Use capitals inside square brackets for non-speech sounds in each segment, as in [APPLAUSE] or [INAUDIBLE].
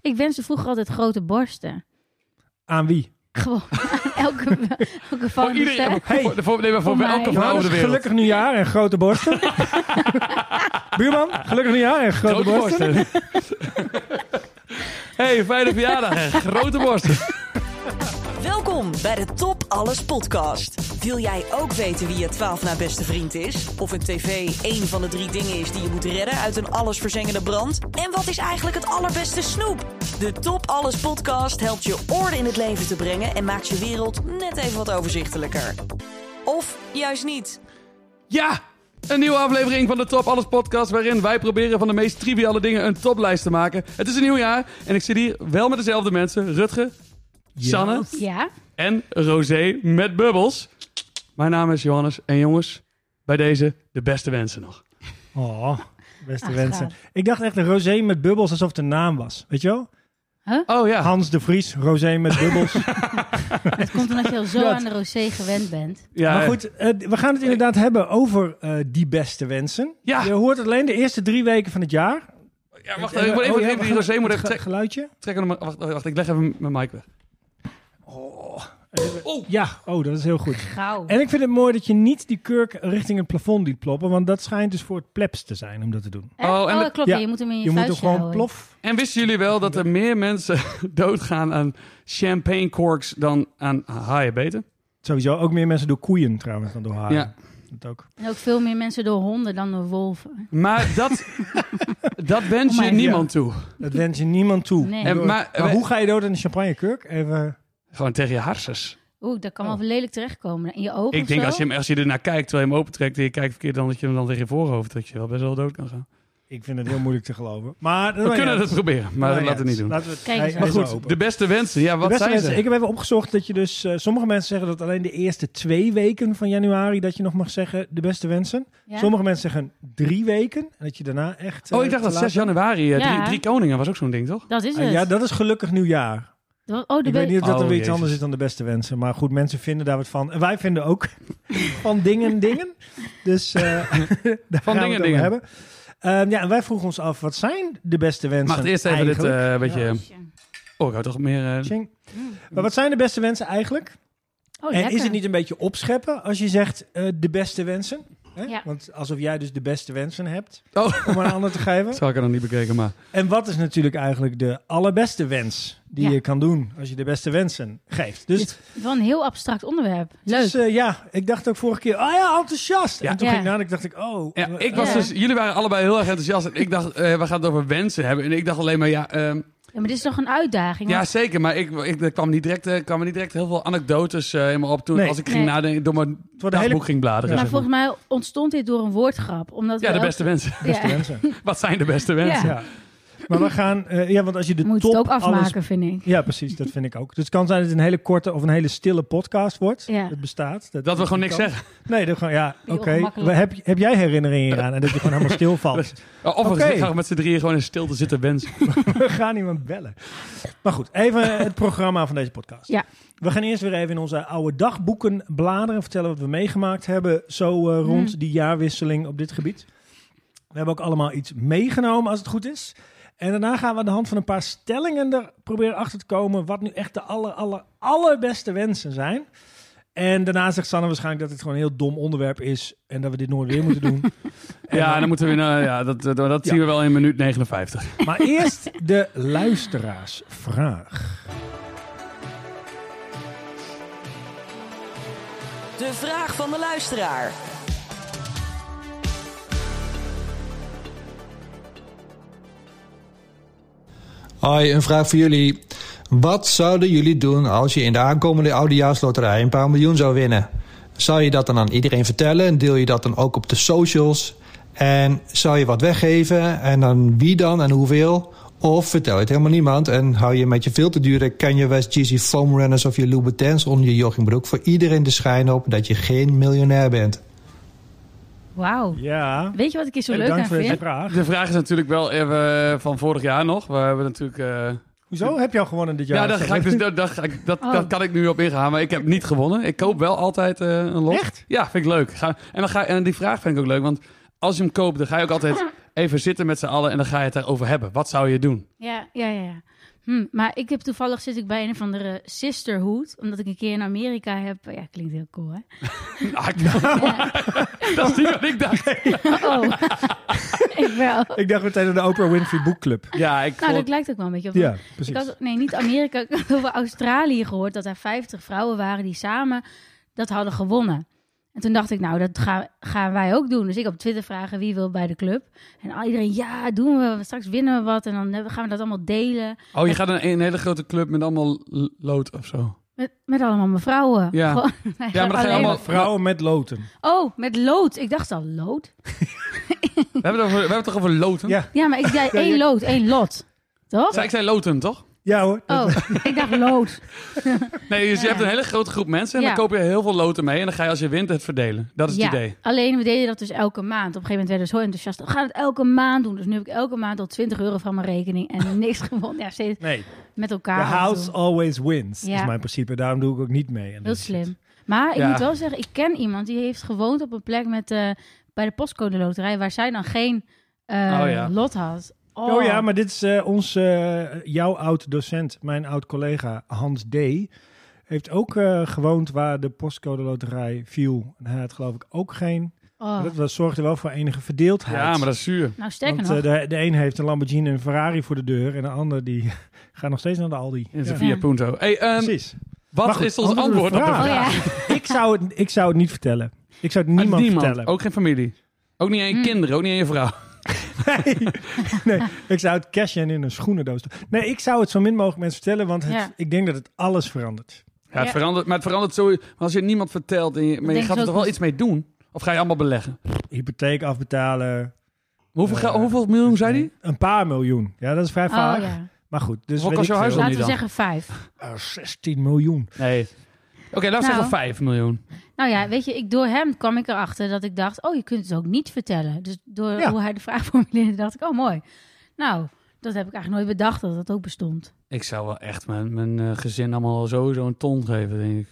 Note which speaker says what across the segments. Speaker 1: Ik wenste vroeger altijd grote borsten. [LAUGHS]
Speaker 2: Aan wie?
Speaker 1: Gewoon elke, elke
Speaker 3: Voor
Speaker 1: van
Speaker 3: iedereen.
Speaker 1: de
Speaker 2: Hey.
Speaker 3: voor, voor, nee, maar voor,
Speaker 1: Voor mij.
Speaker 3: elke vrouw
Speaker 2: Nou,
Speaker 3: op
Speaker 2: dus
Speaker 3: de wereld.
Speaker 2: gelukkig nieuwjaar en grote
Speaker 3: [LAUGHS]
Speaker 2: borsten. Buurman, gelukkig nieuwjaar en grote,
Speaker 3: Grote
Speaker 2: borsten.
Speaker 3: [LAUGHS] hey, fijne verjaardag. en Grote borsten.
Speaker 4: Welkom bij de Top Alles podcast. Wil jij ook weten wie je 12 na beste vriend is? Of een tv één van de drie dingen is die je moet redden uit een allesverzengende brand? En wat is eigenlijk het allerbeste snoep? De Top Alles podcast helpt je orde in het leven te brengen en maakt je wereld net even wat overzichtelijker. Of juist niet.
Speaker 3: Ja, een nieuwe aflevering van de Top Alles podcast... waarin wij proberen van de meest triviale dingen een toplijst te maken. Het is een nieuw jaar en ik zit hier wel met dezelfde mensen. Rutger, Sanne
Speaker 1: Ja,
Speaker 3: en Rosé met bubbels. Mijn naam is Johannes en jongens, bij deze de beste wensen nog.
Speaker 2: Oh, beste
Speaker 1: Ach,
Speaker 2: wensen.
Speaker 1: gaaf.
Speaker 2: Ik dacht echt een rosé met bubbels alsof het een naam was. Weet je wel?
Speaker 3: Oh ja,
Speaker 2: Hans de Vries, rosé met
Speaker 3: [LAUGHS]
Speaker 2: bubbels.
Speaker 1: het komt omdat je al zo aan de rosé gewend bent.
Speaker 3: ja
Speaker 2: maar goed, eh, we gaan het inderdaad hebben over eh, die beste wensen.
Speaker 3: Ja.
Speaker 2: Je hoort alleen de eerste drie weken van het jaar.
Speaker 3: ja, wacht even, ik moet even,
Speaker 2: Oh, ja,
Speaker 3: even
Speaker 2: we
Speaker 3: die
Speaker 2: gaan-
Speaker 3: Rosé moet
Speaker 2: het
Speaker 3: even
Speaker 2: ge-
Speaker 3: trekken.
Speaker 2: Geluidje.
Speaker 3: trekken hem- wacht, wacht, ik leg even mijn mic weg. Oh,
Speaker 2: Ja, oh, dat is heel goed.
Speaker 1: Gauw.
Speaker 2: En ik vind het mooi dat je niet die kurk richting het plafond liet ploppen, want dat schijnt dus voor het plebs te zijn om dat te doen.
Speaker 1: Echt?
Speaker 3: Oh,
Speaker 1: Oh,
Speaker 3: en
Speaker 1: dat
Speaker 3: dat-
Speaker 1: klopt.
Speaker 2: ja.
Speaker 1: Je moet hem in je,
Speaker 2: Je moet hem
Speaker 1: vuistje
Speaker 2: gewoon
Speaker 1: houden.
Speaker 2: plof.
Speaker 3: En wisten jullie wel dat er meer mensen [LAUGHS] doodgaan aan champagne corks dan aan haaibeten?
Speaker 2: Sowieso ook meer mensen door koeien trouwens dan door haren.
Speaker 3: Ja.
Speaker 2: Dat ook.
Speaker 1: En ook veel meer mensen door honden dan door wolven.
Speaker 3: Maar
Speaker 2: [LAUGHS]
Speaker 3: dat, dat wens
Speaker 1: Oh
Speaker 3: je
Speaker 1: my-
Speaker 3: niemand toe.
Speaker 2: Dat wens je niemand toe.
Speaker 1: Nee.
Speaker 3: En,
Speaker 2: Door-
Speaker 3: maar,
Speaker 2: Maar hoe ga je dood in een champagnekurk? Even.
Speaker 3: Gewoon tegen je harses.
Speaker 1: Oeh, dat kan
Speaker 2: Oh.
Speaker 1: wel lelijk terechtkomen. In je ogen
Speaker 3: Ik
Speaker 1: of
Speaker 3: denk
Speaker 1: zo?
Speaker 3: als je, hem, als je ernaar kijkt, terwijl je hem opentrekt en je kijkt verkeerd, dan dat je hem dan tegen je voorhoofd, dat je wel best wel dood kan gaan.
Speaker 2: Ik vind het heel moeilijk te geloven. Maar
Speaker 3: We kunnen het proberen, maar dat laten we niet doen.
Speaker 2: Nou Laten we het
Speaker 1: Kijk
Speaker 2: hij-
Speaker 1: eens
Speaker 2: hij
Speaker 1: aan.
Speaker 2: is
Speaker 1: Maar
Speaker 2: wel open.
Speaker 3: De beste wensen, ja,
Speaker 2: De
Speaker 3: wat
Speaker 2: beste
Speaker 3: zijn
Speaker 2: mensen,
Speaker 3: ze?
Speaker 2: ik heb even opgezocht dat je dus... eh, sommige mensen zeggen dat alleen de eerste twee weken van januari... dat je nog mag zeggen de beste wensen.
Speaker 1: Ja?
Speaker 2: Sommige mensen zeggen drie weken. En dat je daarna echt... eh,
Speaker 3: Oh, ik dacht
Speaker 2: te
Speaker 3: dat 6
Speaker 2: laat-
Speaker 3: januari, eh,
Speaker 1: Ja.
Speaker 3: drie, drie koningen was ook zo'n ding, toch?
Speaker 1: Dat is het.
Speaker 2: Ah, ja, dat is gelukkig nieuwjaar.
Speaker 1: Dat- Oh, de
Speaker 2: Ik weet niet of dat
Speaker 3: Oh,
Speaker 2: er weer iets
Speaker 3: Jezus.
Speaker 2: anders is dan de beste wensen. Maar goed, mensen vinden daar wat van. En wij vinden ook [LAUGHS] van dingen dingen. Dus eh [LAUGHS] daar gaan we het
Speaker 3: dingen
Speaker 2: over
Speaker 3: dingen.
Speaker 2: hebben. Ehm, ja, en wij vroegen ons af, wat zijn de beste wensen
Speaker 3: Mag het eerst even dit
Speaker 2: eigenlijk?
Speaker 3: eh, beetje... Oh, ik hou toch meer... eh,
Speaker 2: Tjing. Maar wat zijn de beste wensen eigenlijk?
Speaker 1: Oh,
Speaker 2: en
Speaker 1: lekker.
Speaker 2: is het niet een beetje opscheppen als je zegt eh, de beste wensen? Hè?
Speaker 1: Ja.
Speaker 2: Want alsof jij dus de beste wensen hebt
Speaker 3: Oh,
Speaker 2: om aan een ander te geven.
Speaker 3: [LAUGHS] dat had ik er nog niet bekeken, maar...
Speaker 2: En wat is natuurlijk eigenlijk de allerbeste wens die
Speaker 1: Ja.
Speaker 2: je kan doen als je de beste wensen geeft? Dus
Speaker 1: Dit is wel een heel abstract onderwerp. Leuk.
Speaker 2: Dus, eh, ja, ik dacht ook vorige keer, oh ja, enthousiast.
Speaker 3: Ja.
Speaker 2: En toen
Speaker 1: Ja.
Speaker 2: ging ik nadenken, dacht ik, oh.
Speaker 3: Ja,
Speaker 2: eh,
Speaker 3: ik was
Speaker 1: Ja.
Speaker 3: dus, jullie waren allebei heel erg enthousiast. En ik dacht, eh, we gaan het over wensen hebben. En ik dacht alleen maar, ja, ehm,
Speaker 1: Ja, maar dit is toch een uitdaging?
Speaker 3: ja
Speaker 1: want-
Speaker 3: zeker. Maar ik, ik, er kwam niet direct, eh, kwamen niet direct heel veel anekdotes eh, in me op toen
Speaker 2: Nee.
Speaker 3: als ik ging
Speaker 1: Nee.
Speaker 3: nadenken, door mijn
Speaker 2: het wordt een
Speaker 3: dagboek
Speaker 2: hele
Speaker 3: ging bladeren.
Speaker 1: maar
Speaker 3: zeg maar.
Speaker 1: volgens mij ontstond dit door een woordgrap. Omdat
Speaker 3: Ja,
Speaker 1: we
Speaker 3: de
Speaker 1: elk-
Speaker 3: beste wensen. [LAUGHS]
Speaker 2: beste
Speaker 1: Ja.
Speaker 2: wensen.
Speaker 3: Wat zijn de beste wensen?
Speaker 2: Ja. Maar we gaan, eh, ja, want als je de
Speaker 1: Moet je
Speaker 2: top
Speaker 1: het ook
Speaker 2: alles-
Speaker 1: afmaken, vind ik.
Speaker 2: Ja, precies, dat vind ik ook. Dus het kan zijn dat het een hele korte of een hele stille podcast wordt.
Speaker 1: Ja.
Speaker 2: Dat bestaat.
Speaker 3: Dat we gewoon niks
Speaker 2: kan.
Speaker 3: zeggen.
Speaker 2: Nee, dat gewoon, ja,
Speaker 1: Heel
Speaker 2: oké.
Speaker 1: ongemakkelijk.
Speaker 2: We- Heb, heb jij herinneringen hieraan en dat je gewoon helemaal
Speaker 3: [LAUGHS]
Speaker 2: stil valt?
Speaker 3: Oh, Of we
Speaker 2: Oké.
Speaker 3: gaan met z'n drieën gewoon in stilte zitten wensen.
Speaker 2: [LAUGHS] We gaan iemand bellen. Maar goed, even het programma van deze podcast.
Speaker 1: Ja.
Speaker 2: We gaan eerst weer even in onze oude dagboeken bladeren. Vertellen wat we meegemaakt hebben. Zo eh, rond
Speaker 1: Mm.
Speaker 2: die jaarwisseling op dit gebied. We hebben ook allemaal iets meegenomen als het goed is. En daarna gaan we aan de hand van een paar stellingen er proberen achter te komen. Wat nu echt de aller, aller, allerbeste wensen zijn. En daarna zegt Sanne waarschijnlijk dat het gewoon een heel dom onderwerp is. En dat we dit nooit weer moeten doen. En
Speaker 3: Ja, dan moeten we nou, ja, dat, dat, dat zien we wel in minuut 59.
Speaker 2: maar eerst de luisteraarsvraag.
Speaker 4: De vraag van de luisteraar.
Speaker 5: Hoi, een vraag voor jullie. Wat zouden jullie doen als je in de aankomende oudejaarsloterij een paar miljoen zou winnen? Zou je dat dan aan iedereen vertellen en deel je dat dan ook op de socials? En zou je wat weggeven en dan wie dan en hoeveel? Of vertel je het helemaal niemand en hou je met je veel te dure Kanye West Yeezy Foam Runners of je Louboutins onder je joggingbroek voor iedereen de schijn op dat je geen miljonair bent?
Speaker 1: Wauw.
Speaker 2: Ja,
Speaker 1: Weet je wat ik hier zo leuk
Speaker 2: bedankt
Speaker 1: aan
Speaker 2: voor deze
Speaker 1: vind?
Speaker 2: vraag.
Speaker 3: De vraag is natuurlijk wel even van vorig jaar nog. We hebben natuurlijk... eh,
Speaker 2: Hoezo heb je al gewonnen dit jaar?
Speaker 3: Ja, daar ga ik dus, daar, daar ga ik, dat,
Speaker 1: Oh.
Speaker 3: dat kan ik nu op ingaan, maar ik heb niet gewonnen. Ik koop wel altijd eh, een lot.
Speaker 2: Echt?
Speaker 3: Ja, vind ik leuk. Ga, en, dan ga, en die vraag vind ik ook leuk, want als je hem koopt, dan ga je ook altijd even zitten met z'n allen en dan ga je het daarover hebben. Wat zou je doen? [LAUGHS]
Speaker 1: Ja, ja, ja. ja. Hm, maar ik heb toevallig zit ik bij een of andere sisterhood, omdat ik een keer in Amerika heb. eh, Ja, klinkt heel cool, hè?
Speaker 3: Ah, ik- [LAUGHS]
Speaker 1: Ja.
Speaker 3: dat is niet wat ik dacht.
Speaker 1: Oh, [LAUGHS] ik wel.
Speaker 2: Ik dacht meteen aan de Oprah Winfrey Book Club.
Speaker 3: Ja, ik
Speaker 1: Nou,
Speaker 3: vond-
Speaker 1: dat lijkt ook wel een beetje op.
Speaker 2: Ja,
Speaker 1: Ik
Speaker 2: precies.
Speaker 1: had, nee, niet Amerika. [LAUGHS] Ik had over Australië gehoord dat er 50 vrouwen waren die samen dat hadden gewonnen. En toen dacht ik, nou, dat gaan, gaan wij ook doen. Dus ik op Twitter vragen wie wil bij de club. En al iedereen, ja, doen we. Straks winnen we wat. En dan hebben- gaan we dat allemaal delen.
Speaker 3: Oh, je gaat naar een hele grote club met allemaal l- lood of zo.
Speaker 1: Met, met allemaal mevrouwen.
Speaker 3: Ja.
Speaker 1: Gewoon- [LAUGHS]
Speaker 3: dan ga je
Speaker 1: alleen
Speaker 3: allemaal-
Speaker 2: Vrouwen met loten.
Speaker 1: maar- Oh, met lood. Ik dacht al, lood?
Speaker 3: We hebben het, over, we hebben het toch over loten?
Speaker 2: Ja.
Speaker 1: Ja, maar ik
Speaker 3: [LAUGHS]
Speaker 1: zei één lood, één lot. Toch?
Speaker 3: Zij- Ik zei loten, toch?
Speaker 2: Ja hoor.
Speaker 1: Oh, ik dacht lood.
Speaker 3: Nee, dus je
Speaker 1: Ja.
Speaker 3: hebt een hele grote groep mensen
Speaker 1: Ja.
Speaker 3: en dan koop je heel veel loten mee. En dan ga je als je wint het verdelen. [LAUGHS] Dat is het
Speaker 1: ja,
Speaker 3: idee.
Speaker 1: alleen we deden dat dus elke maand. Op een gegeven moment werden we zo enthousiast. We gaan het elke maand doen. Dus nu heb ik elke maand al 20 euro van mijn rekening en [LAUGHS] niks gewonnen. Ja, steeds
Speaker 2: Nee,
Speaker 1: met
Speaker 2: the
Speaker 1: elkaar. af en
Speaker 2: house
Speaker 1: toe.
Speaker 2: always wins.
Speaker 1: Ja.
Speaker 2: Dat is mijn principe. Daarom doe ik ook niet mee.
Speaker 1: Heel slim. Maar ik
Speaker 3: Ja.
Speaker 1: moet wel zeggen, ik ken iemand die heeft gewoond op een plek met, eh, bij de postcode loterij... waar zij dan geen eh,
Speaker 3: Oh ja.
Speaker 1: lot had.
Speaker 2: Oh, ja, maar dit is eh, ons, eh, jouw oud-docent, mijn oud-collega Hans D. Heeft ook eh, gewoond waar de postcode loterij viel. En hij had geloof ik ook geen.
Speaker 1: Oh.
Speaker 2: Dat, was- zorgde wel voor enige verdeeldheid.
Speaker 3: Ja, maar dat is zuur.
Speaker 1: Nou, sterker
Speaker 2: Want
Speaker 1: nog.
Speaker 2: eh, de, de een heeft een Lamborghini en een Ferrari voor de deur. En de ander die [LAUGHS] gaat nog steeds naar de Aldi.
Speaker 3: In
Speaker 2: Ja,
Speaker 3: zijn Via Punto. Hey, ehm,
Speaker 2: precies.
Speaker 3: wat
Speaker 2: Maar goed,
Speaker 3: is ons
Speaker 2: antwoord op
Speaker 3: antwoord
Speaker 2: de
Speaker 3: op de
Speaker 2: vraag.
Speaker 1: oh
Speaker 3: vraag? [LAUGHS]
Speaker 1: ja.
Speaker 2: ik, zou het, ik zou het niet vertellen. Ik zou het
Speaker 3: Aan
Speaker 2: niemand,
Speaker 3: niemand. Oh.
Speaker 2: vertellen.
Speaker 3: Ook geen familie. Ook niet aan je
Speaker 1: Mm.
Speaker 3: kinderen, ook niet aan je vrouw.
Speaker 2: [LAUGHS] Nee, nee, ik zou het cashen en in een schoenendoos doen. Nee, ik zou het zo min mogelijk mensen vertellen, want het-
Speaker 1: Ja.
Speaker 2: ik denk dat het alles verandert.
Speaker 3: Ja, het
Speaker 1: Ja.
Speaker 3: Verandert, maar het verandert zo. Maar als je het niemand vertelt, en je, maar je
Speaker 1: denken ze
Speaker 3: gaat er
Speaker 1: ook
Speaker 3: toch wel
Speaker 1: niet.
Speaker 3: iets mee doen? Of ga je allemaal beleggen?
Speaker 2: Hypotheek afbetalen.
Speaker 3: Hoeveel,
Speaker 2: Eh,
Speaker 3: geld- hoeveel miljoen zei hij?
Speaker 2: Een paar miljoen. Ja, dat is vrij vaag.
Speaker 1: Oh ja.
Speaker 2: Maar goed, dus
Speaker 3: Hoeveel
Speaker 2: weet
Speaker 3: kost
Speaker 2: ik
Speaker 3: jouw
Speaker 2: veel.
Speaker 3: huis
Speaker 1: Laten
Speaker 3: niet
Speaker 1: we
Speaker 3: dan?
Speaker 1: zeggen vijf.
Speaker 2: Eh, 16 miljoen.
Speaker 3: Nee. Oké, laten
Speaker 1: Nou.
Speaker 3: we zeggen 5 miljoen.
Speaker 1: Nou ja, weet je, ik, door hem kwam ik erachter dat ik dacht, oh, je kunt het ook niet vertellen. Dus door
Speaker 2: Ja.
Speaker 1: hoe hij de vraag [LAUGHS] formuleerde, dacht ik, oh mooi. Nou, dat heb ik eigenlijk nooit bedacht dat dat ook bestond.
Speaker 3: Ik zou wel echt mijn, mijn eh, gezin allemaal sowieso een ton geven, denk ik.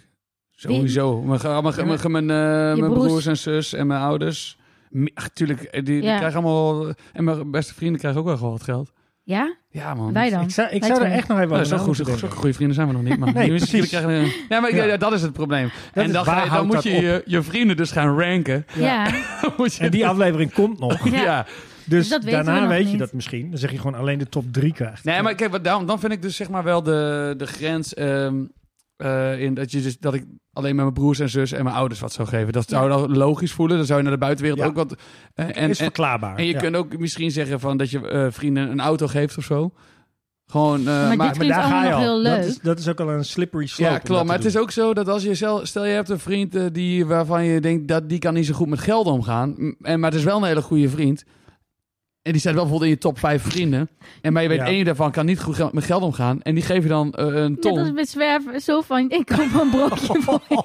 Speaker 3: Sowieso. Mijn, ge- mijn, ge- mijn, ge- mijn, eh, mijn
Speaker 1: broers.
Speaker 3: broers en zus en mijn ouders. Me- Ach, tuurlijk, eh, die, die
Speaker 1: Ja.
Speaker 3: krijgen allemaal... En mijn beste vrienden krijgen ook wel gewoon wat geld.
Speaker 1: Ja?
Speaker 3: Ja, man.
Speaker 1: Wij dan?
Speaker 2: Ik zou, ik
Speaker 1: Wij
Speaker 2: zou er
Speaker 1: twee.
Speaker 2: echt nog even over
Speaker 3: Nou, dat is wel
Speaker 2: na
Speaker 3: goed.
Speaker 2: moeten
Speaker 3: Zulke
Speaker 2: denken.
Speaker 3: goede vrienden zijn we nog niet, [LAUGHS] man.
Speaker 2: Nee,
Speaker 3: Die- die
Speaker 2: precies.
Speaker 3: krijgen een- Ja, maar ik-
Speaker 2: Ja.
Speaker 3: ja, dat is het probleem.
Speaker 2: Dat
Speaker 3: en
Speaker 2: is
Speaker 3: dan,
Speaker 2: waar
Speaker 3: ga je, dan
Speaker 2: houdt
Speaker 3: moet
Speaker 2: dat
Speaker 3: je,
Speaker 2: op?
Speaker 3: je je vrienden dus gaan ranken. [LAUGHS]
Speaker 1: Ja.
Speaker 3: Dan moet je- dus-
Speaker 2: En die aflevering komt
Speaker 3: [LAUGHS]
Speaker 2: nog.
Speaker 3: ja.
Speaker 2: Dus
Speaker 1: dat weten we
Speaker 2: daarna
Speaker 1: nog
Speaker 2: weet je
Speaker 1: niet.
Speaker 2: dat misschien. Dan zeg je gewoon alleen de top 3 krijgt.
Speaker 3: Nee, maar kijk, wat- dan, dan vind ik dus zeg maar wel de, de grens ehm, eh, in dat, je dus, dat ik alleen met mijn broers en zus en mijn ouders wat zou geven. Dat zou dan logisch voelen. Dan zou je naar de buitenwereld
Speaker 2: Ja.
Speaker 3: ook wat... eh, en,
Speaker 2: is
Speaker 3: en,
Speaker 2: verklaarbaar.
Speaker 3: en je
Speaker 2: Ja.
Speaker 3: kunt ook misschien zeggen van dat je eh, vrienden een auto geeft of zo. Gewoon... eh,
Speaker 1: dit
Speaker 3: maar,
Speaker 1: klinkt allemaal nog heel
Speaker 2: Dat
Speaker 1: leuk.
Speaker 2: is, dat is ook al een slippery slope.
Speaker 3: ja,
Speaker 2: om dat
Speaker 3: klopt.
Speaker 2: te
Speaker 3: Maar het
Speaker 2: doen.
Speaker 3: is ook zo dat als je zelf, stel je hebt een vriend eh, die, waarvan je denkt dat die kan niet zo goed met geld omgaan. M- En, maar het is wel een hele goede vriend. En die staat wel bijvoorbeeld in je top 5 vrienden. En maar je weet
Speaker 2: Ja.
Speaker 3: één daarvan kan niet goed gel- met geld omgaan. En die geef je dan eh, een
Speaker 1: Net als
Speaker 3: ton.
Speaker 1: met zwerven, zo van, ik koop een broodje voor je.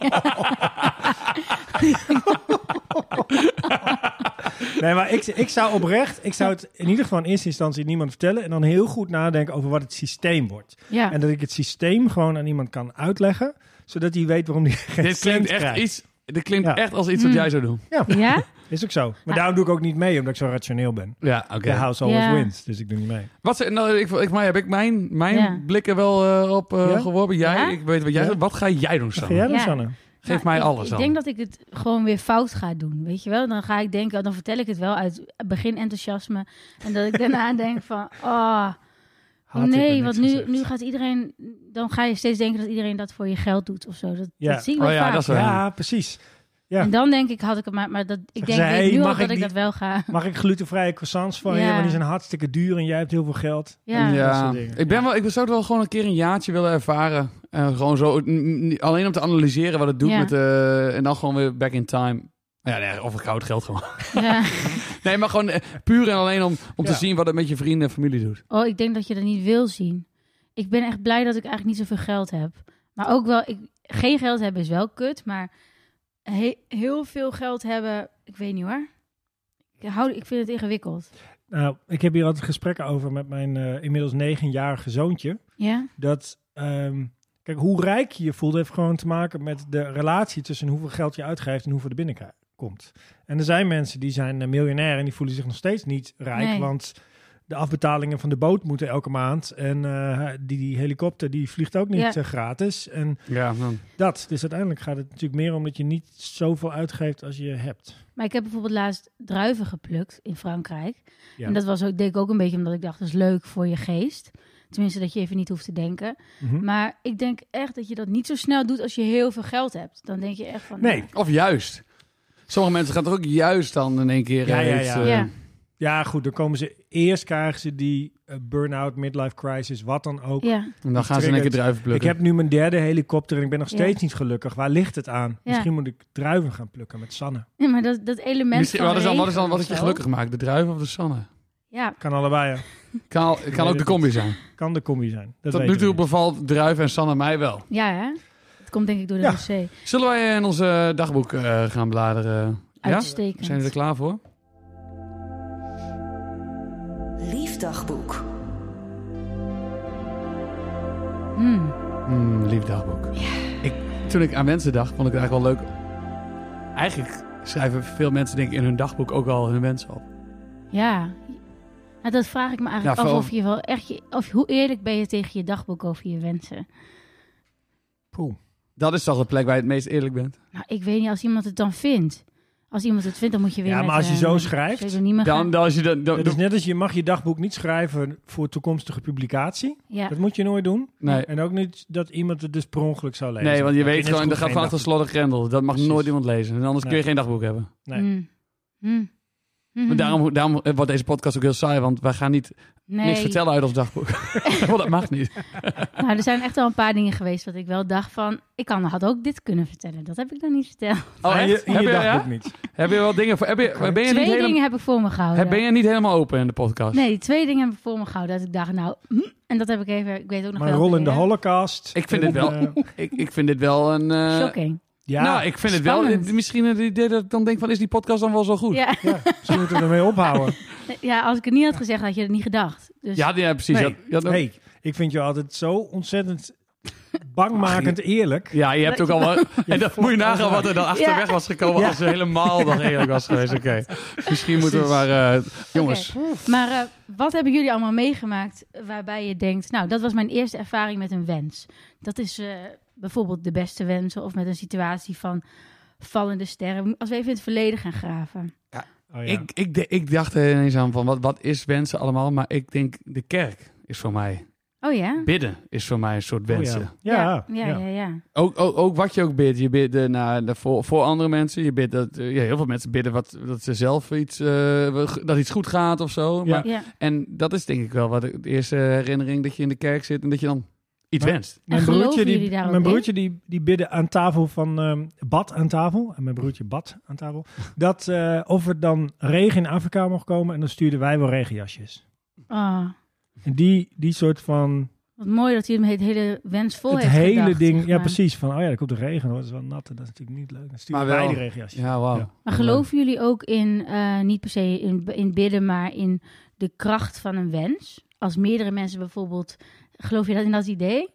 Speaker 2: Nee, maar ik, ik zou oprecht, ik zou het in ieder geval in eerste instantie niemand vertellen. En dan heel goed nadenken over wat het systeem wordt.
Speaker 1: Ja.
Speaker 2: En dat ik het systeem gewoon aan iemand kan uitleggen. Zodat hij weet waarom hij geen
Speaker 3: Dit
Speaker 2: cent
Speaker 3: klinkt echt,
Speaker 2: krijgt.
Speaker 3: iets, dit klinkt
Speaker 2: Ja.
Speaker 3: echt als iets wat
Speaker 1: Mm.
Speaker 3: jij zou doen.
Speaker 1: Ja?
Speaker 2: Is ook zo. Maar daarom doe ik ook niet mee, omdat ik zo rationeel ben.
Speaker 3: Ja, oké.
Speaker 2: De house always
Speaker 1: Ja.
Speaker 2: wins, dus ik doe niet mee.
Speaker 3: Wat ze- nou, ik, ik, maar heb ik mijn, mijn
Speaker 1: Ja.
Speaker 3: blikken wel eh, op eh,
Speaker 2: Ja?
Speaker 3: geworpen? Jij,
Speaker 1: Ja?
Speaker 3: ik weet wat jij
Speaker 2: Ja.
Speaker 3: zegt. Wat ga jij doen,
Speaker 2: Wat
Speaker 3: Sam?
Speaker 2: ga jij dan,
Speaker 1: Ja.
Speaker 2: Sanne?
Speaker 3: Geef
Speaker 1: Nou,
Speaker 3: mij
Speaker 1: ik-
Speaker 3: alles
Speaker 1: Ik
Speaker 3: dan.
Speaker 1: denk dat ik het gewoon weer fout ga doen, weet je wel? Dan ga ik denken, dan vertel ik het wel uit begin enthousiasme. En dat ik daarna [LAUGHS] denk van, oh,
Speaker 2: Had ik er
Speaker 1: nee,
Speaker 2: niks
Speaker 1: want nu,
Speaker 2: gezegd.
Speaker 1: nu gaat iedereen... Dan ga je steeds denken dat iedereen dat voor je geld doet of zo. Dat,
Speaker 2: Ja.
Speaker 1: dat zien we
Speaker 3: Oh ja,
Speaker 1: vaak.
Speaker 3: dat is wel.
Speaker 2: Ja, precies. ja.
Speaker 1: En dan denk ik, had ik het maar... Maar dat, ik denk
Speaker 2: Zeggen
Speaker 1: weet
Speaker 2: ze, hey,
Speaker 1: nu al
Speaker 2: mag
Speaker 1: dat
Speaker 2: ik
Speaker 1: ik,
Speaker 2: die-
Speaker 1: dat wel ga.
Speaker 2: Mag ik glutenvrije croissants van je?
Speaker 1: Ja.
Speaker 2: Want die zijn hartstikke duur en jij hebt heel veel geld.
Speaker 1: Ja.
Speaker 2: dat
Speaker 3: Ja,
Speaker 2: soort dingen.
Speaker 3: eh, ik, ben wel, ik zou het wel gewoon een keer een jaartje willen ervaren. En gewoon zo, n- n- alleen om te analyseren wat het doet
Speaker 1: Ja.
Speaker 3: met de... En dan gewoon weer back in time. Ja, nee, of ik houd geld gewoon.
Speaker 1: Ja.
Speaker 3: [LAUGHS] Nee, maar gewoon eh, puur en alleen om, om
Speaker 2: Ja.
Speaker 3: te zien wat het met je vrienden en familie doet.
Speaker 1: Oh, ik denk dat je dat niet wil zien. Ik ben echt blij dat ik eigenlijk niet zoveel geld heb. Maar ook wel, ik, geen geld hebben is wel kut, maar he- heel veel geld hebben, ik weet niet hoor. Ik, hou, ik vind het ingewikkeld.
Speaker 2: Nou, ik heb hier altijd gesprekken over met mijn eh, inmiddels negenjarige zoontje.
Speaker 1: Ja?
Speaker 2: dat. ehm, kijk, hoe rijk je je voelt, heeft gewoon te maken met de relatie tussen hoeveel geld je uitgeeft en hoeveel er binnen komt. En er zijn mensen die zijn eh, miljonair en die voelen zich nog steeds niet rijk,
Speaker 1: Nee.
Speaker 2: want de afbetalingen van de boot moeten elke maand. En eh, die, die helikopter die vliegt ook niet
Speaker 1: Ja.
Speaker 2: eh, gratis. En
Speaker 3: Ja, man.
Speaker 2: dat. Dus uiteindelijk gaat het natuurlijk meer om dat je niet zoveel uitgeeft als je hebt.
Speaker 1: Maar ik heb bijvoorbeeld laatst druiven geplukt in Frankrijk.
Speaker 2: Ja.
Speaker 1: En dat was ook, deed ik ook een beetje omdat ik dacht, dat is leuk voor je geest. Tenminste, dat je even niet hoeft te denken.
Speaker 2: Mhm.
Speaker 1: Maar ik denk echt dat je dat niet zo snel doet als je heel veel geld hebt. Dan denk je echt van...
Speaker 2: Nee.
Speaker 3: Of juist. Sommige mensen gaan toch ook juist dan in één keer...
Speaker 2: Ja,
Speaker 3: eh,
Speaker 2: ja,
Speaker 3: iets,
Speaker 2: ja.
Speaker 3: eh,
Speaker 1: Ja.
Speaker 2: Ja, goed. Dan komen ze eerst krijgen ze die eh, burn-out, midlife crisis, wat dan ook.
Speaker 1: Ja,
Speaker 3: En dan gaan ze in één keer druiven
Speaker 2: Ik
Speaker 3: plukken.
Speaker 2: heb nu mijn derde helikopter en ik ben nog
Speaker 1: Ja.
Speaker 2: steeds niet gelukkig. Waar ligt het aan?
Speaker 1: Ja.
Speaker 2: Misschien moet ik druiven gaan plukken met Sanne.
Speaker 1: nee, maar dat, dat element
Speaker 3: Misschien-
Speaker 1: van
Speaker 3: wat is dan, wat is dan
Speaker 1: regen
Speaker 3: wat het je
Speaker 1: of zo.
Speaker 3: gelukkig maakt? De druiven of de sanne?
Speaker 1: Ja,
Speaker 2: Kan allebei. hè.
Speaker 3: Kan,
Speaker 2: weet
Speaker 3: kan
Speaker 2: het
Speaker 3: ook de
Speaker 2: niet.
Speaker 3: combi zijn.
Speaker 2: Kan de combi zijn. Dat
Speaker 3: Tot
Speaker 2: weten
Speaker 3: nu toe
Speaker 2: we niet.
Speaker 3: bevalt druiven en sanne mij wel.
Speaker 1: ja hè? Dat komt denk ik door de
Speaker 2: Ja.
Speaker 1: wc.
Speaker 3: Zullen wij in ons eh, dagboek eh, gaan bladeren? Ja?
Speaker 1: Uitstekend.
Speaker 3: Zijn we er klaar voor?
Speaker 4: Liefdagboek.
Speaker 1: Hmm.
Speaker 3: Hmm, lief dagboek. Ik, toen ik aan mensen dacht, vond ik het eigenlijk wel leuk. Eigenlijk schrijven veel mensen denk ik in hun dagboek ook al hun wensen op.
Speaker 1: Ja. Nou, dat vraag ik me eigenlijk
Speaker 3: Ja,
Speaker 1: af
Speaker 3: vooral-
Speaker 1: of je wel echt... Je, of hoe eerlijk ben je tegen je dagboek over je wensen?
Speaker 2: Poeh.
Speaker 3: Dat is toch de plek waar je het meest eerlijk
Speaker 2: [LAUGHS]
Speaker 3: bent.
Speaker 1: Nou, ik weet niet, als iemand het dan vindt. Als iemand het vindt, dan moet je weer
Speaker 2: Ja,
Speaker 1: met,
Speaker 2: maar als je
Speaker 1: eh,
Speaker 2: zo schrijft,
Speaker 1: pseudoniemen
Speaker 3: Dan,
Speaker 1: gaan.
Speaker 3: dan, als je dan, dan-
Speaker 2: Het is net als je mag je dagboek niet schrijven voor toekomstige publicatie.
Speaker 1: Ja.
Speaker 2: Dat moet je nooit doen.
Speaker 3: nee,
Speaker 2: En ook niet dat iemand het dus per ongeluk zou lezen.
Speaker 3: nee, want je
Speaker 2: Dan
Speaker 3: weet
Speaker 2: kun
Speaker 3: gewoon,
Speaker 2: net
Speaker 3: dat
Speaker 2: zo
Speaker 3: gaat
Speaker 2: goed
Speaker 3: van achter
Speaker 2: geen
Speaker 3: slot en grendel. Dat mag
Speaker 2: Precies.
Speaker 3: nooit iemand lezen. En anders kun je
Speaker 2: Nee. Mhm.
Speaker 3: geen dagboek hebben.
Speaker 2: Nee.
Speaker 1: Hmm. Hmm.
Speaker 3: Maar daarom, daarom wordt deze podcast ook heel saai, want wij gaan niet
Speaker 1: nee.
Speaker 3: niks vertellen uit ons
Speaker 2: [LAUGHS]
Speaker 3: dagboek. [LAUGHS] want dat mag niet.
Speaker 1: Nou, er zijn echt wel een paar dingen geweest dat ik wel dacht van... Ik kan, had ook dit kunnen vertellen. Dat heb ik dan niet verteld.
Speaker 2: dag.
Speaker 3: Oh,
Speaker 2: Ah,
Speaker 3: echt?
Speaker 2: je, in
Speaker 3: heb,
Speaker 2: je
Speaker 3: je,
Speaker 2: dagboek
Speaker 3: ja?
Speaker 2: niet.
Speaker 3: heb je wel dingen voor? Heb je, ben, je
Speaker 1: Twee
Speaker 3: niet
Speaker 1: dingen
Speaker 3: helemaal,
Speaker 1: heb ik voor me gehouden.
Speaker 3: ben je niet helemaal open in de podcast?
Speaker 1: Oh, Nee, twee dingen heb ik voor me gehouden. Dat ik dacht, nou... hm, en dat heb ik even... Ik weet ook nog
Speaker 2: Mijn
Speaker 1: wel... eh,
Speaker 2: rol in de
Speaker 1: weer, hè.
Speaker 2: holocaust.
Speaker 3: Ik vind
Speaker 2: En,
Speaker 3: dit wel-
Speaker 2: eh,
Speaker 3: Ik, ik vind dit wel een... eh,
Speaker 1: Shocking.
Speaker 2: ja,
Speaker 3: nou, ik vind het
Speaker 1: spannend.
Speaker 3: wel... Misschien het idee dat ik dan denk van, is die podcast dan wel zo goed?
Speaker 1: Ja. [LAUGHS]
Speaker 2: ja, misschien moeten we ermee ophouden.
Speaker 1: ja, als ik het niet had gezegd, had je het niet gedacht. Dus
Speaker 3: Ja, ja, precies.
Speaker 2: Nee.
Speaker 3: Ja, ja, dat-
Speaker 2: Nee, ik vind je altijd zo
Speaker 3: [LAUGHS]
Speaker 2: ontzettend bangmakend eerlijk.
Speaker 3: Ja, Ah, [LAUGHS] je hebt ook al wel... En dat moet je nagaan wat er dan achterweg
Speaker 1: Ja.
Speaker 3: was gekomen als ze helemaal nog eerlijk was geweest. Oké,
Speaker 1: [LAUGHS]
Speaker 3: misschien moeten we maar... eh, jongens,
Speaker 1: Maar eh, wat hebben jullie allemaal meegemaakt waarbij je denkt... Nou, dat was mijn eerste ervaring met een wens. Dat is eh, bijvoorbeeld de beste wensen of met een situatie van vallende sterren. Als we even in het verleden gaan graven.
Speaker 2: Oh, ja.
Speaker 3: ik, ik, de- ik dacht er ineens aan van, wat, wat is wensen allemaal? Maar ik denk, de kerk is voor mij...
Speaker 1: Oh ja?
Speaker 3: Bidden is voor mij een soort
Speaker 2: Oh,
Speaker 3: wensen.
Speaker 2: ja. Ja,
Speaker 1: Ja, ja, ja. ja.
Speaker 3: Ook, ook, ook wat je ook bidt. Je bidt eh, naar, naar- voor, voor andere mensen. Je bidt dat, eh, ja, heel veel mensen bidden wat, dat ze zelf iets, eh, dat iets goed gaat of zo.
Speaker 2: Ja.
Speaker 3: Maar,
Speaker 1: ja.
Speaker 3: en dat is denk ik wel wat ik- de eerste herinnering dat je in de kerk zit en dat je dan iets
Speaker 2: Maar-
Speaker 3: wenst.
Speaker 2: Mijn
Speaker 1: En geloven
Speaker 2: broertje, die,
Speaker 1: jullie daar ook
Speaker 2: mijn
Speaker 1: in?
Speaker 2: broertje die, die bidden aan tafel van ehm, bad aan tafel. En mijn broertje bad aan tafel.
Speaker 3: [LAUGHS]
Speaker 2: Dat eh, of er dan regen in Afrika mocht komen. En dan stuurden wij wel regenjasjes.
Speaker 1: Oh,
Speaker 2: En die, die soort van.
Speaker 1: wat mooi dat jullie het hele wens vol
Speaker 2: het
Speaker 1: heeft
Speaker 2: hele
Speaker 1: gedacht,
Speaker 2: ding.
Speaker 1: zeg
Speaker 2: Ja,
Speaker 1: maar.
Speaker 2: precies. Van oh ja, er komt de regen hoor. Dat is wel nat. En dat is natuurlijk niet leuk. Dan stuurden
Speaker 3: Maar wel-
Speaker 2: wij de regenjasjes.
Speaker 3: Ja, wauw.
Speaker 2: Ja.
Speaker 1: Maar geloven jullie ook in, eh, niet per se in, in bidden, maar in de kracht van een wens? Als meerdere mensen bijvoorbeeld, geloof je dat in dat idee?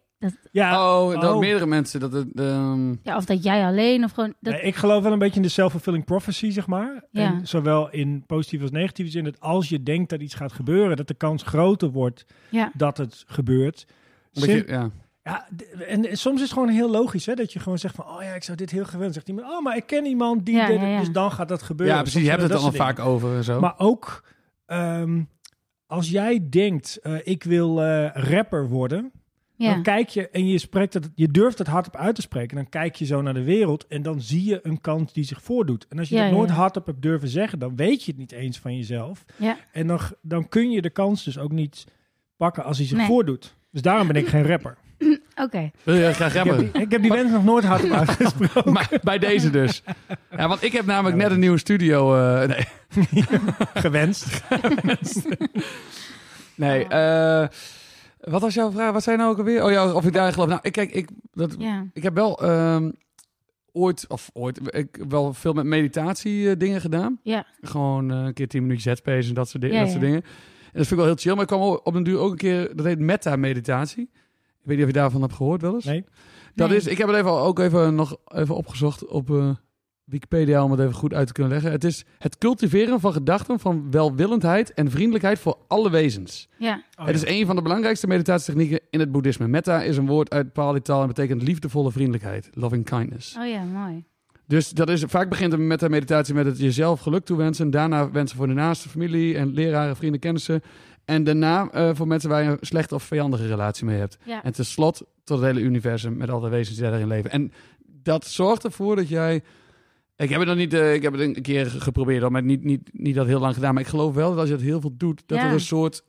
Speaker 2: Ja,
Speaker 3: Oh, dat
Speaker 2: Oh.
Speaker 3: meerdere mensen dat het... ehm,
Speaker 1: Ja, of dat jij alleen of gewoon... Dat,
Speaker 2: nee, ik geloof wel een beetje in de self-fulfilling prophecy, zeg maar.
Speaker 1: Ja.
Speaker 2: En zowel in positieve als negatieve zin. Dat als je denkt dat iets gaat gebeuren, dat de kans groter wordt
Speaker 1: ja.
Speaker 2: dat het gebeurt.
Speaker 3: een beetje-
Speaker 2: Sim-
Speaker 3: ja.
Speaker 2: Ja, d- en eh, soms is het gewoon heel logisch hè, dat je gewoon zegt van, oh ja, ik zou dit heel gewend. Zegt iemand, oh, maar ik ken iemand die
Speaker 1: Ja,
Speaker 2: dit,
Speaker 1: ja, ja.
Speaker 2: dus dan gaat dat gebeuren.
Speaker 3: ja, precies. Je
Speaker 2: Soms
Speaker 3: hebt het
Speaker 2: zijn
Speaker 3: dan al
Speaker 2: dat soort
Speaker 3: vaak over en zo.
Speaker 2: dingen. Maar ook ehm, als jij denkt, eh, ik wil eh, rapper worden,
Speaker 1: ja.
Speaker 2: dan kijk je en je spreekt het, je durft het hardop uit te spreken. Dan kijk je zo naar de wereld en dan zie je een kans die zich voordoet. En als je
Speaker 1: Ja,
Speaker 2: dat
Speaker 1: ja,
Speaker 2: nooit
Speaker 1: ja.
Speaker 2: hardop hebt durven zeggen, dan weet je het niet eens van jezelf.
Speaker 1: Ja.
Speaker 2: En dan, g- dan kun je de kans dus ook niet pakken als hij zich
Speaker 1: Nee.
Speaker 2: voordoet. Dus daarom ben ik geen rapper.
Speaker 1: Oké.
Speaker 3: Wil je graag
Speaker 2: Ik heb
Speaker 3: hebben?
Speaker 2: die, ik heb die wens nog nooit hard op uitgesproken.
Speaker 3: [LAUGHS] Maar bij deze dus. Ja, want ik heb namelijk net een nieuwe studio. eh, nee,
Speaker 2: Gewenst.
Speaker 3: nee eh, wat was jouw vraag? Wat zijn nou ook alweer? Oh ja, of ik daar geloof. Nou, ik- kijk, ik, dat,
Speaker 1: Ja.
Speaker 3: Ik heb wel ehm, ooit, of ooit, ik heb wel veel met meditatie eh, dingen gedaan.
Speaker 1: Ja.
Speaker 3: Gewoon eh, een keer 10 minuten zetspace en dat soort, di-
Speaker 1: Ja,
Speaker 3: dat
Speaker 1: ja.
Speaker 3: soort dingen. En dat vind ik wel heel chill. Maar ik kwam op een duur ook een keer, dat heet meta-meditatie. Ik weet niet of je daarvan hebt gehoord wel eens.
Speaker 2: Nee.
Speaker 3: Dat
Speaker 1: Nee.
Speaker 3: is, ik heb het even, ook even nog even opgezocht op eh, Wikipedia om het even goed uit te kunnen leggen. Het is het cultiveren van gedachten van welwillendheid en vriendelijkheid voor alle wezens.
Speaker 1: Ja.
Speaker 2: Oh,
Speaker 3: het is een van de belangrijkste meditatietechnieken in het boeddhisme. Metta is een woord uit Pali-taal en betekent liefdevolle vriendelijkheid. Loving kindness.
Speaker 1: Oh ja, mooi.
Speaker 3: Dus dat is, vaak begint een metta meditatie met het jezelf geluk toewensen. Daarna wensen voor de naaste familie en leraren, vrienden, kennissen. En daarna eh, voor mensen waar je een slechte of vijandige relatie mee hebt.
Speaker 1: Ja.
Speaker 3: En tenslotte tot het hele universum met alle wezens die daarin leven. En dat zorgt ervoor dat jij... Ik heb het nog niet, eh, ik heb het een keer geprobeerd, maar niet, niet, niet dat heel lang gedaan. Maar ik geloof wel dat als je het heel veel doet, dat
Speaker 1: Ja.
Speaker 3: er een soort...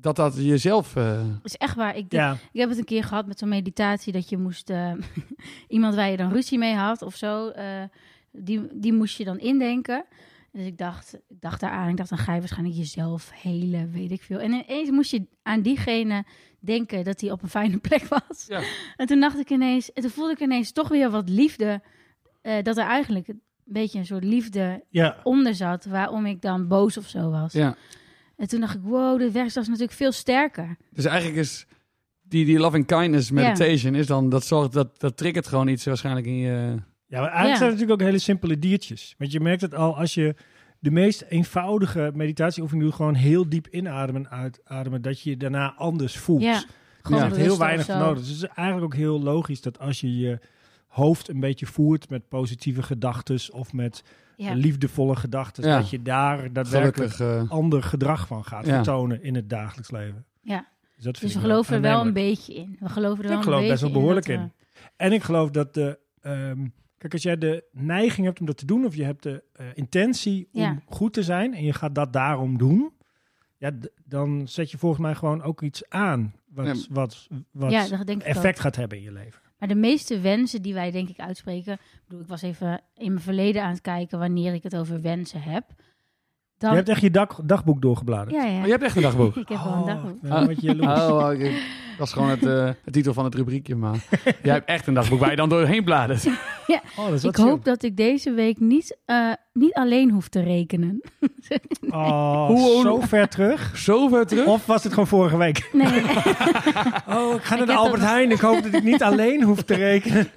Speaker 3: Dat dat jezelf... eh,
Speaker 1: Dat is echt waar. Ik,
Speaker 2: Ja,
Speaker 1: ik heb het een keer gehad met zo'n meditatie dat je moest... eh, [LAUGHS] iemand waar je dan ruzie mee had of zo, eh, die, die moest je dan indenken. Dus ik dacht, ik dacht daaraan, ik dacht dan ga je waarschijnlijk jezelf helen, weet ik veel. En ineens moest je aan diegene denken dat hij op een fijne [LAUGHS] plek was.
Speaker 3: Ja.
Speaker 1: En toen dacht ik ineens, en toen voelde ik ineens toch weer wat liefde. eh, dat er eigenlijk een beetje een soort liefde
Speaker 2: ja.
Speaker 1: onder zat waarom ik dan boos of zo was.
Speaker 3: ja.
Speaker 1: En toen dacht ik, wow, de werkstaf is natuurlijk veel sterker.
Speaker 3: Dus eigenlijk is die, die loving kindness meditation is dan dat zorgt dat dat triggert gewoon iets waarschijnlijk in je.
Speaker 2: Ja, maar eigenlijk
Speaker 1: Ja.
Speaker 2: zijn het natuurlijk ook hele simpele diertjes. Want je merkt het al als je de meest eenvoudige meditatieoefening doet, gewoon heel diep inademen en uitademen, dat je je daarna anders voelt.
Speaker 1: Ja, gewoon
Speaker 2: er is echt
Speaker 1: bewust
Speaker 2: heel
Speaker 1: of
Speaker 2: weinig
Speaker 1: zo.
Speaker 2: voor nodig. Dus het is eigenlijk ook heel logisch dat als je je hoofd een beetje voert met positieve gedachten of met
Speaker 1: Ja.
Speaker 2: liefdevolle gedachten,
Speaker 3: Ja.
Speaker 2: dat je daar daadwerkelijk
Speaker 3: Gelukkig. eh,
Speaker 2: ander gedrag van gaat
Speaker 3: Ja.
Speaker 2: vertonen in het dagelijks leven.
Speaker 1: Ja.
Speaker 2: Dus, dat
Speaker 1: Dus
Speaker 2: vind
Speaker 1: we
Speaker 2: ik
Speaker 1: geloven er wel een
Speaker 2: aannemelijk.
Speaker 1: beetje in. We geloven er
Speaker 2: Ik
Speaker 1: wel
Speaker 2: geloof
Speaker 1: een
Speaker 2: best
Speaker 1: beetje
Speaker 2: wel behoorlijk
Speaker 1: dat eh, we-
Speaker 2: in. En ik geloof dat de. ehm, kijk, als jij de neiging hebt om dat te doen, of je hebt de eh, intentie om
Speaker 1: Ja.
Speaker 2: goed te zijn en je gaat dat daarom doen, ja, d- dan zet je volgens mij gewoon ook iets aan wat,
Speaker 3: Ja.
Speaker 2: wat, wat
Speaker 1: ja, dat denk ik ook.
Speaker 2: effect gaat hebben in je leven.
Speaker 1: Maar de meeste wensen die wij denk ik uitspreken... Ik bedoel, ik was even in mijn verleden aan het kijken wanneer ik het over wensen heb. Dan,
Speaker 2: Je hebt Oh, echt je dag, dagboek doorgebladerd.
Speaker 1: ja, ja.
Speaker 3: Maar je hebt echt een dagboek.
Speaker 1: Ik heb wel een
Speaker 2: Oh,
Speaker 1: dagboek.
Speaker 2: ik ben een beetje jaloers.
Speaker 3: [LAUGHS] Oh, oké. dat is gewoon het, eh, het titel van het rubriekje, [LAUGHS] maar jij hebt echt een dagboek waar je dan doorheen bladert.
Speaker 2: Oh, dat is
Speaker 1: Ik
Speaker 2: wat
Speaker 1: hoop
Speaker 2: chill.
Speaker 1: dat ik deze week niet, eh, niet alleen hoef te rekenen.
Speaker 2: Oh,
Speaker 3: Hoe-
Speaker 2: zo ver terug.
Speaker 3: Zo ver terug.
Speaker 2: Of was het gewoon vorige week? [LAUGHS]
Speaker 1: Nee,
Speaker 2: Oh, ik ga naar de
Speaker 1: heb
Speaker 2: Albert
Speaker 1: dat-
Speaker 2: Heijn. Ik hoop dat ik niet alleen hoef te rekenen.
Speaker 1: [LAUGHS]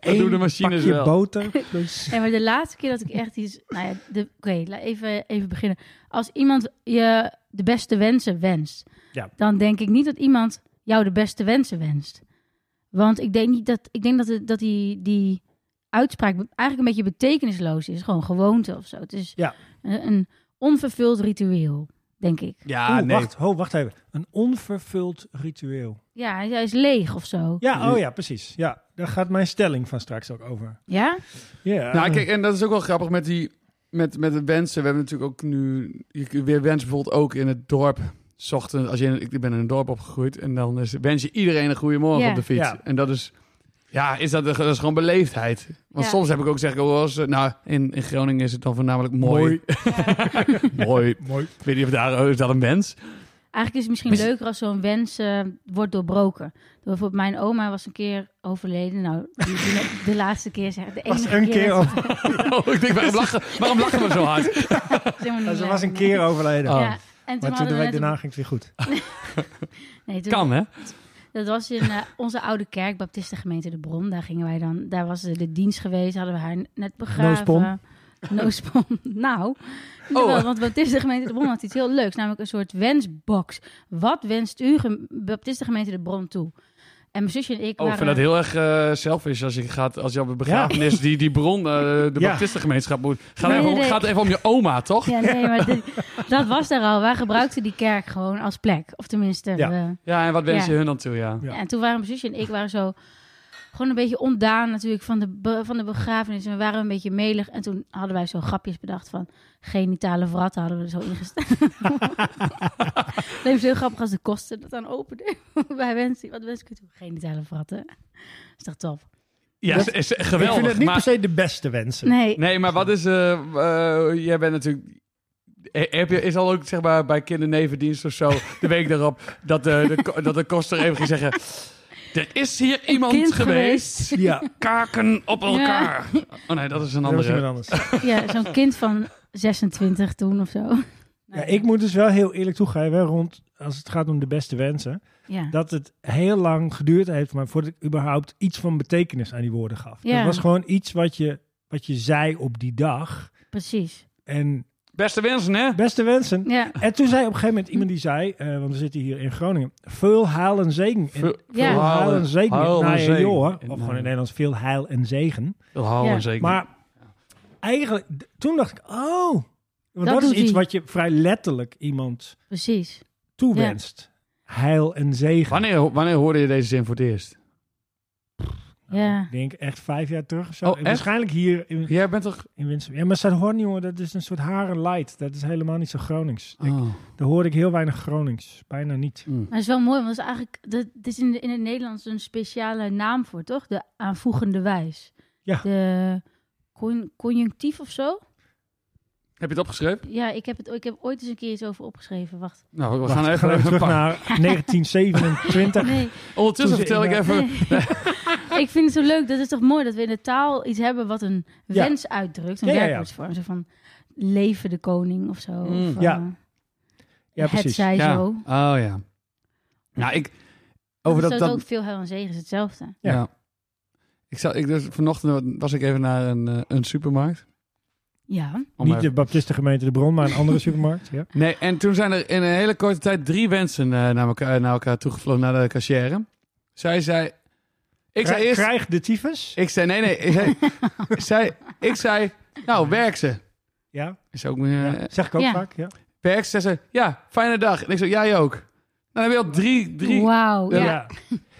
Speaker 2: Eén
Speaker 3: doen de machines
Speaker 2: pakje
Speaker 3: wel.
Speaker 2: boter. plus-
Speaker 1: Nee, maar de laatste keer dat ik echt iets... Nou ja, de- oké, laat even, even beginnen. Als iemand je de beste wensen wenst...
Speaker 2: Ja.
Speaker 1: dan denk ik niet dat iemand jou de beste wensen wenst. Want ik denk, niet dat, ik denk dat, het- dat die, die uitspraak eigenlijk een beetje betekenisloos is. Gewoon gewoonte of zo. Het is
Speaker 2: Ja.
Speaker 1: een, een onvervuld ritueel, denk ik.
Speaker 3: Ja,
Speaker 2: Oeh, wacht, ho, wacht even. Een onvervuld ritueel.
Speaker 1: Ja, hij is leeg of zo.
Speaker 2: Ja, oh ja, precies. Ja, daar gaat mijn stelling van straks ook over.
Speaker 1: Ja?
Speaker 2: Ja.
Speaker 3: Nou, kijk, en dat is ook wel grappig met die met, met de wensen. We hebben natuurlijk ook nu je kunt weer wensen bijvoorbeeld ook in het dorp. 's Ochtends, als je in- ik ben in een dorp opgegroeid en dan is, wens je iedereen een goede morgen
Speaker 1: Ja.
Speaker 3: op de fiets.
Speaker 2: Ja.
Speaker 3: En dat is ja, is dat, dat is gewoon beleefdheid. Want
Speaker 1: Ja.
Speaker 3: soms heb ik ook zeg ik ook wel eens, eh, nou in, in Groningen is het dan voornamelijk mooi. [LAUGHS] Mooi.
Speaker 2: Mooi.
Speaker 3: Ik weet niet of daar oh, is dat een
Speaker 1: [LAUGHS]
Speaker 3: wens.
Speaker 1: Eigenlijk is het misschien leuker als zo'n wens eh, wordt doorbroken. Bijvoorbeeld mijn oma was een keer overleden. Nou, die- die- de laatste keer. zeg- De
Speaker 2: Was
Speaker 1: enige
Speaker 2: een keer
Speaker 1: dat-
Speaker 2: over-
Speaker 3: Oh, ik denk waarom lachen, waarom lachen we zo
Speaker 1: [LAUGHS]
Speaker 3: hard?
Speaker 1: dat is helemaal niet
Speaker 2: Ze
Speaker 1: leuk.
Speaker 2: was een keer overleden.
Speaker 3: Oh.
Speaker 1: Ja, en toen
Speaker 2: Maar toen de
Speaker 1: hadden we
Speaker 2: week
Speaker 1: net een-
Speaker 2: daarna ging het weer goed.
Speaker 1: nee, toen-
Speaker 3: Kan hè?
Speaker 1: Dat was in eh, onze oude kerk, Baptistengemeente De Bron. Daar gingen wij dan, daar was eh, de dienst geweest, hadden we haar net
Speaker 2: Noospon.
Speaker 1: begraven. Noospon. [LAUGHS] nou,
Speaker 3: Oh.
Speaker 1: wel, want Baptistengemeente De Bron had iets heel leuks, namelijk een soort wensbox. Wat wenst u gem- Baptistengemeente De Bron toe? En mijn zusje en ik
Speaker 3: Oh, ik
Speaker 1: waren...
Speaker 3: vind dat heel erg eh selfish als je, gaat, als je op een begrafenis die, die bron, eh, de
Speaker 2: Ja.
Speaker 3: baptistengemeenschap moet. Gaat,
Speaker 1: Nee,
Speaker 3: even,
Speaker 1: nee, nee.
Speaker 3: gaat even om je oma, toch?
Speaker 1: Ja, nee, maar dit- dat was daar al. Wij gebruikten die kerk gewoon als plek. Of tenminste,
Speaker 2: Ja.
Speaker 1: we-
Speaker 3: Ja, en wat wens
Speaker 1: Ja.
Speaker 3: je hun dan toe, ja.
Speaker 2: Ja.
Speaker 1: En toen waren mijn zusje en ik waren zo gewoon een beetje ontdaan natuurlijk van de, be- van de begrafenis. En we waren een beetje melig. En toen hadden wij zo grapjes bedacht van genitale vrat hadden we er zo ingesteld. [LAUGHS] Leem zo heel grappig als de kosten dat dan opende. [LAUGHS] Bij wensen, wat wens ik u toe? Genitale vratten. Is toch top?
Speaker 3: Ja, is, is
Speaker 2: Ik
Speaker 3: geweldig.
Speaker 2: vind het niet
Speaker 3: maar,
Speaker 2: per se de beste wensen.
Speaker 1: Nee,
Speaker 3: Nee, maar wat is... eh, eh, jij bent natuurlijk... eh, Heb je, is al ook zeg maar, bij kindernevendienst of zo de week [LAUGHS] daarop dat eh, de, de, ko- dat de koster even ging zeggen... Er is hier iemand
Speaker 1: kind
Speaker 3: geweest.
Speaker 1: geweest.
Speaker 2: [LAUGHS] Ja,
Speaker 3: kaken op elkaar. Oh nee, dat is een
Speaker 2: dat was
Speaker 3: andere.
Speaker 2: iemand anders.
Speaker 1: Ja, zo'n kind van 26 toen of zo.
Speaker 2: Ja, ik moet dus wel heel eerlijk toegeven, hè, rond, als het gaat om de beste wensen,
Speaker 1: Ja.
Speaker 2: dat het heel lang geduurd heeft, maar voordat ik überhaupt iets van betekenis aan die woorden gaf.
Speaker 1: Ja.
Speaker 2: Het was gewoon iets wat je, wat je zei op die dag.
Speaker 1: Precies.
Speaker 2: En
Speaker 3: Beste wensen, hè?
Speaker 2: beste wensen.
Speaker 1: Ja.
Speaker 2: En toen zei op een gegeven moment iemand die zei, eh, want we zitten hier in Groningen, veel heil en zegen. En
Speaker 3: Veel-
Speaker 1: Ja.
Speaker 2: Veel heil en zegen.
Speaker 3: Heil en
Speaker 2: Nou ja,
Speaker 3: zegen.
Speaker 2: joh,
Speaker 3: En,
Speaker 2: Of gewoon in
Speaker 3: eh,
Speaker 2: het Nederlands veel heil en zegen.
Speaker 3: Veel hou
Speaker 1: Ja.
Speaker 3: en zeker.
Speaker 2: Maar eigenlijk, d- toen dacht ik, oh, want dat, is
Speaker 1: doet
Speaker 2: iets
Speaker 1: hij.
Speaker 2: wat je vrij letterlijk iemand
Speaker 1: Precies.
Speaker 2: toewenst. Heil en zegen.
Speaker 3: wanneer, wanneer hoorde je deze zin voor het eerst?
Speaker 1: Ja.
Speaker 2: Ik denk echt vijf jaar terug of zo.
Speaker 3: Oh, echt?
Speaker 2: Waarschijnlijk hier in,
Speaker 3: Jij bent toch...
Speaker 2: in Winsum. Ja, maar Zuidhorn, jongen, dat is een soort haren light. Dat is helemaal niet zo Gronings. Ik-
Speaker 3: Oh.
Speaker 2: daar hoorde ik heel weinig Gronings. Bijna niet.
Speaker 3: Mm.
Speaker 1: Maar het is wel mooi, want het is eigenlijk, dat, het is in, de- in het Nederlands een speciale naam voor, toch? De aanvoegende wijs.
Speaker 2: Ja.
Speaker 1: De con- conjunctief of zo?
Speaker 3: Heb je het opgeschreven?
Speaker 1: Ja, ik heb, het, ik heb ooit eens een keer iets over opgeschreven. Wacht.
Speaker 3: Nou, we
Speaker 2: Wacht,
Speaker 3: [LAUGHS] gaan
Speaker 2: we
Speaker 3: even, even
Speaker 2: terug
Speaker 3: pakken.
Speaker 2: naar
Speaker 3: [LAUGHS]
Speaker 2: 1927.
Speaker 1: Nee,
Speaker 3: Ondertussen
Speaker 2: Toen ze-
Speaker 3: vertel ik
Speaker 2: ja.
Speaker 3: even...
Speaker 1: ik vind het zo leuk. Dat is toch mooi dat we in de taal iets hebben wat een
Speaker 2: Ja.
Speaker 1: wens uitdrukt. Een
Speaker 2: Ja, ja, ja.
Speaker 1: werkwoordsvorm. Zo van leven de koning of zo.
Speaker 3: Mm.
Speaker 1: of,
Speaker 2: Ja,
Speaker 1: eh,
Speaker 2: Ja,
Speaker 1: Het
Speaker 2: precies.
Speaker 1: zij
Speaker 3: Ja.
Speaker 1: zo.
Speaker 3: Oh ja. Nou, ik...
Speaker 1: Over
Speaker 3: Over dat, dat,
Speaker 1: ook veel hel en zegen is hetzelfde.
Speaker 2: Ja.
Speaker 3: Ja. Ik zat, ik, dus vanochtend was ik even naar een, eh, een supermarkt.
Speaker 1: Ja.
Speaker 3: Om
Speaker 2: Niet
Speaker 3: even-
Speaker 2: de Baptistengemeente De Bron, maar een andere supermarkt. Ja.
Speaker 3: Nee, en toen zijn er in een hele korte tijd drie wensen eh, naar, elkaar, naar elkaar toegevlogen, naar de cashier. Zij zei... Ik zei
Speaker 2: Krij-
Speaker 3: eerst...
Speaker 2: Krijg de tyfus.
Speaker 3: Ik zei... Nee, nee. Ik zei, zij- ik zei nou, werk ze.
Speaker 2: Ja,
Speaker 3: Is ook, eh,
Speaker 2: ja. zeg ik ook
Speaker 1: Ja.
Speaker 2: vaak. Ja.
Speaker 3: Werk ze. Zei ze, ja, fijne dag. En ik zei, jij ook. Nou, dan heb je al drie... drie
Speaker 1: Wauw. Ja.
Speaker 2: Ja.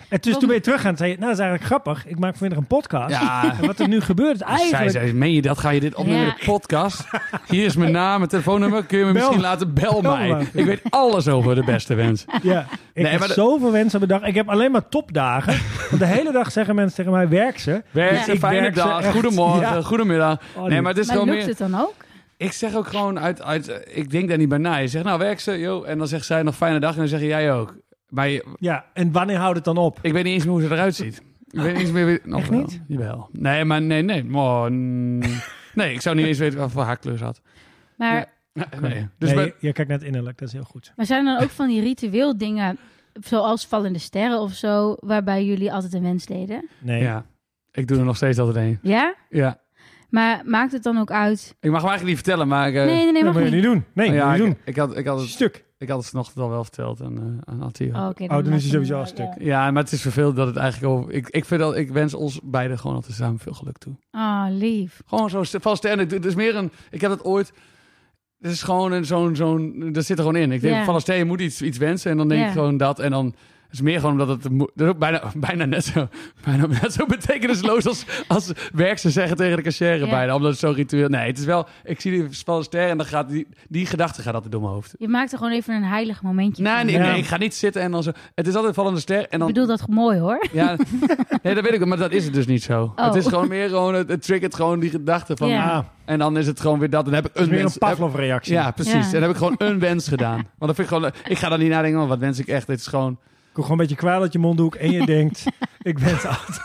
Speaker 2: En dus toen ben je teruggaan. Zei je, nou, dat is eigenlijk grappig. Ik maak vanmiddag een podcast.
Speaker 1: [LAUGHS]
Speaker 3: Ja.
Speaker 2: En wat er nu gebeurt is
Speaker 3: Zij
Speaker 2: eigenlijk...
Speaker 3: zei, meen je dat? Ga je dit opnemen in de
Speaker 1: Ja.
Speaker 3: podcast? Hier is mijn naam, mijn telefoonnummer. Kun je me
Speaker 2: Bel-
Speaker 3: misschien laten? Bel
Speaker 2: Bel
Speaker 3: mij.
Speaker 2: maar.
Speaker 3: Ik weet alles over de beste wens.
Speaker 2: Ja, ik
Speaker 3: Nee,
Speaker 2: heb
Speaker 3: maar de-
Speaker 2: zoveel wensen op een dag. Ik heb alleen maar topdagen. Want de hele dag zeggen mensen tegen mij, werk ze.
Speaker 3: Werk
Speaker 1: Ja.
Speaker 3: ze,
Speaker 2: Ik
Speaker 3: fijne
Speaker 2: werk ze
Speaker 3: dag,
Speaker 2: echt.
Speaker 3: goedemorgen,
Speaker 2: Ja.
Speaker 3: goedemiddag.
Speaker 2: Oh,
Speaker 3: Nee, maar het is
Speaker 1: Maar
Speaker 3: gewoon
Speaker 1: lukt
Speaker 3: meer...
Speaker 1: het dan ook?
Speaker 3: Ik zeg ook gewoon uit, uit... eh, Ik denk daar niet bij na. Je zegt, nou werk ze, joh. En dan zegt zij nog fijne dag en dan zeg je, jij ook. Maar je-
Speaker 2: Ja, en wanneer houdt het dan op?
Speaker 3: ik weet niet eens meer hoe ze eruit ziet. Ik weet niet eens meer... wie-
Speaker 2: [LAUGHS]
Speaker 3: Nog
Speaker 2: Echt
Speaker 3: wel.
Speaker 2: niet?
Speaker 3: Jawel. Nee, maar nee, nee. Maar, mm, [LAUGHS] nee, ik zou niet eens weten wat voor haar kleur ze had.
Speaker 1: Maar,
Speaker 3: Nee. Dus
Speaker 2: nee,
Speaker 3: bij-
Speaker 2: je, je kijkt naar het innerlijk, dat is heel goed.
Speaker 1: maar zijn er dan ook van die ritueel dingen, zoals vallende sterren of zo, waarbij jullie altijd een wens deden?
Speaker 2: Nee.
Speaker 3: Ja. Ik doe er nog steeds altijd één.
Speaker 1: Ja?
Speaker 3: Ja.
Speaker 1: Maar maakt het dan ook uit?
Speaker 3: Ik mag hem eigenlijk niet vertellen, maar... Ik, eh,
Speaker 1: Nee, nee, nee,
Speaker 2: dat
Speaker 1: mag
Speaker 2: moet je
Speaker 1: niet.
Speaker 2: niet doen. Nee,
Speaker 3: ja,
Speaker 2: moet je niet
Speaker 3: Ik, ik had, ik, had
Speaker 2: doen.
Speaker 3: het,
Speaker 2: Stuk.
Speaker 3: ik had het vanochtend al wel verteld aan, eh, aan Attila.
Speaker 1: Oh, oké,
Speaker 2: dan is
Speaker 1: maakt
Speaker 2: hij
Speaker 1: het
Speaker 2: sowieso
Speaker 1: niet
Speaker 2: al
Speaker 1: uit,
Speaker 2: stuk.
Speaker 3: Ja, maar het is vervelend dat het eigenlijk over... Ik, ik, vind dat, ik wens ons beiden gewoon altijd samen veel geluk toe.
Speaker 1: ja. Oh, lief.
Speaker 3: Gewoon zo st- vast en het het is meer een... Ik heb dat ooit... Het is gewoon een zo'n... zo'n dat zit er gewoon in. Ik denk
Speaker 1: Ja.
Speaker 3: van, stel je moet iets, iets wensen en dan denk
Speaker 1: Ja.
Speaker 3: ik gewoon dat. En dan het is meer gewoon omdat het... mo- Dat is ook bijna, [LAUGHS] bijna, net zo, bijna net zo betekenisloos als, als werk ze zeggen tegen de cashier
Speaker 1: Ja.
Speaker 3: bijna. Omdat het zo ritueel... Nee, het is wel... Ik zie die vallen sterren en dan gaat die, die gedachte gaat altijd door mijn hoofd.
Speaker 1: Je maakt er gewoon even een heilig momentje
Speaker 3: Nee,
Speaker 1: van.
Speaker 3: nee,
Speaker 2: Ja.
Speaker 3: nee, ik ga niet zitten en dan zo... Het is altijd vallende ster en dan...
Speaker 1: Ik bedoel dat mooi hoor.
Speaker 3: Ja, nee, dat weet ik wel, maar dat is het dus niet zo.
Speaker 1: [LAUGHS] Oh.
Speaker 3: Het is gewoon meer gewoon, het, het triggert gewoon die gedachte van...
Speaker 1: Ja.
Speaker 2: Ah,
Speaker 3: En dan is het gewoon weer dat. Dan heb ik
Speaker 2: dat
Speaker 3: een
Speaker 2: is weer
Speaker 3: wens.
Speaker 2: een Pavlov-reactie.
Speaker 3: ja, precies.
Speaker 1: Ja.
Speaker 3: En dan heb ik [LAUGHS] gewoon een wens gedaan. Want dan vind ik gewoon, ik ga dan niet nadenken, oh, wat wens ik echt? Dit is gewoon...
Speaker 2: Ik kom gewoon een beetje kwaad uit je mondhoek en
Speaker 3: [LAUGHS]
Speaker 2: je denkt, ik ben het altijd.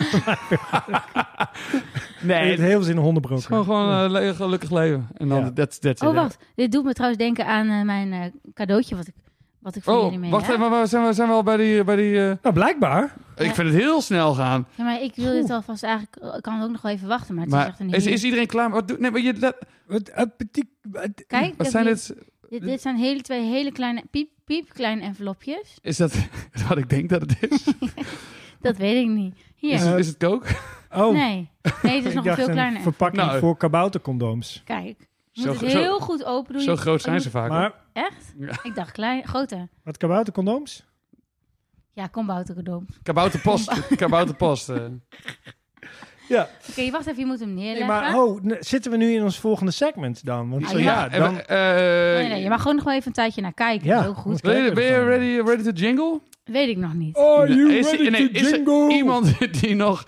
Speaker 3: Nee,
Speaker 2: Je hebt
Speaker 3: het
Speaker 2: heel veel zin in hondenbrokken.
Speaker 3: is gewoon, gewoon eh, le- gelukkig leven. En dan,
Speaker 2: Ja.
Speaker 3: that's, that's it.
Speaker 1: Oh, wacht. Dit doet me trouwens denken aan eh, mijn eh, cadeautje wat ik, wat ik voor
Speaker 3: Oh,
Speaker 1: jullie mee
Speaker 3: wacht
Speaker 1: heb.
Speaker 3: even, maar zijn we, zijn we al bij die... Bij die eh,
Speaker 2: Nou, blijkbaar.
Speaker 3: Ik vind het heel snel gaan.
Speaker 1: Ja, maar ik wil dit alvast eigenlijk... Ik kan het ook nog wel even wachten, maar het is
Speaker 3: maar
Speaker 1: echt een
Speaker 3: is,
Speaker 1: hele-
Speaker 3: is iedereen klaar? Wat, doe- nee, maar je, dat-
Speaker 2: Wat, eh, petit- wat-
Speaker 1: Kijk,
Speaker 3: wat
Speaker 1: dat
Speaker 3: zijn
Speaker 1: hier-
Speaker 3: dit?
Speaker 1: Dit, dit zijn hele, twee hele kleine, piep, piep, kleine envelopjes.
Speaker 3: Is dat [LAUGHS] wat ik denk dat het is?
Speaker 1: Dat weet ik niet. Hier.
Speaker 3: Is, is het kook?
Speaker 2: Oh,
Speaker 1: nee. Nee, het is
Speaker 2: [LAUGHS] ik
Speaker 1: nog een
Speaker 2: dacht
Speaker 1: veel
Speaker 2: een
Speaker 1: kleiner.
Speaker 2: verpakking
Speaker 3: Nou.
Speaker 2: voor kaboutercondooms.
Speaker 1: Kijk. Je
Speaker 3: Zo
Speaker 1: moet het
Speaker 3: gro-
Speaker 1: heel goed open doen.
Speaker 3: Zo
Speaker 1: Je-
Speaker 3: groot
Speaker 1: je
Speaker 3: zijn
Speaker 1: moet-
Speaker 3: ze vaak.
Speaker 2: Maar
Speaker 1: Echt?
Speaker 3: Ja.
Speaker 1: Ik dacht klein, groter.
Speaker 2: wat kaboutercondooms?
Speaker 1: Ja, kom buiten [LAUGHS]
Speaker 3: Kabouterpost. Kabouterpost. eh.
Speaker 1: Ah,
Speaker 2: Ja.
Speaker 1: Oké, wacht even. Je moet hem
Speaker 2: Nee,
Speaker 1: neerleggen.
Speaker 2: maar oh, ne- zitten we nu in ons volgende segment dan? Want
Speaker 1: Ah,
Speaker 2: zo,
Speaker 1: ja.
Speaker 2: ja,
Speaker 3: en
Speaker 2: dan...
Speaker 3: we- eh,
Speaker 1: nee, nee, je mag gewoon nog wel even een tijdje naar kijken.
Speaker 2: Ja.
Speaker 1: Heel goed.
Speaker 3: Ben je, ben je ready, ready to jingle?
Speaker 1: Weet ik nog niet.
Speaker 2: Are Oh, you
Speaker 3: Is-
Speaker 2: ready
Speaker 3: nee,
Speaker 2: to
Speaker 3: is er
Speaker 2: jingle?
Speaker 3: iemand [LAUGHS] die nog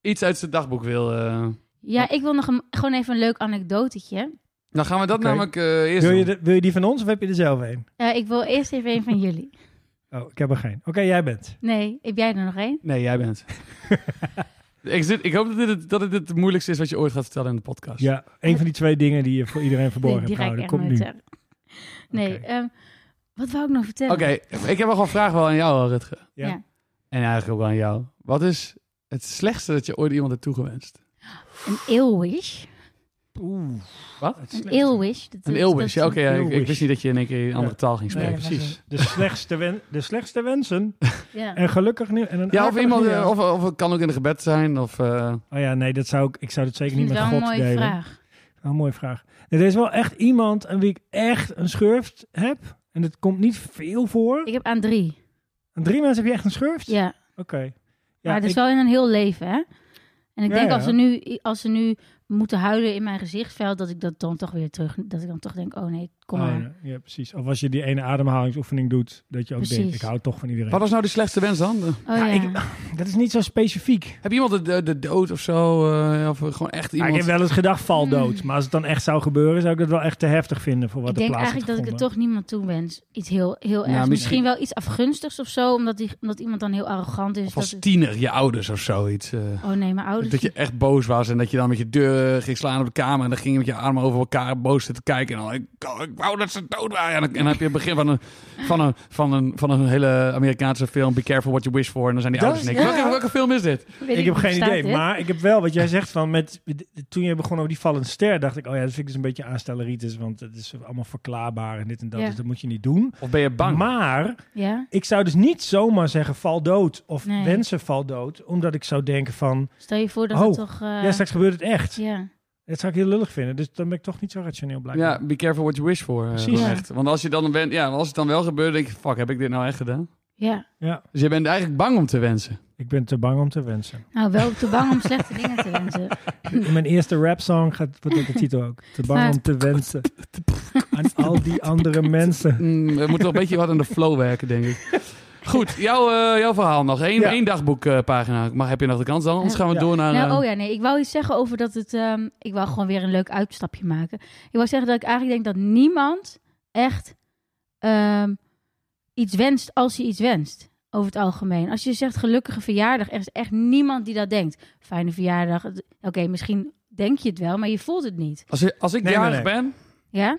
Speaker 3: iets uit zijn dagboek wil? eh?
Speaker 1: Ja, ik wil nog een, gewoon even een leuk anekdotetje.
Speaker 3: Dan Nou, gaan we dat
Speaker 2: Oké.
Speaker 3: namelijk eh, eerst
Speaker 2: Wil je,
Speaker 3: doen.
Speaker 2: de- wil je die van ons of heb je er zelf een?
Speaker 1: Eh, ik wil eerst even een van jullie.
Speaker 2: Oh, ik heb er geen. Oké, jij bent.
Speaker 1: Nee, heb jij er nog één?
Speaker 3: Nee, jij
Speaker 2: [LAUGHS]
Speaker 3: bent. ik, zit, ik hoop dat dit, het- dat dit het moeilijkste is wat je ooit gaat vertellen in de podcast.
Speaker 2: Ja, een van die twee dingen die je voor iedereen verborgen
Speaker 1: nee,
Speaker 2: hebt
Speaker 1: direct
Speaker 2: gehouden.
Speaker 1: echt
Speaker 2: Kom
Speaker 1: nooit
Speaker 2: nu.
Speaker 1: zeggen. Nee,
Speaker 2: Oké.
Speaker 1: ehm, wat wou ik nog vertellen?
Speaker 3: Oké, ik heb wel gewoon vragen wel aan jou, eh, Rutger.
Speaker 2: Ja.
Speaker 1: Ja.
Speaker 3: En eigenlijk ook wel aan jou. Wat is het slechtste dat je ooit iemand hebt toegewenst?
Speaker 1: Een eeuwwish.
Speaker 2: Oeh. Het
Speaker 3: Wat?
Speaker 1: eh, Een
Speaker 2: slechtste-
Speaker 1: eeuwwish. Dat-
Speaker 3: Een
Speaker 1: dat-
Speaker 3: eeuwwish. Ja,
Speaker 1: dat-
Speaker 3: oké. ja, ik, ik
Speaker 2: Eeuwwish.
Speaker 3: wist niet dat je in één keer een andere taal ging
Speaker 2: Nee,
Speaker 3: spreken.
Speaker 1: precies.
Speaker 2: De slechtste, wen- de slechtste wensen.
Speaker 1: Ja.
Speaker 2: En gelukkig nu. En een
Speaker 3: Ja, of
Speaker 2: akelig
Speaker 3: iemand,
Speaker 2: nieuwjaar.
Speaker 3: eh, of, of het kan ook in een gebed zijn. Of, eh,
Speaker 2: Oh ja, nee, dat zou ik, ik zou
Speaker 1: Ik
Speaker 2: dat zeker niet
Speaker 1: vind
Speaker 2: met
Speaker 1: het wel een
Speaker 2: God
Speaker 1: mooie
Speaker 2: delen.
Speaker 1: vraag.
Speaker 2: Wel een Nou, mooie vraag. Nee, er is wel echt iemand aan wie ik echt een schurft heb. En dat komt niet veel voor.
Speaker 1: Ik heb aan drie.
Speaker 2: Aan drie mensen heb je echt een schurft?
Speaker 1: Ja.
Speaker 2: Oké. Ja,
Speaker 1: maar het is
Speaker 2: ik-
Speaker 1: wel in een heel leven, hè? En ik
Speaker 2: Ja,
Speaker 1: denk
Speaker 2: ja.
Speaker 1: Als, ze nu, als ze nu moeten huilen in mijn gezichtsveld, dat ik dat dan toch weer terug... Dat ik dan toch denk, oh nee, kom
Speaker 2: Oh,
Speaker 1: maar.
Speaker 2: ja, ja, precies. Of als je die ene ademhalingsoefening doet, dat je ook
Speaker 1: Precies.
Speaker 2: denkt, ik hou toch van iedereen.
Speaker 3: wat was nou de slechtste wens dan? De-
Speaker 1: Oh ja.
Speaker 2: Ja, ik- dat is niet zo specifiek.
Speaker 3: Heb je iemand de, de, de dood of zo? eh, of gewoon echt
Speaker 2: Ja,
Speaker 3: iemand...
Speaker 2: ik heb wel eens gedacht, val
Speaker 1: Mm.
Speaker 2: dood. Maar als het dan echt zou gebeuren, zou ik dat wel echt te heftig vinden voor wat
Speaker 1: Ik
Speaker 2: er
Speaker 1: denk
Speaker 2: plaats
Speaker 1: eigenlijk dat ik het
Speaker 2: het
Speaker 1: toch niemand toewens. Iets heel, heel erg.
Speaker 3: misschien-
Speaker 1: Misschien... wel iets afgunstigs of zo, omdat, die, omdat iemand dan heel arrogant is.
Speaker 3: Of als
Speaker 1: dat het-
Speaker 3: tiener, je ouders of zoiets. eh.
Speaker 1: Oh nee, mijn ouders.
Speaker 3: dat je echt boos was en dat je dan met je deur eh, ging slaan op de kamer. En dan ging je met je armen over elkaar boos zitten kijken. En dan, ik, ik wou dat ze dood waren. En dan, en dan heb je het begin van een, van, een, van, een, van een hele Amerikaanse film. Be careful what you wish for. En dan zijn die
Speaker 2: Dat-
Speaker 3: ouders niks.
Speaker 2: ja.
Speaker 3: Welke, welke film is dit?
Speaker 1: Weet
Speaker 2: Ik heb geen
Speaker 1: bestaat
Speaker 2: idee,
Speaker 1: dit?
Speaker 2: maar ik heb wel wat jij zegt van met toen je begon over die vallende ster, dacht ik, oh ja, dat vind ik dus een beetje aanstelleritis, want het is allemaal verklaarbaar en dit en dat,
Speaker 1: Ja.
Speaker 2: dus dat moet je niet doen.
Speaker 3: Of ben je bang?
Speaker 2: Maar
Speaker 1: Ja,
Speaker 2: ik zou dus niet zomaar zeggen val dood of
Speaker 1: Nee.
Speaker 2: wensen val dood, omdat ik zou denken van,
Speaker 1: stel je voor dat
Speaker 2: Oh,
Speaker 1: het toch... eh,
Speaker 2: ja, straks gebeurt het echt.
Speaker 1: ja.
Speaker 2: Dat zou ik heel lullig vinden, dus dan ben ik toch niet zo rationeel blijkbaar.
Speaker 3: ja, be careful what you wish for. eh,
Speaker 2: Precies.
Speaker 3: wel
Speaker 1: Ja.
Speaker 3: echt. Want als, je dan bent, ja, als het dan wel gebeurt, denk je, fuck, heb ik dit nou echt gedaan?
Speaker 1: Ja,
Speaker 3: Dus je bent eigenlijk bang om te wensen.
Speaker 2: Ik ben te bang om te wensen.
Speaker 1: nou wel te bang om slechte dingen te wensen.
Speaker 2: In mijn eerste rap song gaat
Speaker 1: [LAUGHS]
Speaker 2: wordt ook de titel ook. Te bang
Speaker 1: Maar-
Speaker 2: om te wensen aan al die andere mensen.
Speaker 3: Mm, we moeten nog een beetje wat aan de flow werken, denk ik. Goed, jouw, eh, jouw verhaal nog. Eén,
Speaker 2: Ja.
Speaker 3: één dagboekpagina. maar heb je nog de kans dan? Anders gaan we
Speaker 2: Ja.
Speaker 3: door naar... eh,
Speaker 1: Nou, oh ja, nee, ik wou iets zeggen over dat het... ehm, ik wou gewoon weer een leuk uitstapje maken. Ik wou zeggen dat ik eigenlijk denk dat niemand echt ehm, iets wenst als hij iets wenst. Over het algemeen. Als je zegt gelukkige verjaardag, er is echt niemand die dat denkt. Fijne verjaardag. het- Oké, misschien denk je het wel, maar je voelt het niet.
Speaker 3: Als, ik- als ik
Speaker 2: Nee, nee,
Speaker 3: jarig
Speaker 2: nee.
Speaker 3: ben,
Speaker 1: Ja?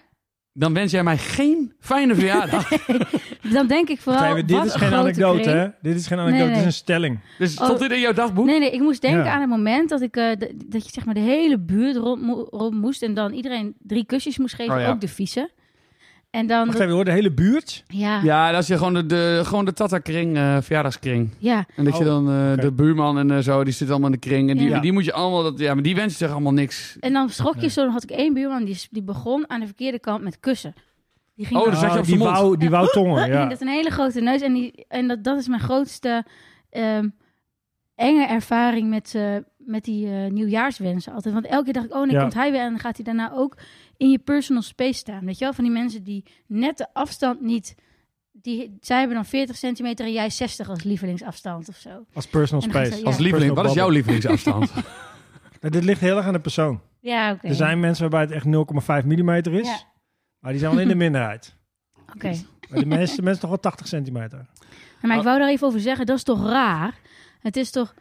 Speaker 3: dan wens jij mij geen
Speaker 1: [LAUGHS]
Speaker 3: fijne verjaardag.
Speaker 1: Dan denk ik vooral...
Speaker 2: Tijmen, dit
Speaker 1: wat
Speaker 2: is
Speaker 1: een
Speaker 2: geen
Speaker 1: grote
Speaker 2: anekdote,
Speaker 1: kring.
Speaker 2: hè? Dit is geen anekdote,
Speaker 1: Nee,
Speaker 2: dit is
Speaker 1: nee.
Speaker 2: een stelling.
Speaker 3: dus
Speaker 1: Oh.
Speaker 3: stond dit in jouw dagboek?
Speaker 1: Nee, nee, ik moest denken
Speaker 2: Ja.
Speaker 1: aan het moment dat ik eh, d- dat je zeg maar de hele buurt rond, mo- rond moest en dan iedereen drie kusjes moest geven,
Speaker 3: Oh ja.
Speaker 1: ook de vieze. En dan
Speaker 2: Wacht even hoor, de hele buurt.
Speaker 1: ja, ja,
Speaker 3: Ja, dat is je gewoon de, de, gewoon de Tata-kring, eh, verjaardagskring. En dat je
Speaker 2: Oh,
Speaker 3: dan eh,
Speaker 2: oké.
Speaker 3: de buurman en eh, zo, die zit allemaal in de kring. En die,
Speaker 1: Ja.
Speaker 3: die moet je allemaal, dat, ja, maar die wensen zich allemaal niks.
Speaker 1: En dan schrok je
Speaker 2: Nee.
Speaker 1: zo. Dan had ik één buurman die, s- die begon aan de verkeerde kant met kussen. Die ging
Speaker 3: Oh,
Speaker 1: dan-
Speaker 3: dus zat je op
Speaker 2: eh, die
Speaker 3: zijn mond.
Speaker 2: wou, die wou tongen,
Speaker 1: en
Speaker 2: ja.
Speaker 1: dat is een hele grote neus en die en dat, dat is mijn grootste ehm, enge ervaring met eh, met die eh, nieuwjaarswensen altijd. Want elke keer dacht ik, oh nee,
Speaker 2: Ja.
Speaker 1: komt hij weer en dan gaat hij daarna ook in je personal space staan. Weet je wel, van die mensen die net de afstand niet... Die, zij hebben dan 40 centimeter en jij 60 als lievelingsafstand of zo.
Speaker 2: Als personal
Speaker 1: En dan gaat
Speaker 2: space.
Speaker 1: ze-
Speaker 3: Als
Speaker 1: Ja.
Speaker 3: lieveling, wat is jouw
Speaker 2: Personal [LAUGHS]
Speaker 3: lievelingsafstand?
Speaker 2: bubble. Nou, dit ligt heel erg aan de persoon.
Speaker 1: Ja, oké.
Speaker 2: Er zijn mensen waarbij het echt 0,5 mm is.
Speaker 1: Ja.
Speaker 2: Maar die zijn wel in de minderheid. [LAUGHS]
Speaker 1: Oké.
Speaker 2: Maar de meeste mensen toch wel 80 centimeter.
Speaker 1: Ja, Maar ik wou daar even over zeggen, dat is toch raar? Het is toch...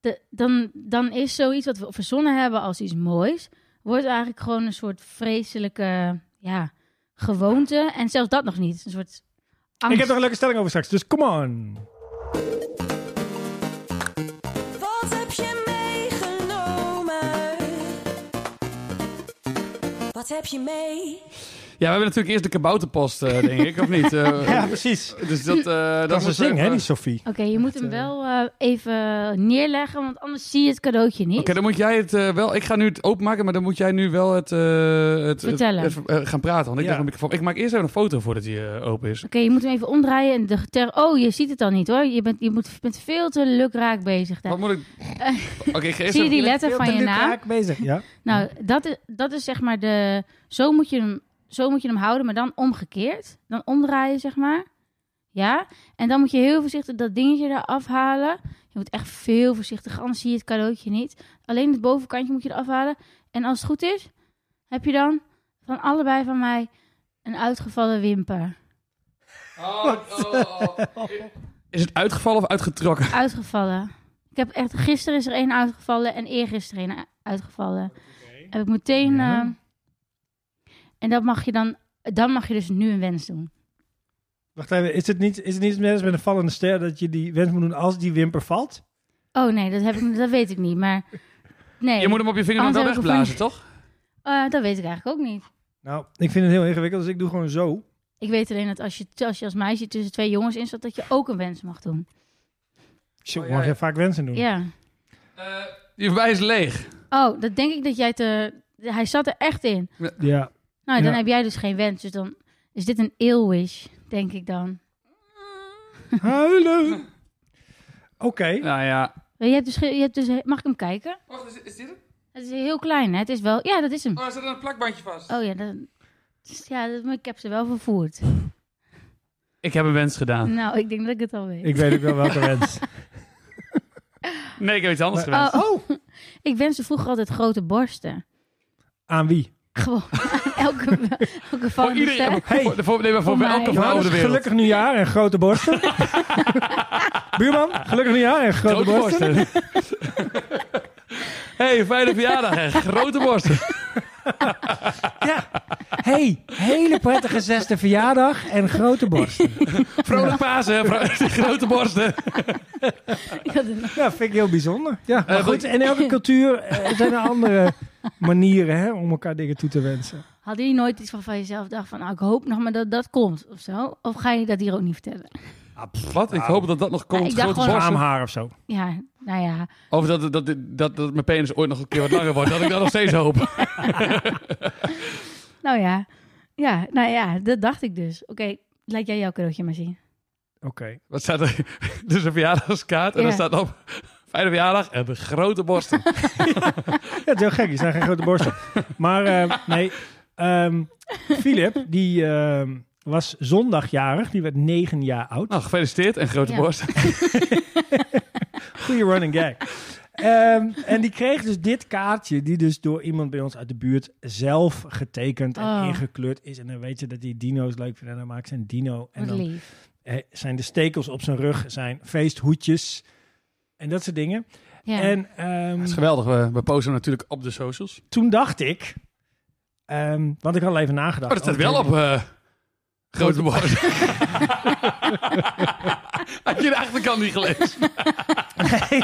Speaker 1: de- dan, dan is zoiets wat we verzonnen hebben als iets moois... wordt eigenlijk gewoon een soort vreselijke ja, gewoonte. En zelfs dat nog niet. Een soort angst.
Speaker 2: Ik heb er een leuke stelling over straks, dus come on.
Speaker 4: Wat heb je meegenomen? Wat heb je mee?
Speaker 3: ja, we hebben natuurlijk eerst de kabouterpost, eh, denk ik, of niet? Eh,
Speaker 2: Ja, precies.
Speaker 3: Dus dat, eh, dat,
Speaker 2: Dat is
Speaker 3: moet
Speaker 2: een zing, hè,
Speaker 3: even-
Speaker 2: die Sophie.
Speaker 1: Oké, je moet hem wel eh, even neerleggen, want anders zie je het cadeautje niet.
Speaker 3: Oké, dan moet jij het eh, wel. Ik ga nu het openmaken, maar dan moet jij nu wel het. eh, het- het
Speaker 1: Vertellen.
Speaker 3: even, eh, gaan praten. Want ik,
Speaker 2: Ja.
Speaker 3: dacht, een microfoon- ik maak eerst even een foto voordat hij eh, open is.
Speaker 1: Oké, je moet hem even omdraaien en de ter... Oh, je ziet het dan niet hoor. Je bent, je moet, je bent veel te lukraak bezig daar.
Speaker 3: Wat
Speaker 1: [LAUGHS]
Speaker 3: moet ik. Oké, ik ga eerst
Speaker 1: Zie je
Speaker 3: even-
Speaker 1: die letter van je naam?
Speaker 2: bezig, ja.
Speaker 1: Nou, dat is, dat is zeg maar de. Zo moet, je hem, zo moet je hem houden, maar dan omgekeerd. Dan omdraaien, zeg maar. Ja. En dan moet je heel voorzichtig dat dingetje eraf halen. Je moet echt veel voorzichtig, anders zie je het cadeautje niet. Alleen het bovenkantje moet je eraf halen. En als het goed is, heb je dan van allebei van mij een uitgevallen wimper.
Speaker 3: Oh, oh, oh. Is het uitgevallen of uitgetrokken?
Speaker 1: Uitgevallen. Ik heb echt, gisteren is er één uitgevallen en eergisteren één u- uitgevallen. Heb ik meteen.
Speaker 2: Ja.
Speaker 1: eh, en dat mag je dan. Dan mag je dus nu een wens doen.
Speaker 2: Wacht even, is het niet, is het niet net als met een vallende ster dat je die wens moet doen als die wimper valt?
Speaker 1: Oh nee, dat, heb ik, dat weet ik niet. Maar Nee,
Speaker 3: Je moet hem op je vinger dan
Speaker 1: Anders
Speaker 3: wel
Speaker 1: heb ik hem
Speaker 3: wegblazen, toch?
Speaker 1: Eh, dat weet ik eigenlijk ook niet.
Speaker 2: Nou, ik vind het heel ingewikkeld, dus ik doe gewoon zo.
Speaker 1: Ik weet alleen dat als je als, je als meisje tussen twee jongens instapt, dat je ook een wens mag doen.
Speaker 2: Tjoh,
Speaker 3: Oh, ja,
Speaker 2: mag
Speaker 3: ja.
Speaker 2: je vaak wensen doen?
Speaker 1: Ja.
Speaker 3: Eh, Je wijs leeg.
Speaker 1: Oh, dat denk ik dat jij te... Hij zat er echt in.
Speaker 2: Ja.
Speaker 1: Nou, dan
Speaker 2: Ja.
Speaker 1: heb jij dus geen wens. Dus dan is dit een ill wish, denk ik dan.
Speaker 2: Huilen! Oké.
Speaker 3: Nou ja.
Speaker 1: Je hebt dus, ge- je hebt dus, mag ik hem kijken?
Speaker 3: Wacht, is, dit hem?
Speaker 1: Het is heel klein, hè? Het is wel... Ja, dat is hem.
Speaker 3: Oh, er zit een plakbandje vast.
Speaker 1: Oh ja, dat... Ja, dat- maar ik heb ze wel
Speaker 2: [LAUGHS]
Speaker 1: vervoerd. [LAUGHS]
Speaker 3: Ik heb een wens gedaan.
Speaker 1: Nou, ik denk dat ik het al weet.
Speaker 2: Ik weet ook wel welke wens.
Speaker 3: Nee, ik heb iets anders
Speaker 2: Maar-
Speaker 3: gewenst.
Speaker 1: Oh, ik wenste vroeger altijd grote borsten. [LAUGHS]
Speaker 2: Aan wie?
Speaker 1: Gewoon [LAUGHS] aan elke, elke
Speaker 3: Voor
Speaker 1: van de
Speaker 3: iedereen.
Speaker 1: [LAUGHS] ster.
Speaker 3: Voor, voor, nee, maar voor,
Speaker 1: oh, dus, eh, Voor
Speaker 3: elke
Speaker 1: mij.
Speaker 3: vrouw op de wereld.
Speaker 2: dus gelukkig nieuwjaar en grote [LAUGHS] borsten. Buurman, gelukkig nieuwjaar en grote,
Speaker 3: Grote
Speaker 2: borsten.
Speaker 3: borsten. [LAUGHS] hey, fijne verjaardag. hè. Grote borsten.
Speaker 2: hey, hele prettige zesde verjaardag en grote borsten.
Speaker 3: Vrolijk Pasen. hè. Vro- [LAUGHS] Grote borsten.
Speaker 1: Ik had een-
Speaker 2: Ja, vind ik heel bijzonder. Ja, maar
Speaker 3: Eh,
Speaker 2: goed, in [LAUGHS] elke cultuur eh, zijn er andere manieren hè, om elkaar dingen toe te wensen.
Speaker 1: Had jullie nooit iets van, van jezelf dacht van, nou, ik hoop nog maar dat dat komt of zo? Of ga je dat hier ook niet vertellen?
Speaker 3: Wat? Nou. Ik hoop dat dat nog komt.
Speaker 1: ik dacht
Speaker 3: Grote
Speaker 1: gewoon-
Speaker 3: borsten.
Speaker 2: Schaamhaar of zo.
Speaker 1: Ja, nou ja.
Speaker 3: Of dat, dat, dat, dat, dat mijn penis ooit nog een keer wat langer wordt. Dat ik dat nog steeds hoop.
Speaker 1: Nou ja. Ja, nou ja, dat dacht ik dus. Oké, laat jij jouw cadeautje maar zien.
Speaker 2: Oké.
Speaker 3: Wat staat er? [LAUGHS] Dus een verjaardagskaart. En
Speaker 1: Ja.
Speaker 3: daar staat op... Fijne verjaardag en de grote borsten.
Speaker 2: Ja, het is heel gek. Die zijn geen grote borsten. Maar eh, nee, ehm, Philip, die ehm, was zondagjarig. Die werd negen jaar oud.
Speaker 3: Nou, gefeliciteerd en grote
Speaker 1: Ja.
Speaker 3: borsten.
Speaker 2: Goeie running gag. Ehm, en die kreeg dus dit kaartje, die dus door iemand bij ons uit de buurt zelf getekend en
Speaker 1: Oh.
Speaker 2: ingekleurd is. En dan weet je dat die dino's leuk vinden. En dan maakt ze een dino. En
Speaker 1: Wat
Speaker 2: dan
Speaker 1: lief.
Speaker 2: eh, zijn de stekels op zijn rug, zijn feesthoedjes en dat soort dingen.
Speaker 1: Ja.
Speaker 2: En ehm,
Speaker 3: Dat is geweldig. We, we posten hem natuurlijk op de socials.
Speaker 2: toen dacht ik, ehm, want ik had al even nagedacht.
Speaker 3: Oh, dat staat
Speaker 2: over-
Speaker 3: wel op eh, grote borst. [LAUGHS] Had je de achterkant niet gelezen?
Speaker 2: Nee,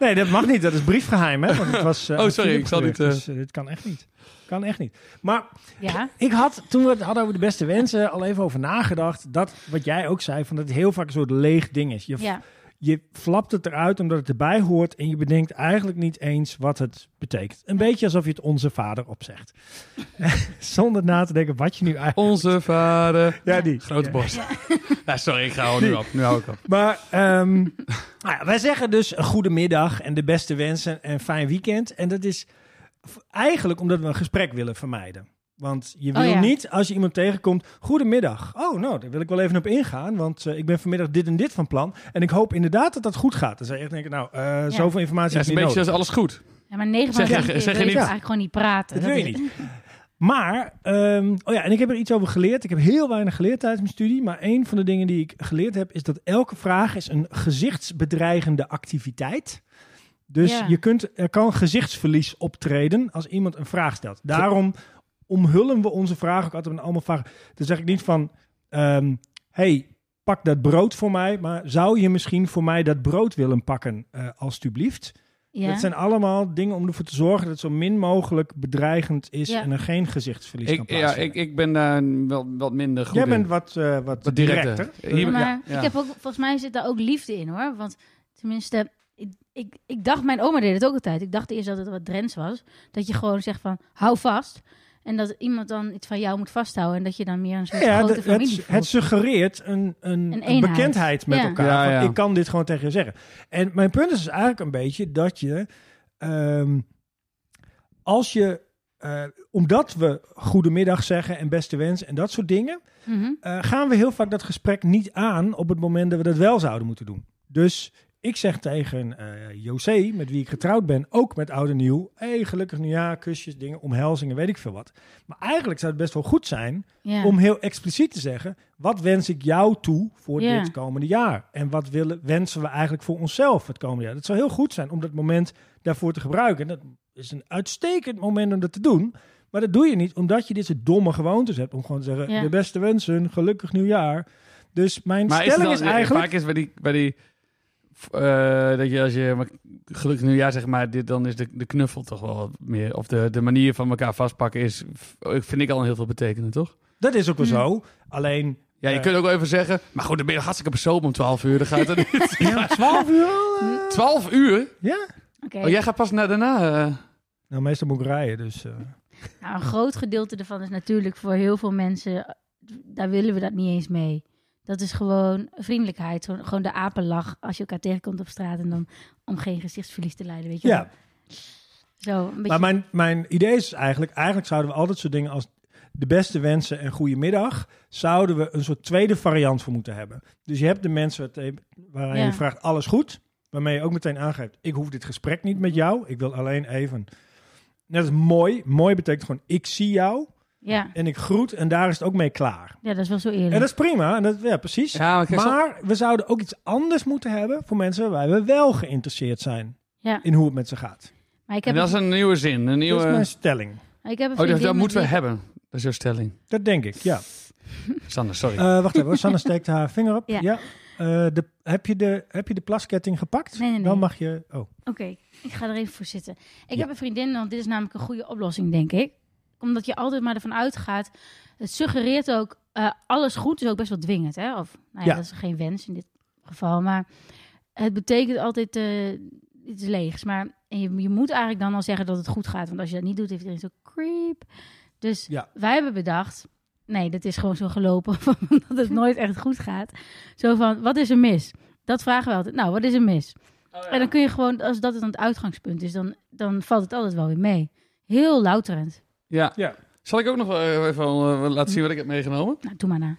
Speaker 2: nee, dat mag niet. Dat is briefgeheim, hè? Want het was, eh,
Speaker 3: Oh, sorry,
Speaker 2: Philip
Speaker 3: ik zal
Speaker 2: gebeurd.
Speaker 3: niet, eh.
Speaker 2: Dus, eh, dit kan echt niet. Kan echt niet. Maar [LAUGHS]
Speaker 1: ja.
Speaker 2: ik had, toen we het hadden over de beste wensen, al even over nagedacht. Dat, wat jij ook zei, van dat het heel vaak een soort leeg ding is. Je,
Speaker 1: ja.
Speaker 2: je flapt het eruit omdat het erbij hoort. En je bedenkt eigenlijk niet eens wat het betekent. Een beetje alsof je het onze vader opzegt. [LAUGHS] Zonder na te denken wat je nu eigenlijk...
Speaker 3: Onze vader.
Speaker 2: Ja, die.
Speaker 3: Grote
Speaker 2: Ja.
Speaker 3: [LAUGHS] borst. Ja, sorry, ik hou er nu op. Nu hou ik op.
Speaker 2: Maar ehm, [LAUGHS] nou ja, wij zeggen dus een goede middag en de beste wensen en fijn weekend. En dat is v- eigenlijk omdat we een gesprek willen vermijden. Want je
Speaker 1: Oh,
Speaker 2: wil
Speaker 1: ja.
Speaker 2: niet, als je iemand tegenkomt, goedemiddag. Oh, nou, daar wil ik wel even op ingaan, want eh, ik ben vanmiddag dit en dit van plan. En ik hoop inderdaad dat dat goed gaat. Dan zou je echt denken, nou, eh, zoveel informatie
Speaker 3: Ja,
Speaker 2: is
Speaker 3: is een
Speaker 2: niet
Speaker 3: beetje
Speaker 2: nodig.
Speaker 3: als alles goed.
Speaker 1: Ja, maar 9 van
Speaker 3: Zeg
Speaker 1: de
Speaker 3: je-
Speaker 1: 10 keer
Speaker 3: zeg je
Speaker 1: wil
Speaker 3: niet-
Speaker 1: je eigenlijk gewoon niet praten.
Speaker 2: Dat wil je
Speaker 1: is-
Speaker 2: niet. Maar, ehm, oh ja, en ik heb er iets over geleerd. Ik heb heel weinig geleerd tijdens mijn studie. Maar een van de dingen die ik geleerd heb, is dat elke vraag is een gezichtsbedreigende activiteit. Dus
Speaker 1: Ja.
Speaker 2: je kunt, er kan gezichtsverlies optreden als iemand een vraag stelt. Daarom omhullen we onze vraag ook altijd met allemaal vragen. Dan zeg ik niet van, ehm, hey, pak dat brood voor mij. Maar zou je misschien voor mij dat brood willen pakken, eh alstublieft?
Speaker 1: Ja.
Speaker 2: Dat zijn allemaal dingen om ervoor te zorgen dat het zo min mogelijk bedreigend is
Speaker 1: Ja.
Speaker 2: en er geen gezichtsverlies kan
Speaker 3: Ik, ja,
Speaker 2: plaatsvinden.
Speaker 3: ik, ik ben daar wel wat minder goed
Speaker 2: Jij bent
Speaker 3: in.
Speaker 2: wat, eh, wat,
Speaker 3: Wat directer.
Speaker 2: directer. Eh,
Speaker 1: Ja,
Speaker 3: Hier-
Speaker 1: maar
Speaker 3: ja, ja.
Speaker 1: Ik heb ook, volgens mij zit daar ook liefde in hoor. Want tenminste, ik, ik, ik dacht, mijn oma deed het ook altijd. Ik dacht eerst dat het wat Drents was. Dat je gewoon zegt van, hou vast. En dat iemand dan iets van jou moet vasthouden. En dat je dan meer een soort
Speaker 2: Ja,
Speaker 1: grote
Speaker 2: de-
Speaker 1: familie
Speaker 2: het,
Speaker 1: voelt.
Speaker 2: het suggereert een, een,
Speaker 1: Een
Speaker 2: een
Speaker 1: eenheid.
Speaker 2: bekendheid met
Speaker 1: Ja.
Speaker 2: elkaar.
Speaker 3: Ja,
Speaker 2: Van,
Speaker 3: ja.
Speaker 2: Ik kan dit gewoon tegen je zeggen. En mijn punt is dus eigenlijk een beetje dat je, ehm, als je, eh, omdat we goedemiddag zeggen en beste wens en dat soort dingen,
Speaker 1: Mhm.
Speaker 2: eh, gaan we heel vaak dat gesprek niet aan op het moment dat we dat wel zouden moeten doen. Dus ik zeg tegen eh José, met wie ik getrouwd ben, ook met oud en nieuw, hey, gelukkig nieuwjaar, kusjes, dingen, omhelzingen, weet ik veel wat. Maar eigenlijk zou het best wel goed zijn
Speaker 1: ja.
Speaker 2: om heel expliciet te zeggen, wat wens ik jou toe voor
Speaker 1: Ja.
Speaker 2: dit komende jaar? En wat willen, wensen we eigenlijk voor onszelf het komende jaar? Dat zou heel goed zijn om dat moment daarvoor te gebruiken. En dat is een uitstekend moment om dat te doen. Maar dat doe je niet omdat je dit soort domme gewoontes hebt. Om gewoon te zeggen,
Speaker 1: Ja.
Speaker 2: de beste wensen, gelukkig nieuwjaar. Dus mijn
Speaker 3: Maar is het
Speaker 2: stelling
Speaker 3: dan- eh,
Speaker 2: is eigenlijk...
Speaker 3: Vaak is bij die... Bij die eh, dat je als je gelukkig nieuwjaar zeg maar, dit, dan is de, de knuffel toch wel wat meer. Of de, de manier van elkaar vastpakken is, v- vind ik al een heel veel betekenen, toch?
Speaker 2: Dat is ook wel
Speaker 1: Mm.
Speaker 2: zo. Alleen...
Speaker 3: Ja, je
Speaker 2: eh,
Speaker 3: kunt ook wel even zeggen, maar goed, dan ben je hartstikke persoon om 12 uur. Dan gaat het [LAUGHS] niet.
Speaker 2: Ja, 12 uur. eh,
Speaker 3: 12 uur?
Speaker 2: ja.
Speaker 1: Oké,
Speaker 3: Oh, jij gaat pas naar daarna. eh.
Speaker 2: Nou, meestal moet ik rijden, dus... eh.
Speaker 1: nou, een groot gedeelte ervan is natuurlijk voor heel veel mensen, daar willen we dat niet eens mee. Dat is gewoon vriendelijkheid, zo- gewoon de apenlach als je elkaar tegenkomt op straat en dan om geen gezichtsverlies te lijden, weet je wel.
Speaker 2: ja,
Speaker 1: Zo, een beetje...
Speaker 2: maar mijn, mijn idee is eigenlijk... Eigenlijk zouden we altijd soort dingen als de beste wensen en goedemiddag... zouden we een soort tweede variant voor moeten hebben. Dus je hebt de mensen waar- waaraan
Speaker 1: Ja.
Speaker 2: je vraagt alles goed... waarmee je ook meteen aangeeft... ik hoef dit gesprek niet met jou, ik wil alleen even... Net als mooi. Mooi betekent gewoon ik zie jou
Speaker 1: ja.
Speaker 2: en ik groet... en daar is het ook mee klaar.
Speaker 1: ja, dat is wel zo eerlijk.
Speaker 2: En dat is prima, en dat, ja, precies.
Speaker 3: Ja, maar, kijk, zo-
Speaker 2: Maar we zouden ook iets anders moeten hebben voor mensen waar we wel geïnteresseerd zijn
Speaker 1: Ja.
Speaker 2: in hoe het met ze gaat.
Speaker 1: Maar ik
Speaker 3: en
Speaker 1: heb
Speaker 3: dat is een nieuwe zin, een
Speaker 2: Dat
Speaker 3: nieuwe...
Speaker 2: is mijn stelling.
Speaker 1: Ik heb een
Speaker 3: Oh, dat,
Speaker 1: vriendin
Speaker 3: dat
Speaker 1: met
Speaker 3: moeten we
Speaker 1: wie-
Speaker 3: hebben. Dat is jouw stelling.
Speaker 2: Dat denk ik, ja.
Speaker 3: Sander, sorry.
Speaker 1: Oh.
Speaker 2: Eh, wacht even, hoor.
Speaker 1: [LAUGHS]
Speaker 2: Sanne steekt haar vinger op.
Speaker 1: Ja.
Speaker 2: Ja. Eh, de, heb, je de, heb je de plasketting gepakt?
Speaker 1: Nee, nee, nee.
Speaker 2: Dan mag je... Oh,
Speaker 1: Oké, ik ga er even voor zitten. Ik
Speaker 2: Ja.
Speaker 1: heb een vriendin, want dit is namelijk een goede oplossing, denk ik. Omdat je altijd maar ervan uitgaat. Het suggereert ook eh, alles goed, is ook best wel dwingend. Hè? Of, nou ja,
Speaker 2: Ja.
Speaker 1: dat is geen wens in dit geval. Maar het betekent altijd eh, iets leegs. Maar en je, je moet eigenlijk dan al zeggen dat het goed gaat. Want als je dat niet doet, heeft iedereen zo creep. Dus
Speaker 2: Ja.
Speaker 1: wij hebben bedacht... Nee, dat is gewoon zo gelopen [LAUGHS] van dat het nooit echt goed gaat. Zo van, wat is er mis? Dat vragen we altijd. Nou, wat is er mis? En dan kun je gewoon, als dat dan het uitgangspunt is, dan, dan valt het altijd wel weer mee. Heel louterend.
Speaker 3: Ja.
Speaker 2: ja.
Speaker 3: Zal ik ook nog wel, eh, even eh, laten zien wat ik heb meegenomen?
Speaker 1: Nou, doe maar na.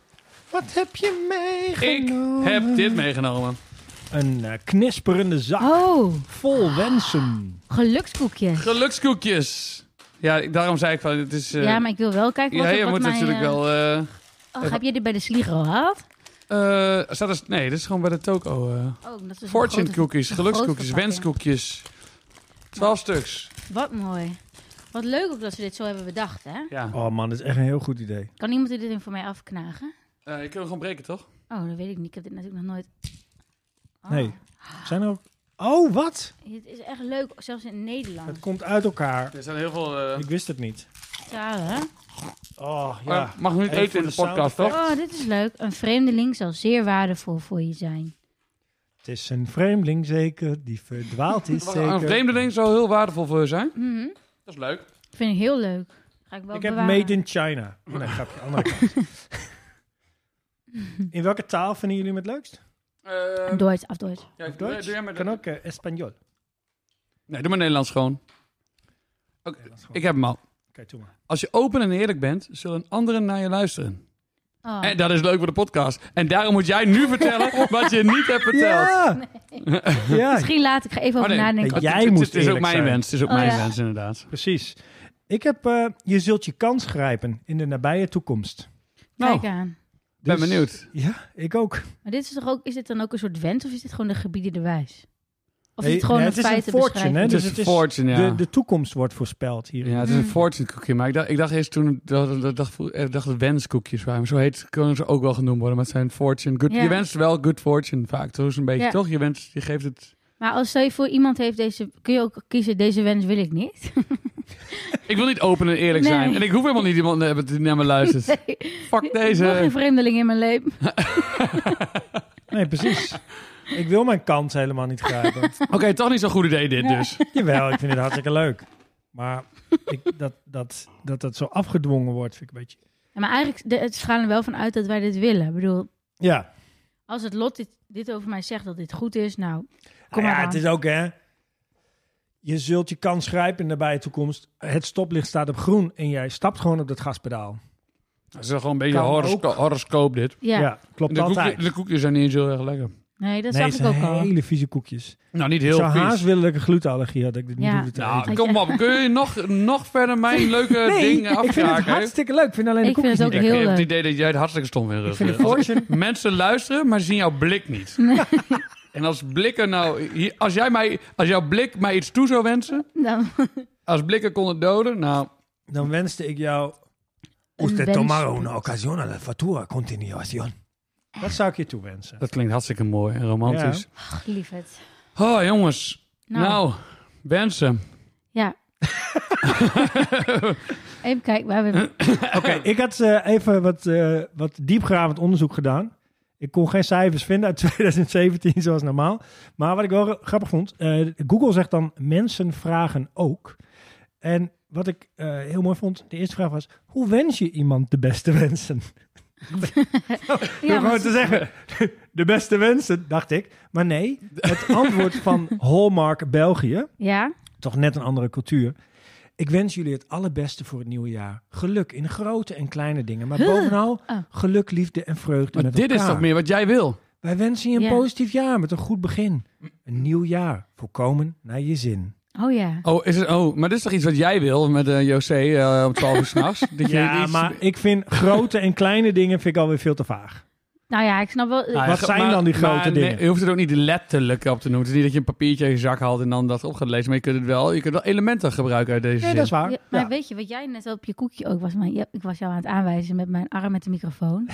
Speaker 2: Wat heb je
Speaker 3: Ik
Speaker 2: meegenomen?
Speaker 3: heb dit meegenomen.
Speaker 2: Een eh, knisperende zak
Speaker 1: Oh,
Speaker 2: vol wensen.
Speaker 1: gelukskoekjes.
Speaker 3: Gelukskoekjes. Ja, ik- daarom zei ik van, het is... eh,
Speaker 1: Ja, maar ik wil wel kijken wat,
Speaker 3: ja,
Speaker 1: er-
Speaker 3: je
Speaker 1: wat
Speaker 3: moet
Speaker 1: mijn,
Speaker 3: natuurlijk
Speaker 1: eh,
Speaker 3: wel... eh
Speaker 1: Oh, heb je dit bij de Sligo gehad?
Speaker 3: eh, staat er, nee, dit is gewoon bij de toko. eh.
Speaker 1: Oh, dat is een
Speaker 3: Fortune
Speaker 1: grote-
Speaker 3: cookies,
Speaker 1: een
Speaker 3: gelukskoekjes,
Speaker 1: grote verpakking.
Speaker 3: wenskoekjes. Twaalf stuks.
Speaker 1: Wat mooi. Wat leuk ook dat ze dit zo hebben bedacht, hè?
Speaker 3: Ja.
Speaker 2: Oh man, dat is echt een heel goed idee.
Speaker 1: Kan iemand dit even voor mij afknagen?
Speaker 3: Eh, je kunt hem gewoon breken, toch?
Speaker 1: Oh, dat weet ik niet. Ik heb dit natuurlijk nog nooit... Oh,
Speaker 2: Nee. Zijn er ook... Oh, wat?
Speaker 1: Dit is echt leuk, zelfs in
Speaker 2: Het
Speaker 1: Nederland.
Speaker 2: komt uit elkaar.
Speaker 3: Er zijn heel veel... eh,
Speaker 2: Ik wist het niet.
Speaker 1: Talen, hè?
Speaker 2: Oh, ja.
Speaker 3: eh, mag nu niet
Speaker 2: Even
Speaker 3: eten in
Speaker 2: voor
Speaker 3: de
Speaker 2: de
Speaker 3: podcast,
Speaker 2: sound
Speaker 3: toch?
Speaker 1: Oh, dit is leuk. Een vreemdeling zal zeer waardevol voor je zijn.
Speaker 2: Het is een vreemdeling zeker, die verdwaald is
Speaker 3: Mag Een
Speaker 2: zeker.
Speaker 3: vreemdeling zou heel waardevol voor je zijn.
Speaker 1: Mhm.
Speaker 3: Dat is leuk.
Speaker 1: Vind ik heel leuk. Ga ik wel
Speaker 2: Ik heb
Speaker 1: bewaren.
Speaker 2: Made in China. Oh, Nee, grapje, andere kant.
Speaker 1: [LAUGHS]
Speaker 2: In welke taal vinden jullie hem het leukst?
Speaker 3: Eh,
Speaker 1: Duits, af Duits.
Speaker 3: ja,
Speaker 2: Of
Speaker 3: doe-
Speaker 2: Duits?
Speaker 3: doe jij maar-
Speaker 2: Kan ook eh Espanol.
Speaker 3: Nee, doe maar Nederlands gewoon. Oké, ik heb hem al.
Speaker 2: Kijk, doe maar.
Speaker 3: Als je open en eerlijk bent, zullen anderen naar je luisteren.
Speaker 1: Oh.
Speaker 2: Ah.
Speaker 3: En dat is leuk voor de podcast. En daarom moet jij nu
Speaker 2: [LAUGHS]
Speaker 3: vertellen wat je niet hebt verteld.
Speaker 2: Ja! [LAUGHS] ja,
Speaker 1: Misschien later. Ik ga even
Speaker 3: Oh,
Speaker 1: over
Speaker 3: nee.
Speaker 1: nadenken.
Speaker 2: Hey,
Speaker 3: Het-
Speaker 2: jij
Speaker 3: het- het-
Speaker 2: moest
Speaker 3: Het is ook
Speaker 2: eerlijk
Speaker 3: mijn
Speaker 2: zijn.
Speaker 3: wens. Het is ook
Speaker 1: Oh,
Speaker 3: mijn
Speaker 1: ja.
Speaker 3: wens, inderdaad.
Speaker 2: precies. Ik heb, eh, je zult je kans grijpen in de nabije toekomst.
Speaker 3: Nou,
Speaker 2: Oh.
Speaker 1: Kijk aan.
Speaker 3: ben
Speaker 2: Dus-
Speaker 3: benieuwd.
Speaker 2: Ja, ik ook.
Speaker 1: Maar dit is, toch ook, is dit dan ook een soort wens of is dit gewoon de gebieden de wijs? Of is
Speaker 2: Nee,
Speaker 1: het gewoon
Speaker 2: nee,
Speaker 1: een
Speaker 2: het is een fortune,
Speaker 1: feitenbeschrijving?
Speaker 2: hè?
Speaker 3: Het
Speaker 2: dus
Speaker 3: is
Speaker 2: het
Speaker 3: een
Speaker 2: is
Speaker 3: fortune, ja.
Speaker 2: De, de toekomst wordt voorspeld hier.
Speaker 3: Ja, het is een
Speaker 1: Mm.
Speaker 3: fortune cookie. Maar ik dacht, ik dacht eerst toen, dat dat- dacht, ik dacht dat wenskoekjes waren. Maar zo heet, kunnen ze ook wel genoemd worden. Maar het zijn fortune. Good,
Speaker 1: Ja.
Speaker 3: Je wenst wel good fortune vaak. Toch is een beetje,
Speaker 1: Ja.
Speaker 3: toch? Je, wenst, je geeft het...
Speaker 1: Maar als stel je voor iemand heeft deze... Kun je ook kiezen, deze wens wil ik niet?
Speaker 3: Ik wil niet open en eerlijk
Speaker 1: Nee.
Speaker 3: zijn. En ik hoef helemaal niet iemand te hebben die naar me luistert.
Speaker 1: Nee. [LAUGHS]
Speaker 3: Fuck
Speaker 1: Ik wil geen
Speaker 3: [LAUGHS] deze.
Speaker 1: vreemdeling in mijn leven.
Speaker 2: Nee,
Speaker 3: [LAUGHS]
Speaker 2: precies. Ik wil mijn kans helemaal niet grijpen.
Speaker 3: Oké, toch niet zo'n goed idee dit dus.
Speaker 2: Jawel, ik vind het hartstikke leuk. Maar ik, dat, dat, dat dat zo afgedwongen wordt, vind ik een beetje...
Speaker 1: Ja, maar eigenlijk, de, het gaan er wel van uit dat wij dit willen. Ik bedoel,
Speaker 2: Ja,
Speaker 1: als het lot dit, dit over mij zegt dat dit goed is, nou... Kom
Speaker 2: Nou
Speaker 1: maar
Speaker 2: ja,
Speaker 1: aan.
Speaker 2: het is ook hè. Je zult je kans grijpen in de nabije toekomst. Het stoplicht staat op groen en jij stapt gewoon op dat gaspedaal.
Speaker 3: Dat is wel gewoon een beetje
Speaker 2: Kan
Speaker 3: horosco horoscoop dit.
Speaker 1: Ja,
Speaker 2: klopt
Speaker 3: De,
Speaker 2: altijd.
Speaker 3: koekje- de koekjes zijn niet eens heel erg lekker.
Speaker 1: nee, dat
Speaker 2: nee,
Speaker 1: zag
Speaker 2: het
Speaker 1: ik ook
Speaker 2: zijn
Speaker 1: al.
Speaker 2: hele vieze koekjes.
Speaker 3: Nou, niet
Speaker 2: ik
Speaker 3: heel
Speaker 2: zou haast
Speaker 3: vies.
Speaker 2: willen dat ik een glutenallergie had, dat ik dit
Speaker 1: Ja.
Speaker 2: niet hoefde te
Speaker 3: Nou,
Speaker 2: eten.
Speaker 3: kom op. Kun je nog, nog verder mijn leuke
Speaker 2: Nee,
Speaker 3: dingen
Speaker 2: ik vind het
Speaker 3: afkraken?
Speaker 2: hartstikke leuk. Ik vind alleen de
Speaker 1: Ik vind
Speaker 2: koekjes
Speaker 1: het ook
Speaker 2: niet
Speaker 3: ik
Speaker 1: heel
Speaker 3: heb het
Speaker 1: leuk.
Speaker 3: idee dat jij het hartstikke stom vindt.
Speaker 2: lekker. Ik vind de fortune...
Speaker 3: Mensen luisteren, maar zien jouw blik niet. En als blikken nou... hier- Als, jij mij, als jouw blik mij iets toe zou wensen...
Speaker 1: Dan, [LAUGHS]
Speaker 3: Als blikken konden doden, nou...
Speaker 2: Dan wenste ik jou...
Speaker 1: Een
Speaker 2: Usted
Speaker 1: wens.
Speaker 2: tomara una ocasión a la fatura continuación. Dat zou ik je toewensen.
Speaker 3: Dat klinkt hartstikke mooi en romantisch.
Speaker 1: ach, lief het.
Speaker 3: Oh, jongens.
Speaker 1: Nou,
Speaker 3: Nou, wensen. [LAUGHS]
Speaker 1: ja. Even kijken waar we...
Speaker 2: Oké, ik had eh, even wat, eh wat diepgravend onderzoek gedaan. Ik kon geen cijfers vinden uit [LAUGHS] 2017 zoals normaal. Maar wat ik wel grappig vond, eh, Google zegt dan mensen vragen ook. En wat ik eh, heel mooi vond, de eerste vraag was, hoe wens je iemand de beste wensen?
Speaker 1: Ja,
Speaker 2: Door
Speaker 1: maar
Speaker 2: gewoon te zeggen, [LAUGHS] de beste wensen, dacht ik. Maar nee, het antwoord van Hallmark België,
Speaker 1: Ja?
Speaker 2: toch net een andere cultuur. Ik wens jullie het allerbeste voor het nieuwe jaar. Geluk in grote en kleine dingen, maar
Speaker 1: Huh.
Speaker 2: bovenal
Speaker 1: Oh.
Speaker 2: geluk, liefde en vreugde
Speaker 3: Maar
Speaker 2: met
Speaker 3: dit is
Speaker 2: elkaar.
Speaker 3: toch meer wat jij wil?
Speaker 2: Wij wensen je een
Speaker 1: Ja.
Speaker 2: positief jaar met een goed begin. Een nieuw jaar, voorkomen naar je zin.
Speaker 1: Oh ja.
Speaker 3: Oh, is het, oh, maar dit is toch iets wat jij wil met eh José eh, om [LAUGHS] 12 uur s'nachts?
Speaker 2: Ja, maar ik vind grote en kleine dingen vind ik alweer veel te vaag.
Speaker 1: Nou ja, ik snap wel...
Speaker 2: Wat zijn dan die grote dingen?
Speaker 3: je hoeft het ook niet letterlijk op te noemen. Het is niet dat je een papiertje in je zak haalt en dan dat op gaat lezen. Maar je kunt, het wel, je kunt wel elementen gebruiken uit deze
Speaker 2: Nee,
Speaker 3: zin.
Speaker 2: dat is waar.
Speaker 1: Ja, maar weet je, wat jij net op je koekje ook was... Maar je- ik was jou aan het aanwijzen met mijn arm met de
Speaker 3: [LAUGHS]
Speaker 1: microfoon.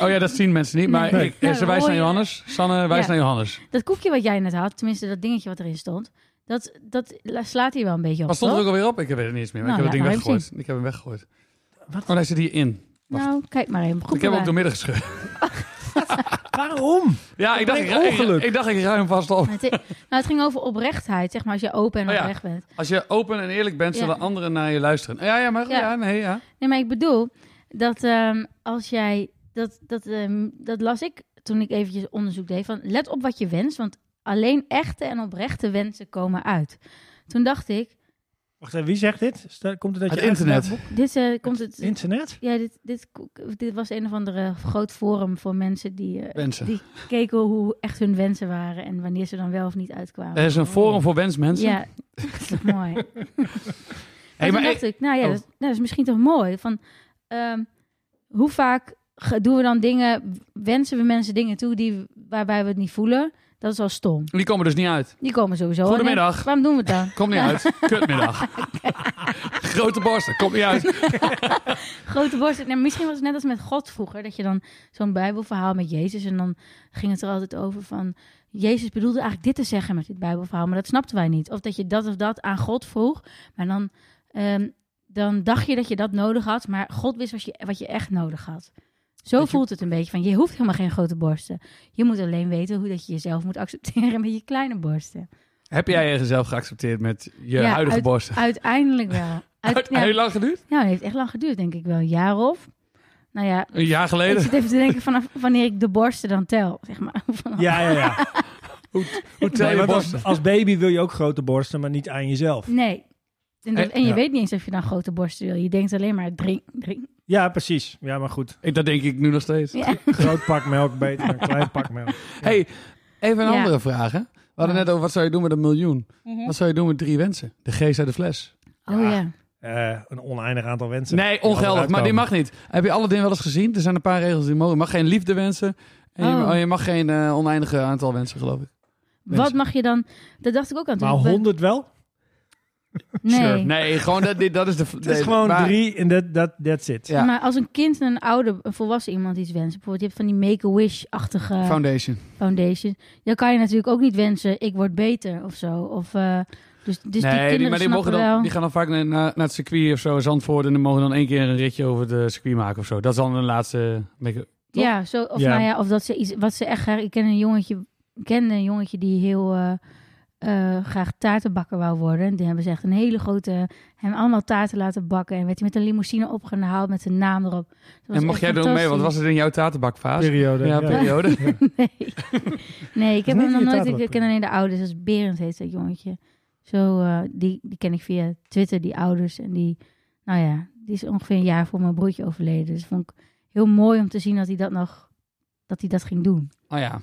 Speaker 3: Oh ja, dat zien mensen niet. Maar
Speaker 1: Nee.
Speaker 3: ik, eh, ze
Speaker 1: Ja,
Speaker 3: wijst
Speaker 1: hoor
Speaker 3: naar
Speaker 1: je.
Speaker 3: Johannes. Sanne wijst
Speaker 1: Ja.
Speaker 3: naar Johannes.
Speaker 1: Dat koekje wat jij net had, tenminste dat dingetje wat erin stond... Dat, dat la- slaat hier wel een beetje op,
Speaker 3: Wat stond er
Speaker 1: toch?
Speaker 3: ook alweer op? Ik weet het niet eens meer. Maar
Speaker 1: Nou,
Speaker 3: ik heb
Speaker 1: laat
Speaker 3: het ding
Speaker 1: maar even
Speaker 3: weggegooid. Ik heb hem weggegooid. Oh, hij zit hierin. Wacht.
Speaker 1: Nou, kijk maar even. Goed
Speaker 3: ik heb hem
Speaker 1: bewaard.
Speaker 3: ook doormidden gescheurd.
Speaker 2: Waarom?
Speaker 3: [LAUGHS] Ja, ik dacht ik,
Speaker 2: brengt
Speaker 3: ik,
Speaker 2: ongeluk.
Speaker 3: ik dacht ik ruim vast op.
Speaker 1: Maar het, [LAUGHS] nou, het ging over oprechtheid, zeg maar, als je open en
Speaker 3: Oh ja.
Speaker 1: oprecht bent.
Speaker 3: Als je open en eerlijk bent,
Speaker 1: Ja.
Speaker 3: zullen anderen naar je luisteren. Ja, ja, maar
Speaker 1: Ja.
Speaker 3: ja, nee, ja.
Speaker 1: Nee, maar ik bedoel dat ehm, als jij dat dat ehm, dat las ik toen ik eventjes onderzoek deed van let op wat je wenst, want alleen echte en oprechte wensen komen uit. Toen dacht ik,
Speaker 2: Wacht even, wie zegt dit? Sta- Komt het uit
Speaker 3: Het
Speaker 2: je eigen
Speaker 3: internet.
Speaker 2: dagboek?
Speaker 1: dit eh, komt het.
Speaker 2: Internet?
Speaker 1: Ja, dit, dit, dit was een of andere groot forum voor mensen die, eh,
Speaker 3: Wensen.
Speaker 1: die keken hoe echt hun wensen waren en wanneer ze dan wel of niet uitkwamen.
Speaker 3: Er is een forum voor wensmensen.
Speaker 1: Ja, [LAUGHS] dat is toch mooi.
Speaker 3: Hey,
Speaker 1: maar
Speaker 3: maar
Speaker 1: toen
Speaker 3: ik-
Speaker 1: dacht ik, nou ja,
Speaker 3: Oh.
Speaker 1: dat, nou, dat is misschien toch mooi. Van, ehm, hoe vaak ge- doen we dan dingen, wensen we mensen dingen toe die, waarbij we het niet voelen? Dat is al stom.
Speaker 3: Die komen dus niet uit.
Speaker 1: Die komen sowieso.
Speaker 3: Goedemiddag.
Speaker 1: En waarom doen we het dan?
Speaker 3: Komt niet
Speaker 1: [LAUGHS]
Speaker 3: uit. Kutmiddag. Grote borsten. Komt niet uit.
Speaker 1: Grote borst. Nee, misschien was het net als met God vroeger. Dat je dan zo'n bijbelverhaal met Jezus. En dan ging het er altijd over van... Jezus bedoelde eigenlijk dit te zeggen met dit bijbelverhaal. Maar dat snapten wij niet. Of dat je dat of dat aan God vroeg. Maar dan, ehm, dan dacht je dat je dat nodig had. Maar God wist wat je, wat je echt nodig had. Zo voelt het een beetje van, je hoeft helemaal geen grote borsten. Je moet alleen weten hoe dat je jezelf moet accepteren met je kleine borsten.
Speaker 3: Heb jij jezelf geaccepteerd met je
Speaker 1: Ja,
Speaker 3: huidige
Speaker 1: uit-
Speaker 3: borsten?
Speaker 1: Uiteindelijk wel. Uit, ja,
Speaker 3: Heel lang geduurd?
Speaker 1: nou, het heeft echt lang geduurd, denk ik wel. Een jaar of? Nou ja,
Speaker 3: Een jaar
Speaker 1: Ik
Speaker 3: geleden.
Speaker 1: zit even te denken vanaf wanneer ik de borsten dan tel, zeg maar. Vanaf-
Speaker 2: Ja, ja, ja.
Speaker 3: [LAUGHS] Hoe tel
Speaker 2: Nee,
Speaker 3: je
Speaker 2: want
Speaker 3: borsten?
Speaker 2: als, als baby wil je ook grote borsten, maar niet aan jezelf.
Speaker 1: Nee. En, dat-
Speaker 3: Eh,
Speaker 1: en je
Speaker 2: ja.
Speaker 1: weet niet eens of je dan grote borsten wil. Je denkt alleen maar drink, drink.
Speaker 2: Ja, precies. Ja, maar goed.
Speaker 3: Ik, dat denk ik nu nog steeds.
Speaker 1: Ja.
Speaker 2: Groot pak melk beter dan klein pak melk.
Speaker 3: hey, even een
Speaker 1: Ja.
Speaker 3: andere vraag. Hè? We hadden
Speaker 1: Ja. Mhm.
Speaker 3: net over wat zou je doen met een miljoen? Wat zou je doen met drie wensen? De geest uit de fles.
Speaker 1: Oh ja.
Speaker 2: Eh, een oneindig aantal wensen.
Speaker 3: Nee,
Speaker 2: Die altijd
Speaker 3: ongeldig, maar die
Speaker 2: uitkomen.
Speaker 3: mag niet. Heb je alle dingen wel eens gezien? Er zijn een paar regels die mogen. Je mag geen liefde wensen. En je,
Speaker 1: Oh.
Speaker 3: oh, je mag geen eh, oneindige aantal wensen, geloof ik.
Speaker 1: Wat mag je dan... Dat dacht ik ook aan toen
Speaker 2: Maar
Speaker 1: ik ben-
Speaker 2: 100 wel?
Speaker 1: Nee.
Speaker 3: Sure. Nee, gewoon dat, dit- [LAUGHS] dat is de...
Speaker 2: Het is gewoon drie en dat dat that's it.
Speaker 3: Ja,
Speaker 1: Maar als een kind en een oude, een volwassen iemand iets wenst... Bijvoorbeeld, je hebt van die make-a-wish-achtige
Speaker 3: foundation.
Speaker 1: dus foundation... Dan kan je natuurlijk ook niet wensen, ik word beter of zo. Of, eh, dus dus die
Speaker 3: nee,
Speaker 1: kinderen
Speaker 3: maar die,
Speaker 1: snappen
Speaker 3: mogen dan,
Speaker 1: wel...
Speaker 3: die gaan dan vaak naar, naar naar het circuit of zo, Zandvoort. En dan mogen dan één keer een ritje over de circuit maken of zo. Dat is dan een laatste... make- Toch?
Speaker 1: Ja, zo, of,
Speaker 2: Ja.
Speaker 1: Nou ja, of dat ze iets wat ze echt graag. Ik ken een jongetje, ik kende een jongetje die heel eh, eh, graag taartenbakker wou worden. En die hebben ze echt een hele grote. Hem allemaal taarten laten bakken. En werd hij met een limousine opgehaald met zijn naam erop. Dat was
Speaker 3: En mocht
Speaker 1: echt
Speaker 3: jij doen mee? Wat was
Speaker 1: fantastisch.
Speaker 3: het in jouw tatenbakfase?
Speaker 2: Periode.
Speaker 3: Ja, periode.
Speaker 1: [LAUGHS] Nee, nee ik heb
Speaker 2: Dat is
Speaker 1: hem nog
Speaker 2: niet je
Speaker 1: nooit. Ik,
Speaker 2: taartenbakker.
Speaker 1: ken alleen de ouders. Dat is Berend heet dat jongetje. Zo, eh, die, die ken ik via Twitter, die ouders. En die, nou ja, die is ongeveer een jaar voor mijn broertje overleden. Dus vond ik heel mooi om te zien dat hij dat nog. Dat hij dat ging doen.
Speaker 3: Oh ja.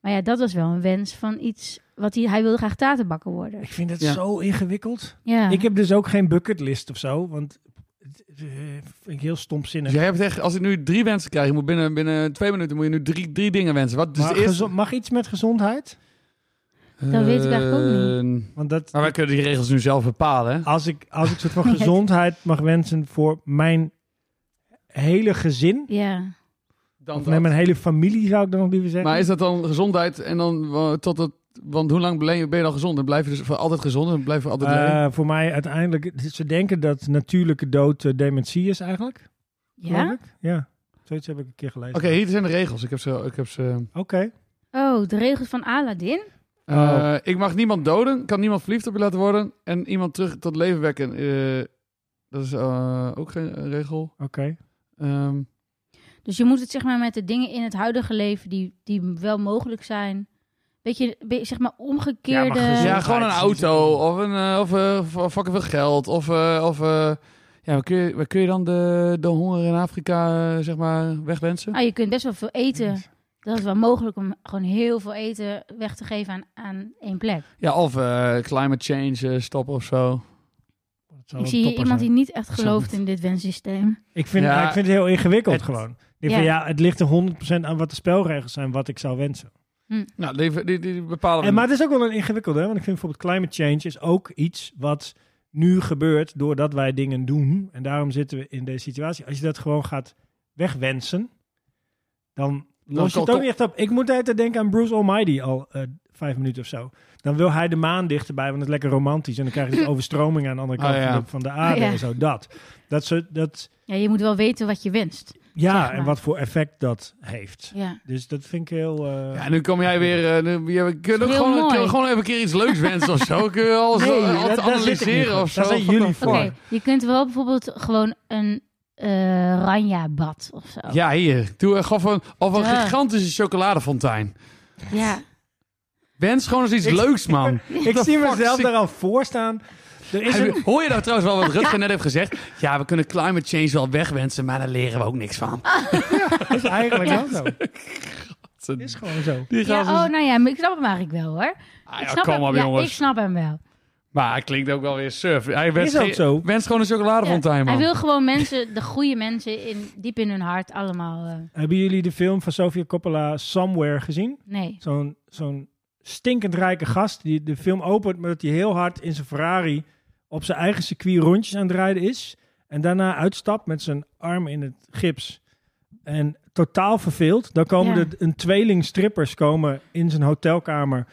Speaker 1: Maar ja, dat was wel een wens van iets wat hij, hij wilde graag tatenbakker worden.
Speaker 2: Ik vind het
Speaker 3: Ja.
Speaker 2: zo ingewikkeld.
Speaker 1: Ja.
Speaker 2: Ik heb dus ook geen bucketlist of zo, want het het, eh, vind ik heel stomzinnig.
Speaker 3: Dus jij hebt echt... Als ik nu drie wensen krijg, je moet binnen, binnen twee minuten moet je nu drie, drie dingen wensen. Wat dus is
Speaker 2: maar
Speaker 3: de eerste?
Speaker 2: gezo- mag iets met gezondheid?
Speaker 1: Dat weet ik eigenlijk ook
Speaker 3: niet.
Speaker 2: Want dat,
Speaker 3: Maar wij kunnen die regels nu zelf bepalen, hè?
Speaker 2: als ik als ik soort
Speaker 3: [LAUGHS]
Speaker 2: van gezondheid mag wensen voor mijn hele gezin,
Speaker 1: ja.
Speaker 3: Dan
Speaker 2: of nee, mijn hele familie zou ik dan nog liever zeggen.
Speaker 3: Maar is dat dan gezondheid en dan eh, tot het Want hoe lang ben je, ben je al gezond? En blijf je dus voor altijd gezond en blijf je altijd leven?
Speaker 2: Eh, voor mij uiteindelijk, ze denken dat natuurlijke dood eh, dementie is eigenlijk. geloof
Speaker 1: Ja?
Speaker 2: ik. Ja, zoiets heb ik een keer gelezen.
Speaker 3: Oké, hier zijn de regels. Ik heb ze... Ik, heb ze
Speaker 2: Oké.
Speaker 1: Oh, de regels van Aladdin?
Speaker 3: Eh,
Speaker 2: Oh.
Speaker 3: ik mag niemand doden, kan niemand verliefd op je laten worden en iemand terug tot leven wekken. Eh, dat is eh, ook geen eh, regel.
Speaker 2: Oké.
Speaker 3: Ehm,
Speaker 1: Dus je moet het zeg maar met de dingen in het huidige leven die, die wel mogelijk zijn. Beetje, be- zeg maar omgekeerde.
Speaker 2: Ja, maar gezond.
Speaker 3: ja, gewoon een auto of, een, eh, of, eh, of- of fucking veel geld. Of, eh, of eh, ja, waar kun, je, waar kun je dan de, de honger in Afrika eh, zeg maar wegwensen?
Speaker 1: Ah, je kunt best wel veel eten. Dat is wel mogelijk om gewoon heel veel eten weg te geven aan, aan één plek.
Speaker 3: Ja, of eh, climate change eh, stoppen of zo.
Speaker 2: Dat zou
Speaker 1: Ik
Speaker 2: een
Speaker 1: zie hier
Speaker 2: Oh, topper
Speaker 1: iemand
Speaker 2: zijn.
Speaker 1: die niet echt
Speaker 3: Zo
Speaker 1: gelooft
Speaker 3: goed.
Speaker 1: in dit wensysteem.
Speaker 2: Ik vind,
Speaker 3: Ja,
Speaker 2: ik vind het heel ingewikkeld
Speaker 3: het-
Speaker 2: gewoon. Ik
Speaker 1: Ja.
Speaker 2: Van, ja, het ligt er 100% aan wat de spelregels zijn, wat ik zou wensen.
Speaker 3: Nou, die, die, die bepalen we
Speaker 2: En, maar
Speaker 3: niet.
Speaker 2: het is ook wel een ingewikkelde, hè? want ik vind bijvoorbeeld climate change is ook iets wat nu gebeurt doordat wij dingen doen. En daarom zitten we in deze situatie. Als je dat gewoon gaat wegwensen, dan los je
Speaker 3: kan
Speaker 2: het ook
Speaker 3: toch-
Speaker 2: niet echt op. Ik moet altijd denken aan Bruce Almighty al eh, vijf minuten of zo. Dan wil hij de maan dichterbij, want het is lekker romantisch. En dan
Speaker 3: [LAUGHS]
Speaker 2: krijg je die overstroming aan de andere
Speaker 3: Ah,
Speaker 2: kant
Speaker 3: ja.
Speaker 2: van, de, van de aarde
Speaker 1: Ah, ja.
Speaker 2: en zo. Dat. Dat, ze, dat
Speaker 1: Ja, je moet wel weten wat je wenst.
Speaker 2: ja,
Speaker 1: Zeg maar.
Speaker 2: en wat voor effect dat heeft.
Speaker 1: Ja.
Speaker 2: Dus dat vind ik heel... eh,
Speaker 3: Ja, nu kom jij weer. eh, nu, ja, we kunnen ook
Speaker 1: Heel
Speaker 3: gewoon,
Speaker 1: mooi.
Speaker 3: kunnen we gewoon even een keer iets leuks wensen of zo. Kun je al zo
Speaker 2: Nee,
Speaker 3: al
Speaker 2: dat- daar zit
Speaker 3: te
Speaker 2: ik niet
Speaker 3: eh, analyseren
Speaker 2: voor.
Speaker 3: of zo.
Speaker 2: Daar zijn jullie voor.
Speaker 1: Oké, je kunt wel bijvoorbeeld gewoon een eh ranja-bad of zo.
Speaker 3: Ja, hier. Doe, eh, gaf een, of een
Speaker 1: Ja.
Speaker 3: gigantische chocoladefontein.
Speaker 1: Ja.
Speaker 3: Wens gewoon eens iets
Speaker 2: Ik-
Speaker 3: leuks, man.
Speaker 2: Ik
Speaker 3: The
Speaker 2: zie
Speaker 3: fuck
Speaker 2: mezelf
Speaker 3: zit-
Speaker 2: daar al voor staan. Er is een,
Speaker 3: Hij- Hoor je nou trouwens
Speaker 2: [LAUGHS]
Speaker 3: wel wat Rutger net heeft gezegd? Ja, we kunnen climate change wel wegwensen, maar daar leren we ook niks van.
Speaker 2: is eigenlijk
Speaker 1: Ja.
Speaker 2: wel zo. Is gewoon zo.
Speaker 3: Die
Speaker 1: Ja,
Speaker 3: gast is-
Speaker 1: oh, nou ja, maar ik snap hem eigenlijk wel hoor.
Speaker 3: Ah,
Speaker 1: ik
Speaker 3: ja,
Speaker 1: snap
Speaker 3: kom
Speaker 1: hem,
Speaker 3: op,
Speaker 1: ja,
Speaker 3: jongens.
Speaker 1: ik snap hem wel.
Speaker 3: Maar hij klinkt ook wel weer surf. Hij wenst,
Speaker 2: ook
Speaker 3: geen-
Speaker 2: zo.
Speaker 3: wenst gewoon een
Speaker 1: Ja,
Speaker 3: chocoladefontein, man.
Speaker 1: hij wil gewoon mensen, de goede mensen, in, diep in hun hart allemaal... eh,
Speaker 2: Hebben jullie de film van Sofia Coppola Somewhere gezien?
Speaker 1: nee.
Speaker 2: Zo'n zo'n stinkend rijke gast die de film opent met dat hij heel hard in zijn Ferrari op zijn eigen circuit rondjes aan het rijden is. En daarna uitstapt met zijn arm in het gips. En totaal verveeld. Dan komen
Speaker 1: Ja.
Speaker 2: er een tweeling strippers komen in zijn hotelkamer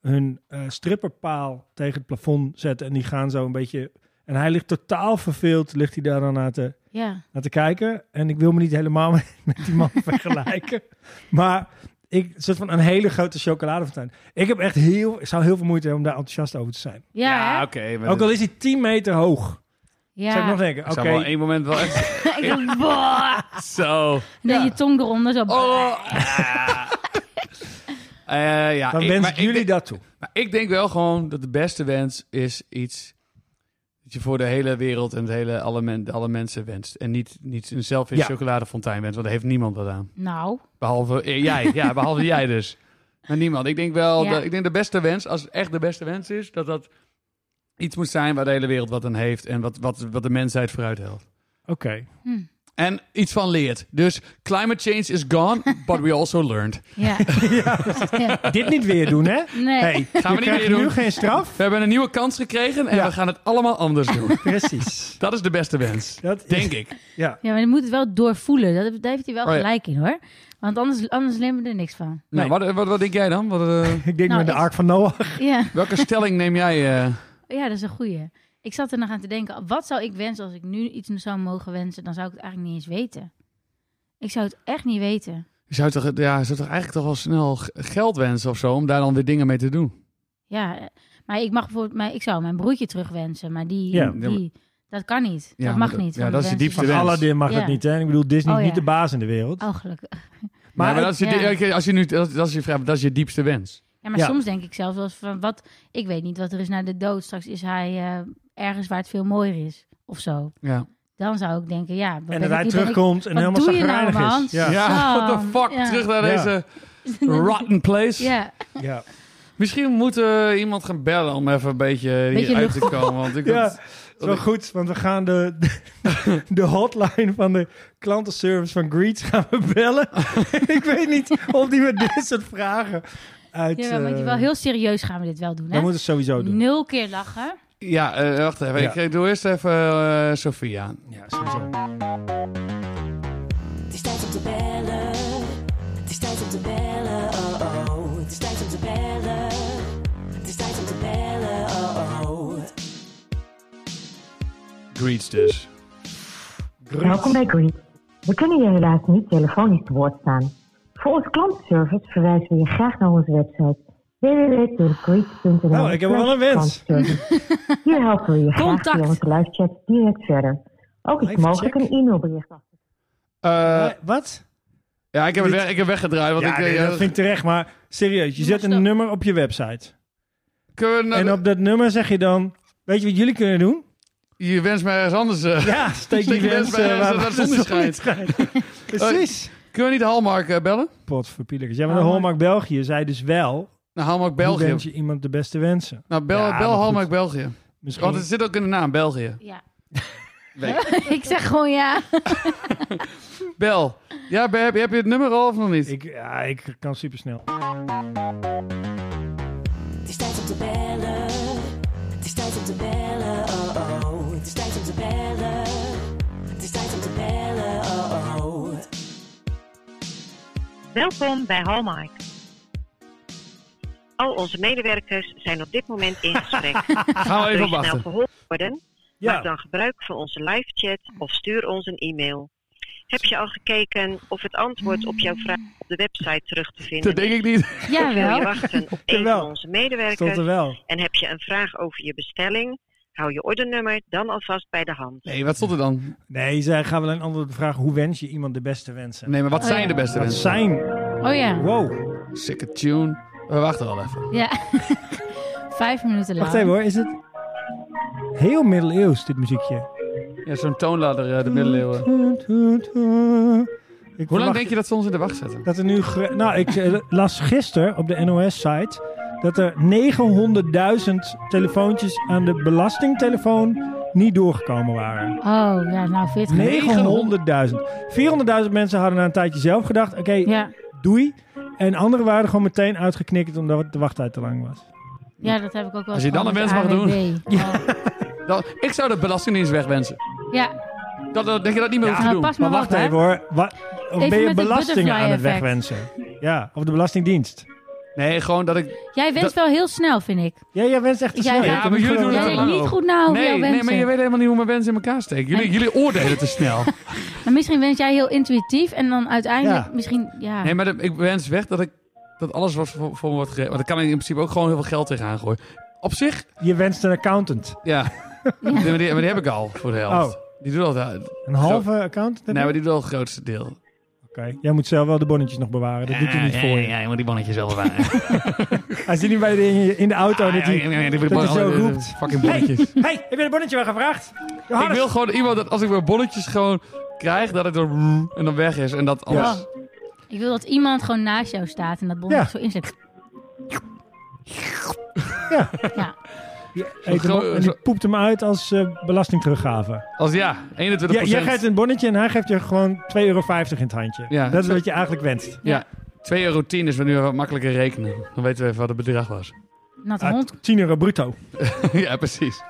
Speaker 2: hun eh, stripperpaal tegen het plafond zetten. En die gaan zo een beetje... En hij ligt totaal verveeld, ligt hij daar dan aan te
Speaker 1: Ja.
Speaker 2: naar te kijken. En ik wil me niet helemaal [LAUGHS] met met die
Speaker 1: [LAUGHS]
Speaker 2: man vergelijken. Maar ik zit van een hele grote chocoladefontein. Ik heb echt heel, ik zou heel veel moeite hebben om daar enthousiast over te zijn.
Speaker 1: Ja, hè?
Speaker 3: oké. maar
Speaker 2: Ook al is hij 10 meter hoog.
Speaker 1: Ja.
Speaker 2: Zou ik nog denken,
Speaker 3: Ik
Speaker 2: oké.
Speaker 3: zou wel één moment wel echt
Speaker 1: [LAUGHS] Ik dacht, "Boah."
Speaker 3: zo...
Speaker 1: En dan je tong eronder zo.
Speaker 3: Oh. Eh, ja,
Speaker 2: Dan
Speaker 3: ik-
Speaker 2: wens
Speaker 3: maar
Speaker 2: ik jullie
Speaker 3: denk-
Speaker 2: dat toe.
Speaker 3: maar ik denk wel gewoon dat de beste wens is iets dat je voor de hele wereld en het hele, alle, men- alle mensen wenst. En niet, niet een zelf in
Speaker 2: Ja.
Speaker 3: chocoladefontein wenst, want daar heeft niemand wat aan.
Speaker 1: Nou,
Speaker 3: Behalve eh, jij, ja, behalve jij dus. Maar niemand. Ik denk wel,
Speaker 1: Ja.
Speaker 3: dat, ik denk de beste wens, als het echt de beste wens is, dat dat iets moet zijn waar de hele wereld wat aan heeft en wat, wat, wat de mensheid vooruit helpt.
Speaker 2: Oké.
Speaker 3: En iets van leert. Dus climate change is gone, but we also [LAUGHS] learned.
Speaker 1: ja. Ja.
Speaker 2: Dit niet weer doen, hè?
Speaker 1: Nee. [LAUGHS]
Speaker 2: Hey,
Speaker 3: Gaan we
Speaker 2: je
Speaker 3: niet
Speaker 2: krijgt
Speaker 3: meer doen.
Speaker 2: nu geen straf.
Speaker 3: We hebben een nieuwe kans gekregen en
Speaker 2: Ja.
Speaker 3: we gaan het allemaal anders [LAUGHS] doen.
Speaker 2: Precies.
Speaker 3: Dat is de beste wens.
Speaker 2: Dat is-
Speaker 3: Denk [LAUGHS] ik.
Speaker 2: Ja.
Speaker 1: Ja, maar je moet het wel doorvoelen. Dat, daar heeft hij wel
Speaker 3: Oh ja.
Speaker 1: gelijk in hoor. Want anders, anders nemen we er niks van.
Speaker 3: Nou, wat, wat, wat denk jij dan? Wat,
Speaker 2: [LAUGHS]
Speaker 3: eh,
Speaker 2: Ik denk
Speaker 1: Nou,
Speaker 2: met de
Speaker 1: ik-
Speaker 2: Ark van Noach.
Speaker 1: Ja.
Speaker 3: welke stelling neem jij? eh
Speaker 1: ja, dat is een goeie. Ik zat er nog aan te denken. Wat zou ik wensen als ik nu iets zou mogen wensen? Dan zou ik het eigenlijk niet eens weten. Ik zou het echt niet weten.
Speaker 3: je zou toch, ja, je zou toch eigenlijk toch wel snel g- geld wensen of zo, om daar dan weer dingen mee te doen?
Speaker 1: Ja, eh, maar ik mag bijvoorbeeld, maar ik zou mijn broertje terugwensen, maar die,
Speaker 2: Ja.
Speaker 1: die dat kan niet.
Speaker 3: Ja,
Speaker 1: dat
Speaker 3: maar
Speaker 1: mag
Speaker 3: dat-
Speaker 1: niet.
Speaker 3: ja,
Speaker 1: want
Speaker 3: dat is de
Speaker 1: wens
Speaker 3: diepste
Speaker 2: Van
Speaker 3: wens.
Speaker 2: Aladdin mag
Speaker 1: Ja.
Speaker 2: het niet, hè? Ik bedoel, Disney
Speaker 1: Oh,
Speaker 2: is
Speaker 1: ja.
Speaker 2: niet de baas in de wereld.
Speaker 1: Oh, gelukkig.
Speaker 3: Maar,
Speaker 2: Maar,
Speaker 3: maar dat, is je,
Speaker 1: ja.
Speaker 3: oké, als je nu, dat, dat is je vraag, dat is je diepste wens.
Speaker 1: Ja, maar
Speaker 2: Ja.
Speaker 1: soms denk ik zelfs wel eens van wat, ik weet niet wat er is na de dood. Straks is hij eh, ergens waar het veel mooier is of zo.
Speaker 3: Ja.
Speaker 1: Dan zou ik denken, ja, wat
Speaker 2: en
Speaker 1: ben
Speaker 2: dat
Speaker 1: ik,
Speaker 2: hij
Speaker 1: hier, ben ik-
Speaker 2: terugkomt en
Speaker 1: Wat
Speaker 2: helemaal
Speaker 1: doe je nou,
Speaker 2: zagrijnig
Speaker 1: man?
Speaker 2: is. Ja.
Speaker 3: Ja, [LAUGHS]
Speaker 1: Sam,
Speaker 3: what the fuck?
Speaker 1: ja.
Speaker 3: Terug naar
Speaker 2: Ja.
Speaker 3: deze rotten place.
Speaker 1: Ja,
Speaker 2: Ja.
Speaker 3: Misschien moet eh, iemand gaan bellen om even een beetje
Speaker 1: Beetje
Speaker 3: hieruit te
Speaker 1: lucht-
Speaker 3: komen. Want ik
Speaker 2: Ja,
Speaker 3: dat-
Speaker 2: het is wel goed, want we gaan de, de, [LAUGHS] de hotline van de klantenservice van Greets gaan we bellen. [LAUGHS] ik weet niet of die met dit soort vragen uit...
Speaker 1: ja want je
Speaker 2: eh,
Speaker 1: wel heel serieus gaan we dit wel doen,
Speaker 2: Dan
Speaker 1: hè?
Speaker 2: moeten ze sowieso doen.
Speaker 1: Nul keer lachen.
Speaker 3: ja eh, wacht even.
Speaker 2: Ja.
Speaker 3: Ik doe eerst even eh, Sophia aan.
Speaker 2: Ja, sowieso.
Speaker 4: Het is tijd om te bellen. Het is tijd om te bellen. Oh oh. Het is tijd om te bellen.
Speaker 3: Greets dus.
Speaker 2: Nou,
Speaker 6: Welkom bij Green. We kunnen je helaas niet telefonisch te woord staan. Voor onze klantservice verwijzen we je graag naar onze website www.greet.nl.
Speaker 2: Nou, ik heb wel een wens.
Speaker 6: Klantservice. Hier helpen we je graag
Speaker 1: Contact.
Speaker 6: via onze live chat direct verder. Ook is
Speaker 2: Live
Speaker 6: mogelijk
Speaker 2: check.
Speaker 6: een e-mailbericht achter.
Speaker 3: Eh,
Speaker 2: Eh, wat?
Speaker 3: ja, ik heb, het weg, ik heb weggedraaid. Want
Speaker 2: Ja,
Speaker 3: ik,
Speaker 2: nee,
Speaker 3: eh,
Speaker 2: dat vind ik terecht, maar serieus. Je
Speaker 1: Maar
Speaker 2: zet
Speaker 1: stop.
Speaker 2: een nummer op je website.
Speaker 3: kunnen we-
Speaker 2: En op dat nummer zeg je dan... Weet je wat jullie kunnen [LAUGHS] doen?
Speaker 3: Je wens mij ergens anders. eh.
Speaker 2: Ja, steek die
Speaker 3: die
Speaker 2: wens
Speaker 3: wens bij
Speaker 2: eh,
Speaker 3: ergens
Speaker 2: waar
Speaker 3: waar
Speaker 2: waar
Speaker 3: de
Speaker 2: de [LAUGHS]
Speaker 3: zon
Speaker 2: zon
Speaker 3: niet
Speaker 2: niet schijnt. [LAUGHS] Precies.
Speaker 3: Kunnen we niet Hallmark eh, bellen?
Speaker 2: Potverpieligers. Ja, maar de
Speaker 1: Hallmark.
Speaker 2: Hallmark België zei dus wel...
Speaker 3: Nou, Hallmark
Speaker 2: België.
Speaker 3: België.
Speaker 2: wens je iemand de beste wensen?
Speaker 3: Nou, bel,
Speaker 2: Ja, maar
Speaker 3: bel
Speaker 2: goed.
Speaker 3: Hallmark België.
Speaker 2: Misschien.
Speaker 3: Want het zit ook in de naam, België. [LAUGHS]
Speaker 1: Ja.
Speaker 3: Weet
Speaker 1: [LAUGHS] ik zeg gewoon ja.
Speaker 3: Bel. Ja, Beb, heb je het nummer al of nog niet?
Speaker 2: ik, ja, ik kan supersnel.
Speaker 4: Het is tijd om te bellen. Het is tijd om te bellen. Oh oh. Het is tijd om te bellen. Het is tijd om te bellen. Oh oh.
Speaker 7: Welkom bij Hallmark. Al onze medewerkers zijn op dit moment in
Speaker 2: [LAUGHS]
Speaker 7: gesprek.
Speaker 3: Gaan
Speaker 7: Wil
Speaker 3: we even
Speaker 7: je
Speaker 3: op
Speaker 7: snel
Speaker 3: wachten.
Speaker 7: geholpen worden? Maak
Speaker 2: Ja,
Speaker 7: dan gebruik van onze live chat of stuur ons een e-mail. Heb je al gekeken of het antwoord op jouw vraag op de website terug te vinden
Speaker 3: Dat denk ik niet.
Speaker 7: Wil je
Speaker 1: Jawel.
Speaker 7: wachten op een
Speaker 2: [LAUGHS] Jawel.
Speaker 7: van onze
Speaker 2: stond er
Speaker 7: medewerkers?
Speaker 2: wel.
Speaker 7: En heb je een vraag over je bestelling? Hou je ordernummer dan alvast bij de hand.
Speaker 3: Nee, wat stond er dan?
Speaker 2: Nee, je zei, gaan we een andere vraag. Hoe wens je iemand de beste wensen?
Speaker 3: Nee, maar wat
Speaker 1: Oh,
Speaker 3: zijn
Speaker 1: ja.
Speaker 3: de beste
Speaker 2: Dat
Speaker 3: wensen?
Speaker 2: zijn...
Speaker 1: Oh ja.
Speaker 2: Wow.
Speaker 3: Sikke tune. We wachten al even.
Speaker 1: ja. [LAUGHS] Vijf minuten later.
Speaker 2: Wacht even hoor, is het... Heel middeleeuws, dit muziekje.
Speaker 3: Ja, zo'n toonladder, eh, de
Speaker 2: Mm.
Speaker 3: middeleeuwen.
Speaker 2: Ik
Speaker 3: Hoe lang
Speaker 2: verwacht-
Speaker 3: denk je dat ze ons in de wacht zetten?
Speaker 2: Dat er nu. gere- Nou, ik eh, las gisteren op de NOS-site. dat er 900.000 telefoontjes aan de belastingtelefoon. niet doorgekomen waren.
Speaker 1: Oh, ja, nou 40.
Speaker 2: 900.000. 400.000 mensen hadden na een tijdje zelf gedacht: oké,
Speaker 1: Ja.
Speaker 2: doei. En anderen waren er gewoon meteen uitgeknikkerd omdat de wachttijd te lang was.
Speaker 1: ja, dat heb ik ook wel
Speaker 3: Als je dan een wens mag
Speaker 1: doen. Ja.
Speaker 3: Dan- ik zou de Belastingdienst wegwensen.
Speaker 1: ja.
Speaker 3: Dat, dat- denk je dat niet meer
Speaker 2: Ja,
Speaker 3: hoeft te
Speaker 1: Nou,
Speaker 3: doen?
Speaker 1: pas maar,
Speaker 2: Maar wacht
Speaker 1: op, hè.
Speaker 2: even hoor. Wa- of
Speaker 1: Even
Speaker 2: ben je
Speaker 1: met het
Speaker 2: belastingen aan het
Speaker 1: butterfly-effect.
Speaker 2: wegwensen? Ja, of de Belastingdienst.
Speaker 3: Nee, gewoon dat
Speaker 2: Oh,
Speaker 3: ik...
Speaker 1: Jij wenst wel heel snel, vind ik.
Speaker 2: Ja, jij wenst echt te
Speaker 1: Jij gaat-
Speaker 2: snel. Je
Speaker 1: Ja,
Speaker 3: maar
Speaker 2: moet
Speaker 3: jullie
Speaker 2: gewoon-
Speaker 3: doen
Speaker 1: Jij
Speaker 3: het
Speaker 1: denkt
Speaker 3: lang
Speaker 1: niet
Speaker 3: over.
Speaker 1: goed na over
Speaker 3: Nee,
Speaker 1: jouw wensen.
Speaker 3: nee, maar je weet helemaal niet hoe mijn wensen in elkaar steken. Jullie,
Speaker 1: En-
Speaker 3: jullie oordelen te snel.
Speaker 1: Maar misschien wens jij heel intuïtief en dan uiteindelijk
Speaker 2: [LAUGHS] Ja.
Speaker 1: misschien... Ja.
Speaker 3: Nee, maar dat- ik wens weg dat ik dat alles wat voor, voor me wordt geregeld. Maar daar kan ik in principe ook gewoon heel veel geld tegenaan gooien. Op zich,
Speaker 2: Je wenst een accountant.
Speaker 3: ja. [LAUGHS] Nee, maar, die, maar die heb ik al voor de helft.
Speaker 2: Oh.
Speaker 3: Die doet al het,
Speaker 2: Een halve accountant? heb
Speaker 3: nee,
Speaker 2: je?
Speaker 3: maar die doet al het grootste deel.
Speaker 2: Oké, jij moet zelf wel de bonnetjes nog bewaren. Dat doet hij niet voor je.
Speaker 3: Ja, maar die bonnetjes
Speaker 2: [LAUGHS]
Speaker 3: wel waar.
Speaker 2: Hij zit nu bij de, in de auto
Speaker 3: Ah,
Speaker 2: dat hij... dat hij zo roept.
Speaker 3: Fucking bonnetjes.
Speaker 2: hey, heb je dat bonnetje wel gevraagd?
Speaker 3: Ik wil gewoon iemand dat als ik mijn bonnetjes gewoon krijg, dat het dan en dan weg is. En dat alles.
Speaker 1: Oh. Ik wil dat iemand gewoon naast jou staat en dat bonnetje
Speaker 2: Ja.
Speaker 1: zo inzet.
Speaker 2: Ja.
Speaker 1: ja.
Speaker 2: Eet hem op en die poept hem uit als eh, belastingteruggave.
Speaker 3: Als ja, 21
Speaker 2: Ja, jij geeft een bonnetje en hij geeft je gewoon 2,50 euro in het handje.
Speaker 3: Ja.
Speaker 2: Dat is wat je eigenlijk wenst.
Speaker 3: Ja, 2,10 euro is we nu wat makkelijker rekenen. Dan weten we even wat het bedrag was. [LAUGHS]
Speaker 1: Natte
Speaker 2: Ah,
Speaker 1: hond.
Speaker 2: 10 euro bruto.
Speaker 3: ja, precies.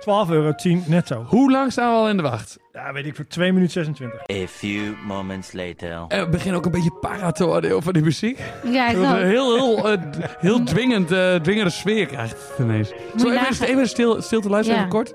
Speaker 2: 12 euro 10 netto.
Speaker 3: Hoe lang staan we al in de wacht?
Speaker 2: Ja, weet ik voor 2 minuten 26.
Speaker 8: A few moments later.
Speaker 3: En Eh, we beginnen ook een beetje para te worden joh, van die muziek.
Speaker 1: Ja, ik
Speaker 3: Dat het een
Speaker 1: ook.
Speaker 3: heel, heel, eh, d- heel dwingend, eh, dwingende sfeer krijgt ineens. Zo even,
Speaker 1: nagaan.
Speaker 3: even stil, stil te luisteren,
Speaker 1: Ja.
Speaker 3: even kort.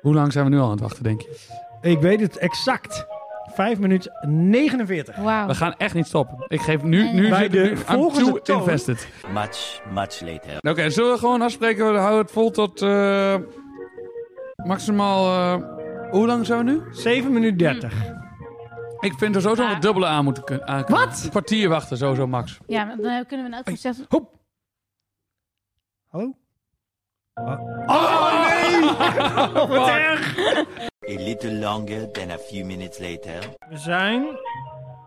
Speaker 3: Hoe lang zijn we nu al aan het wachten, denk je?
Speaker 2: Ik weet het exact. 5 minuten 49.
Speaker 3: We
Speaker 1: Wauw.
Speaker 3: gaan echt niet stoppen. Ik geef nu... nu
Speaker 2: Bij
Speaker 3: zit-
Speaker 2: de
Speaker 3: nu- I'm
Speaker 2: volgende
Speaker 3: too
Speaker 2: toon.
Speaker 3: invested.
Speaker 8: Much, much later.
Speaker 3: Oké, zullen we gewoon afspreken? We houden het vol tot eh, maximaal. eh, hoe lang zijn we nu?
Speaker 2: 7 minuten 30.
Speaker 3: Ik vind er sowieso nog een dubbele aan moeten kunnen. aankomen.
Speaker 1: Wat?
Speaker 3: Een kwartier wachten, sowieso max.
Speaker 1: Ja, maar dan kunnen we nou een uitgezet...
Speaker 2: Hop. Hallo? Oh, nee! Wat erg!
Speaker 8: A little longer than a few minutes later.
Speaker 2: We zijn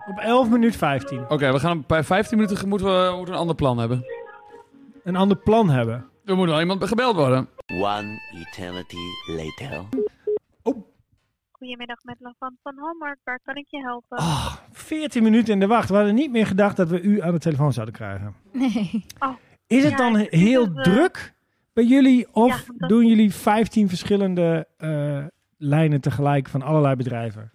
Speaker 2: op 11 minuut 15.
Speaker 3: Oké, we gaan bij 15 minuten ge- moeten we, moeten we een ander plan hebben.
Speaker 2: Een ander plan hebben.
Speaker 3: Er moet wel iemand gebeld worden.
Speaker 8: One eternity later.
Speaker 9: Goedemiddag met Lavan van Hallmark, waar kan ik je helpen?
Speaker 2: 14 minuten in de wacht. We hadden niet meer gedacht dat we u aan de telefoon zouden krijgen.
Speaker 1: [LAUGHS] Nee.
Speaker 2: Is het
Speaker 9: Ja,
Speaker 2: dan
Speaker 9: ik zie
Speaker 2: heel
Speaker 9: dat we-
Speaker 2: druk bij jullie? Of
Speaker 9: Ja, dat-
Speaker 2: doen jullie 15 verschillende eh, lijnen tegelijk van allerlei bedrijven?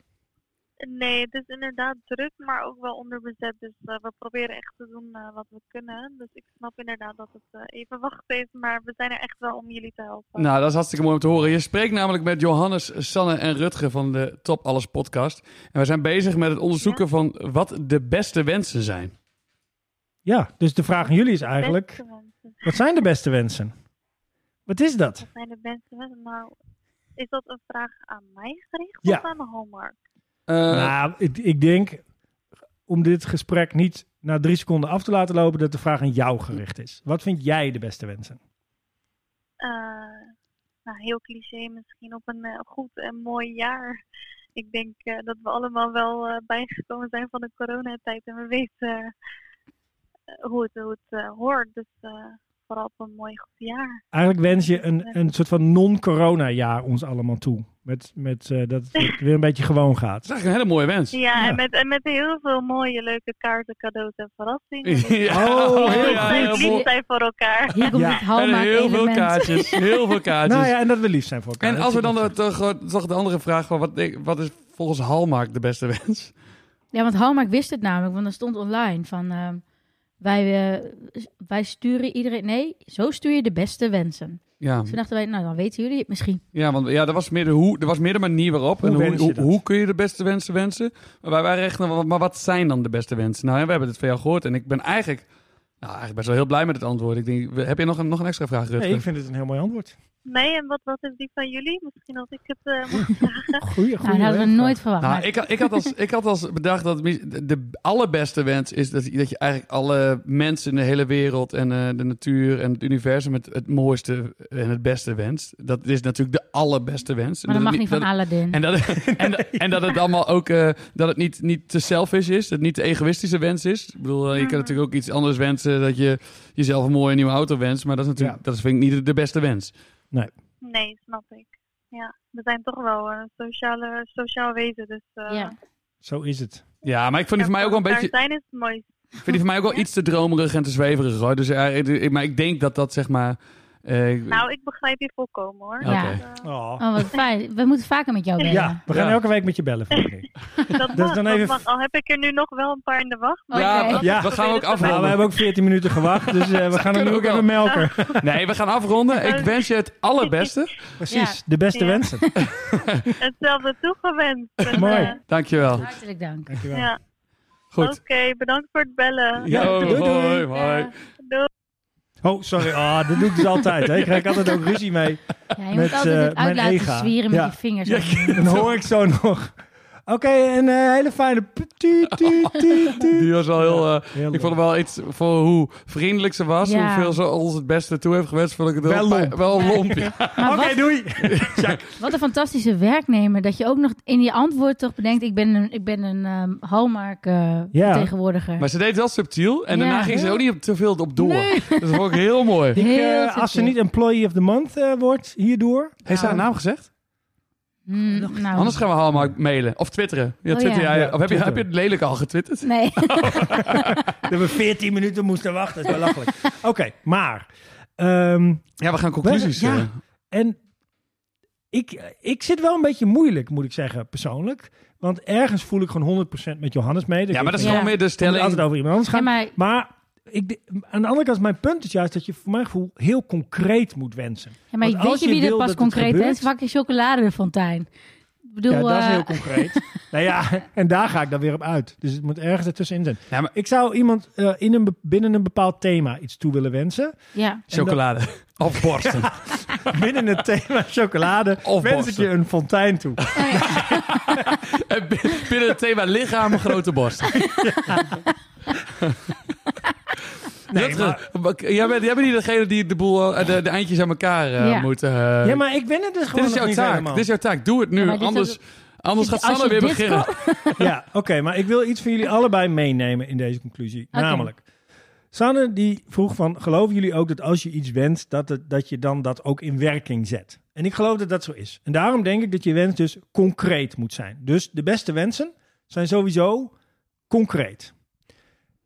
Speaker 9: Nee, het is inderdaad druk, maar ook wel onderbezet. Dus eh, we proberen echt te doen eh, wat we kunnen. Dus ik snap inderdaad dat het eh, even wacht is, maar we zijn er echt wel om jullie te helpen.
Speaker 3: Nou, dat is hartstikke mooi om te horen. Je spreekt namelijk met Johannes, Sanne en Rutger van de Top Alles podcast. En we zijn bezig met het onderzoeken van wat de beste wensen zijn.
Speaker 2: Ja, dus de vraag aan jullie is eigenlijk,
Speaker 9: Beste mensen.
Speaker 2: wat zijn de beste wensen? Wat is dat?
Speaker 9: Wat zijn de beste mensen? Nou, is dat een vraag aan mij gericht
Speaker 2: Ja.
Speaker 9: of aan Hallmark?
Speaker 3: Eh,
Speaker 2: nou, ik, ik denk, om dit gesprek niet na drie seconden af te laten lopen, dat de vraag aan jou gericht is. Wat vind jij de beste wensen?
Speaker 9: eh, nou, heel cliché misschien op een eh, goed en mooi jaar. Ik denk eh, dat we allemaal wel eh, bijgekomen zijn van de coronatijd en we weten eh, hoe het, hoe het eh, hoort. Dus eh, vooral op een mooi goed jaar.
Speaker 2: Eigenlijk wens je een, een soort van non-corona jaar ons allemaal toe. Met, met eh, dat
Speaker 9: [LAUGHS]
Speaker 2: het weer een beetje gewoon
Speaker 3: dat
Speaker 2: gaat.
Speaker 3: is eigenlijk een hele mooie wens.
Speaker 9: Ja,
Speaker 2: Ja.
Speaker 9: En, met, en met heel veel mooie, leuke kaarten, cadeaus en verrassingen.
Speaker 2: Oh, heel
Speaker 3: [LAUGHS] ja,
Speaker 2: goed.
Speaker 9: Leuk
Speaker 3: mooi.
Speaker 9: lief zijn voor elkaar.
Speaker 1: Hier komt
Speaker 2: Ja.
Speaker 1: het
Speaker 3: En
Speaker 1: Hallmark
Speaker 3: heel veel
Speaker 1: element. [LAUGHS]
Speaker 3: kaartjes. Heel veel kaartjes.
Speaker 2: Nou ja, en dat we lief zijn voor elkaar.
Speaker 3: En
Speaker 2: Dat
Speaker 3: als we
Speaker 2: zie ik
Speaker 3: dan
Speaker 2: wel.
Speaker 3: de- toch, toch de andere vraag van wat, denk- wat is volgens Hallmark de beste wens?
Speaker 1: Ja, want Hallmark wist het namelijk, want er stond online van... ehm, wij, eh, wij sturen iedereen... Nee, zo stuur je de beste wensen.
Speaker 3: Ja,
Speaker 1: Dus toen dachten wij, nou dan weten jullie het misschien.
Speaker 3: ja want ja, er, was meer de hoe, er was meer de manier waarop.
Speaker 2: Hoe
Speaker 3: en hoe,
Speaker 2: wens je
Speaker 3: hoe,
Speaker 2: dat?
Speaker 3: hoe kun je de beste wensen wensen? Maar wij waren echt, naar, wat- maar wat zijn dan de beste wensen? Nou, ja, we hebben het van jou gehoord en ik ben eigenlijk, nou, eigenlijk best wel heel blij met het antwoord. Ik denk, heb je nog een, nog een extra vraag, Rutger?
Speaker 2: Nee, ik vind het een heel mooi antwoord.
Speaker 9: Nee, en wat, wat is die van jullie? Misschien als ik het eh, mag
Speaker 2: Goeie,
Speaker 1: Nou,
Speaker 2: goeie.
Speaker 1: dat hadden we
Speaker 2: vraag.
Speaker 1: nooit verwacht.
Speaker 3: Nou,
Speaker 1: maar-
Speaker 3: ik, had- ik, had
Speaker 1: [LAUGHS]
Speaker 3: als, ik had als bedacht dat mis- de, de allerbeste wens is dat, je- dat je eigenlijk alle mensen in de hele wereld en eh, de natuur en het universum het, het mooiste en het beste wenst. Dat is natuurlijk de allerbeste wens.
Speaker 1: maar dat mag
Speaker 3: het
Speaker 1: niet van
Speaker 2: Mm.
Speaker 1: Aladdin.
Speaker 3: en dat,
Speaker 2: [LAUGHS]
Speaker 3: en, dat- en dat het allemaal ook eh, dat het niet, niet te selfish is, dat het niet de egoïstische wens is. Ik bedoel, eh, je kan natuurlijk ook iets anders wensen, dat je jezelf een mooie nieuwe auto wenst, maar dat is natuurlijk,
Speaker 2: Ja.
Speaker 3: dat vind ik niet de- de beste wens.
Speaker 9: Nee, snap ik. Ja, we zijn toch wel een sociale, sociaal wezen, dus... eh,
Speaker 1: Ja.
Speaker 2: Zo is het.
Speaker 3: Ja, maar ik vond die voor mij ook wel een
Speaker 9: elkaar
Speaker 3: beetje.
Speaker 9: zijn is het mooiste.
Speaker 3: Ik vind die van mij ook wel iets te dromerig en te zweverig hoor. Dus ja, ik- maar ik denk dat dat zeg maar. eh,
Speaker 9: Nou, ik begrijp je volkomen hoor.
Speaker 1: Ja.
Speaker 3: Oké.
Speaker 9: Eh,
Speaker 2: Oh.
Speaker 1: Oh, wat fijn. We moeten vaker met jou bellen.
Speaker 2: Ja, we gaan
Speaker 3: Ja.
Speaker 2: elke week met je bellen. Fanny. [LAUGHS]
Speaker 9: dat mag,
Speaker 2: Dus dan even-
Speaker 9: dat mag. Al heb ik er nu nog wel een paar in de wacht. maar-
Speaker 3: ja,
Speaker 1: Oké.
Speaker 3: dat-
Speaker 2: Ja.
Speaker 3: dat gaan we ook
Speaker 2: nou, we
Speaker 3: afronden.
Speaker 2: hebben ook 14 minuten gewacht, dus eh, we gaan hem
Speaker 3: kunnen
Speaker 2: nu
Speaker 3: we
Speaker 2: ook
Speaker 3: wel.
Speaker 2: even melken.
Speaker 3: Nee, we gaan afronden.
Speaker 2: [LAUGHS]
Speaker 3: Ik wens je het allerbeste.
Speaker 2: Precies, de beste
Speaker 9: Ja.
Speaker 2: wensen.
Speaker 9: Hetzelfde toegewenst. En,
Speaker 2: [LAUGHS]
Speaker 9: eh,
Speaker 2: Mooi.
Speaker 3: Dankjewel.
Speaker 1: Hartelijk dank.
Speaker 2: Dankjewel.
Speaker 9: ja. Oké,
Speaker 3: Goed.
Speaker 9: bedankt voor het bellen.
Speaker 2: Oh. Ja,
Speaker 3: Yo,
Speaker 2: doei, doei.
Speaker 3: hoi, hoi.
Speaker 1: Eh,
Speaker 9: Doei.
Speaker 2: Oh, sorry. Ah, dat doe ik dus altijd. Hè. Ik krijg altijd ook ruzie mee.
Speaker 1: Ja, je
Speaker 2: Met,
Speaker 1: moet altijd het
Speaker 2: eh,
Speaker 1: uit
Speaker 2: mijn
Speaker 1: laten
Speaker 2: ega.
Speaker 1: zwieren met
Speaker 2: Ja.
Speaker 1: je vingers.
Speaker 2: Ja, Dan hoor ik zo nog. Oké, een eh, hele fijne... Tuut, tuut, tuut, tuut.
Speaker 3: Die was wel heel. eh,
Speaker 2: Heel
Speaker 3: ik
Speaker 2: leuk.
Speaker 3: vond het wel iets voor hoe vriendelijk ze was,
Speaker 1: Ja.
Speaker 3: hoeveel ze ons het beste toe heeft gewenst. Vond ik het heel
Speaker 2: Wel
Speaker 3: pijn-
Speaker 2: lomp.
Speaker 3: wel
Speaker 1: Ja.
Speaker 3: lomp.
Speaker 1: Maar
Speaker 2: Oké,
Speaker 1: wat,
Speaker 2: doei.
Speaker 1: wat een fantastische werknemer. Dat je ook nog in je antwoord toch bedenkt... ik ben een, ik ben een ehm, Hallmark eh,
Speaker 2: Ja.
Speaker 1: vertegenwoordiger.
Speaker 3: Maar ze deed het wel subtiel en
Speaker 1: Ja.
Speaker 3: daarna ging ze er ook niet op- te veel op door.
Speaker 1: Nee.
Speaker 3: Dus dat vond ik heel mooi.
Speaker 2: Ik,
Speaker 1: Heel
Speaker 2: eh,
Speaker 1: subtiel.
Speaker 2: als ze niet employee of the month eh, wordt hierdoor...
Speaker 3: Heeft ze
Speaker 1: Nou.
Speaker 3: haar naam gezegd?
Speaker 1: Hmm, nou,
Speaker 3: Anders gaan we Hallmark mailen of twitteren. Ja,
Speaker 1: Oh,
Speaker 3: twitter
Speaker 1: ja.
Speaker 3: jij.
Speaker 2: Ja,
Speaker 3: of heb je,
Speaker 2: twitteren.
Speaker 3: heb je het lelijk al getwitterd?
Speaker 1: Nee.
Speaker 2: Dat we 14 minuten moesten wachten. Dat is belachelijk. Oké, maar... ehm,
Speaker 3: Ja, we gaan conclusies.
Speaker 2: We- ja.
Speaker 3: eh.
Speaker 2: En ik, ik zit wel een beetje moeilijk, moet ik zeggen, persoonlijk. Want ergens voel ik gewoon 100% met Johannes mee.
Speaker 3: ja, maar dat is
Speaker 1: Ja.
Speaker 3: gewoon meer de
Speaker 2: Het moet
Speaker 3: stelling.
Speaker 2: altijd over iemand anders
Speaker 1: Ja,
Speaker 2: gaan.
Speaker 1: maar
Speaker 2: Maar ik, de- aan de andere kant, mijn punt is juist dat je voor mijn gevoel heel concreet moet wensen.
Speaker 1: Ja, maar
Speaker 2: Want
Speaker 1: weet
Speaker 2: als
Speaker 1: je
Speaker 2: je
Speaker 1: wie er
Speaker 2: wil
Speaker 1: pas
Speaker 2: dat het
Speaker 1: concreet
Speaker 2: gebeurt-
Speaker 1: is? Wakker chocoladefontein. Ik bedoel,
Speaker 2: ja, dat is
Speaker 1: eh,
Speaker 2: heel
Speaker 1: [LAUGHS]
Speaker 2: concreet. nou ja, en daar ga ik dan weer op uit. Dus het moet ergens ertussenin zijn.
Speaker 3: Ja, maar
Speaker 2: Ik zou iemand eh, in een, be- binnen een bepaald thema iets toe willen
Speaker 3: [LAUGHS]
Speaker 2: wensen.
Speaker 1: ja.
Speaker 3: chocolade. Of borsten.
Speaker 2: Binnen het thema chocolade
Speaker 3: Of
Speaker 2: wens ik
Speaker 3: borsten. Eh,
Speaker 2: je een fontein toe.
Speaker 3: En bin- Binnen het thema lichaam, grote
Speaker 1: [LAUGHS]
Speaker 3: borst.
Speaker 2: Nee,
Speaker 3: Rutger, jij, bent, jij bent niet degene die de, boel, eh, de, de eindjes aan elkaar eh,
Speaker 1: Ja.
Speaker 3: moet... eh,
Speaker 2: Ja, maar ik ben het dus
Speaker 3: dit
Speaker 2: gewoon
Speaker 3: is
Speaker 2: nog
Speaker 3: jouw
Speaker 2: niet
Speaker 3: taak.
Speaker 2: helemaal.
Speaker 3: Dit is jouw taak. Doe het nu.
Speaker 1: maar dit
Speaker 3: anders
Speaker 1: is-
Speaker 3: anders
Speaker 1: als
Speaker 3: gaat Sanne
Speaker 1: je dit
Speaker 3: weer beginnen.
Speaker 2: [LAUGHS] Ja, oké, maar ik wil iets van jullie allebei meenemen in deze conclusie.
Speaker 1: Oké.
Speaker 2: Namelijk, Sanne die vroeg van, geloven jullie ook dat als je iets wenst, dat, het, dat je dan dat ook in werking zet? En ik geloof dat dat zo is. En daarom denk ik dat je wens dus concreet moet zijn. Dus de beste wensen zijn sowieso concreet.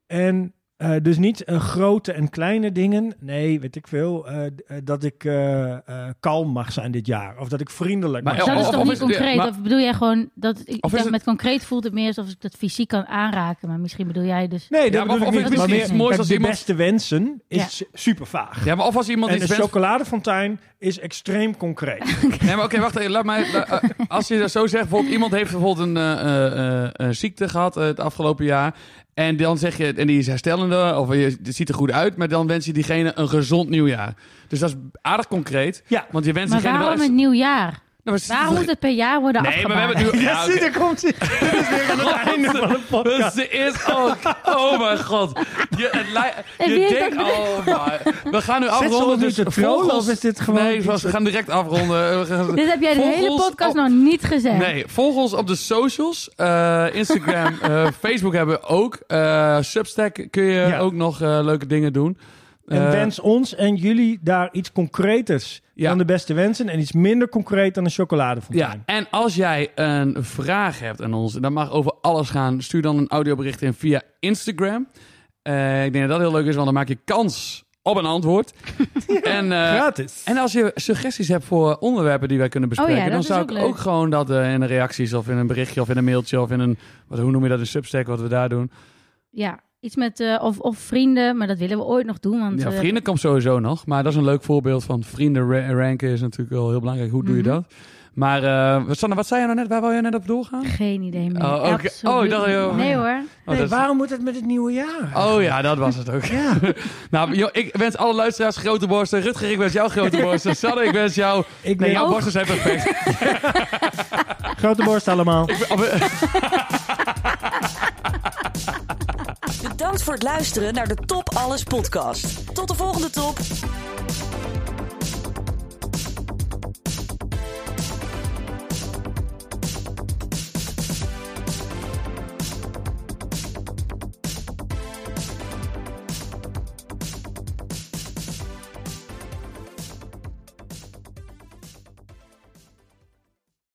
Speaker 2: En Eh, dus niet eh, grote en kleine dingen. Nee, weet ik veel. eh, d- eh, dat ik eh, eh, kalm mag zijn dit jaar. Of dat ik vriendelijk
Speaker 3: Maar
Speaker 2: mag
Speaker 1: dat
Speaker 3: Ja,
Speaker 2: zijn.
Speaker 1: is
Speaker 3: of-
Speaker 1: toch
Speaker 3: of
Speaker 1: niet
Speaker 3: is het- ja,
Speaker 1: concreet?
Speaker 3: maar-
Speaker 1: Of bedoel jij gewoon dat ik
Speaker 3: Of is
Speaker 1: denk,
Speaker 3: het-
Speaker 1: met concreet voelt het meer alsof ik dat fysiek kan aanraken, maar misschien bedoel jij dus.
Speaker 2: Nee, dat
Speaker 3: Ja, maar
Speaker 2: bedoel
Speaker 3: of-
Speaker 2: ik niet.
Speaker 3: of
Speaker 1: het
Speaker 2: Maar
Speaker 1: misschien
Speaker 2: meer,
Speaker 1: iets
Speaker 3: moois
Speaker 2: kijk,
Speaker 3: als
Speaker 2: de
Speaker 3: iemand-
Speaker 2: beste wensen is super vaag.
Speaker 3: Ja, maar of als iemand
Speaker 2: En
Speaker 3: iets
Speaker 2: een
Speaker 3: wenst...
Speaker 2: chocoladefontein is extreem concreet.
Speaker 3: Nee, maar oké, wacht even. Laat mij, la- eh, als je dat zo zegt, bijvoorbeeld, iemand heeft bijvoorbeeld een, eh, eh, eh, een ziekte gehad eh, het afgelopen jaar. En dan zeg je, en die is herstellende, of je het ziet er goed uit. Maar dan wens je diegene een gezond nieuwjaar. Dus dat is aardig concreet.
Speaker 2: Ja.
Speaker 3: Want je wenst
Speaker 1: Maar
Speaker 3: diegene
Speaker 1: waarom
Speaker 3: wel
Speaker 1: een
Speaker 3: eens...
Speaker 1: nieuw jaar?
Speaker 3: Nou, maar-
Speaker 1: Waarom moet het per jaar worden
Speaker 3: Nee, maar we
Speaker 1: afgemaakt?
Speaker 3: hebben het nu... [LAUGHS] [LAUGHS] Ja,
Speaker 2: Ja,
Speaker 3: oké. Dus
Speaker 2: zie, daar komt hij. Dit is weer aan
Speaker 3: [LAUGHS]
Speaker 2: het einde van de podcast.
Speaker 3: Ze is ook. Oh mijn god. Je, het lij-
Speaker 1: En wie
Speaker 3: je
Speaker 1: heeft
Speaker 3: denkt.
Speaker 1: dat
Speaker 3: Oh my. We gaan nu afronden.
Speaker 2: ons nu
Speaker 3: Dus
Speaker 2: te trollen,
Speaker 3: vogels-
Speaker 2: of is dit gewoon
Speaker 3: Nee,
Speaker 2: iets
Speaker 3: we gaan direct afronden. We gaan-
Speaker 1: Dit heb jij de hele
Speaker 3: Vogels
Speaker 1: podcast
Speaker 3: op-
Speaker 1: nog niet gezegd.
Speaker 3: Nee, volg ons op de socials. Eh,
Speaker 1: [LAUGHS]
Speaker 3: Instagram, eh, Facebook hebben we ook. Eh, Substack kun je
Speaker 2: Ja.
Speaker 3: ook nog eh, leuke dingen doen.
Speaker 2: En
Speaker 3: Eh,
Speaker 2: wens ons en jullie daar iets concreters
Speaker 3: Ja.
Speaker 2: dan de beste wensen. En iets minder concreet dan een
Speaker 3: Ja,
Speaker 2: chocoladefontein.
Speaker 3: en als jij een vraag hebt aan ons, en dat mag over alles gaan, stuur dan een audiobericht in via Instagram. Eh, ik denk dat dat heel leuk is, want dan maak je kans op een
Speaker 1: [LAUGHS]
Speaker 3: antwoord. en, eh,
Speaker 2: Gratis.
Speaker 3: en als je suggesties hebt voor onderwerpen die wij kunnen bespreken,
Speaker 1: Oh dat
Speaker 3: dan
Speaker 1: is
Speaker 3: zou
Speaker 1: ook
Speaker 3: ik
Speaker 1: leuk.
Speaker 3: ook gewoon dat eh, in de reacties of in een berichtje of in een mailtje of in een, wat, hoe noem je dat, een substack, wat we daar doen.
Speaker 1: Ja, iets met eh, of, of vrienden, maar dat willen we ooit nog doen. Want,
Speaker 3: Ja,
Speaker 1: eh,
Speaker 3: vrienden komt sowieso nog. Maar dat is een leuk voorbeeld van vrienden ra- ranken is natuurlijk wel heel belangrijk. Hoe doe je
Speaker 1: Mhm.
Speaker 3: dat? Maar eh, Sanne, wat zei je nou net? Waar wou je net op doorgaan?
Speaker 1: geen idee meer.
Speaker 3: Oh, oké.
Speaker 1: Absoluut
Speaker 3: Oh, dat-
Speaker 1: niet.
Speaker 3: ja.
Speaker 1: Nee hoor.
Speaker 3: Oh, dat
Speaker 2: Nee,
Speaker 3: is-
Speaker 2: waarom moet het met het nieuwe jaar?
Speaker 3: oh ja, dat was het ook.
Speaker 2: Ja.
Speaker 3: [LAUGHS] nou, joh, ik wens alle luisteraars grote borsten. Rutger, ik wens jou
Speaker 1: [LAUGHS]
Speaker 3: grote borsten. Sanne, ik wens jou...
Speaker 2: Ik
Speaker 3: Nee,
Speaker 2: ben
Speaker 3: jouw
Speaker 1: ook.
Speaker 3: borsten zijn
Speaker 1: [LAUGHS]
Speaker 3: perfect.
Speaker 2: grote borst
Speaker 3: [LAUGHS]
Speaker 2: allemaal.
Speaker 4: Bedankt voor het luisteren naar de Top Alles podcast. Tot de volgende top.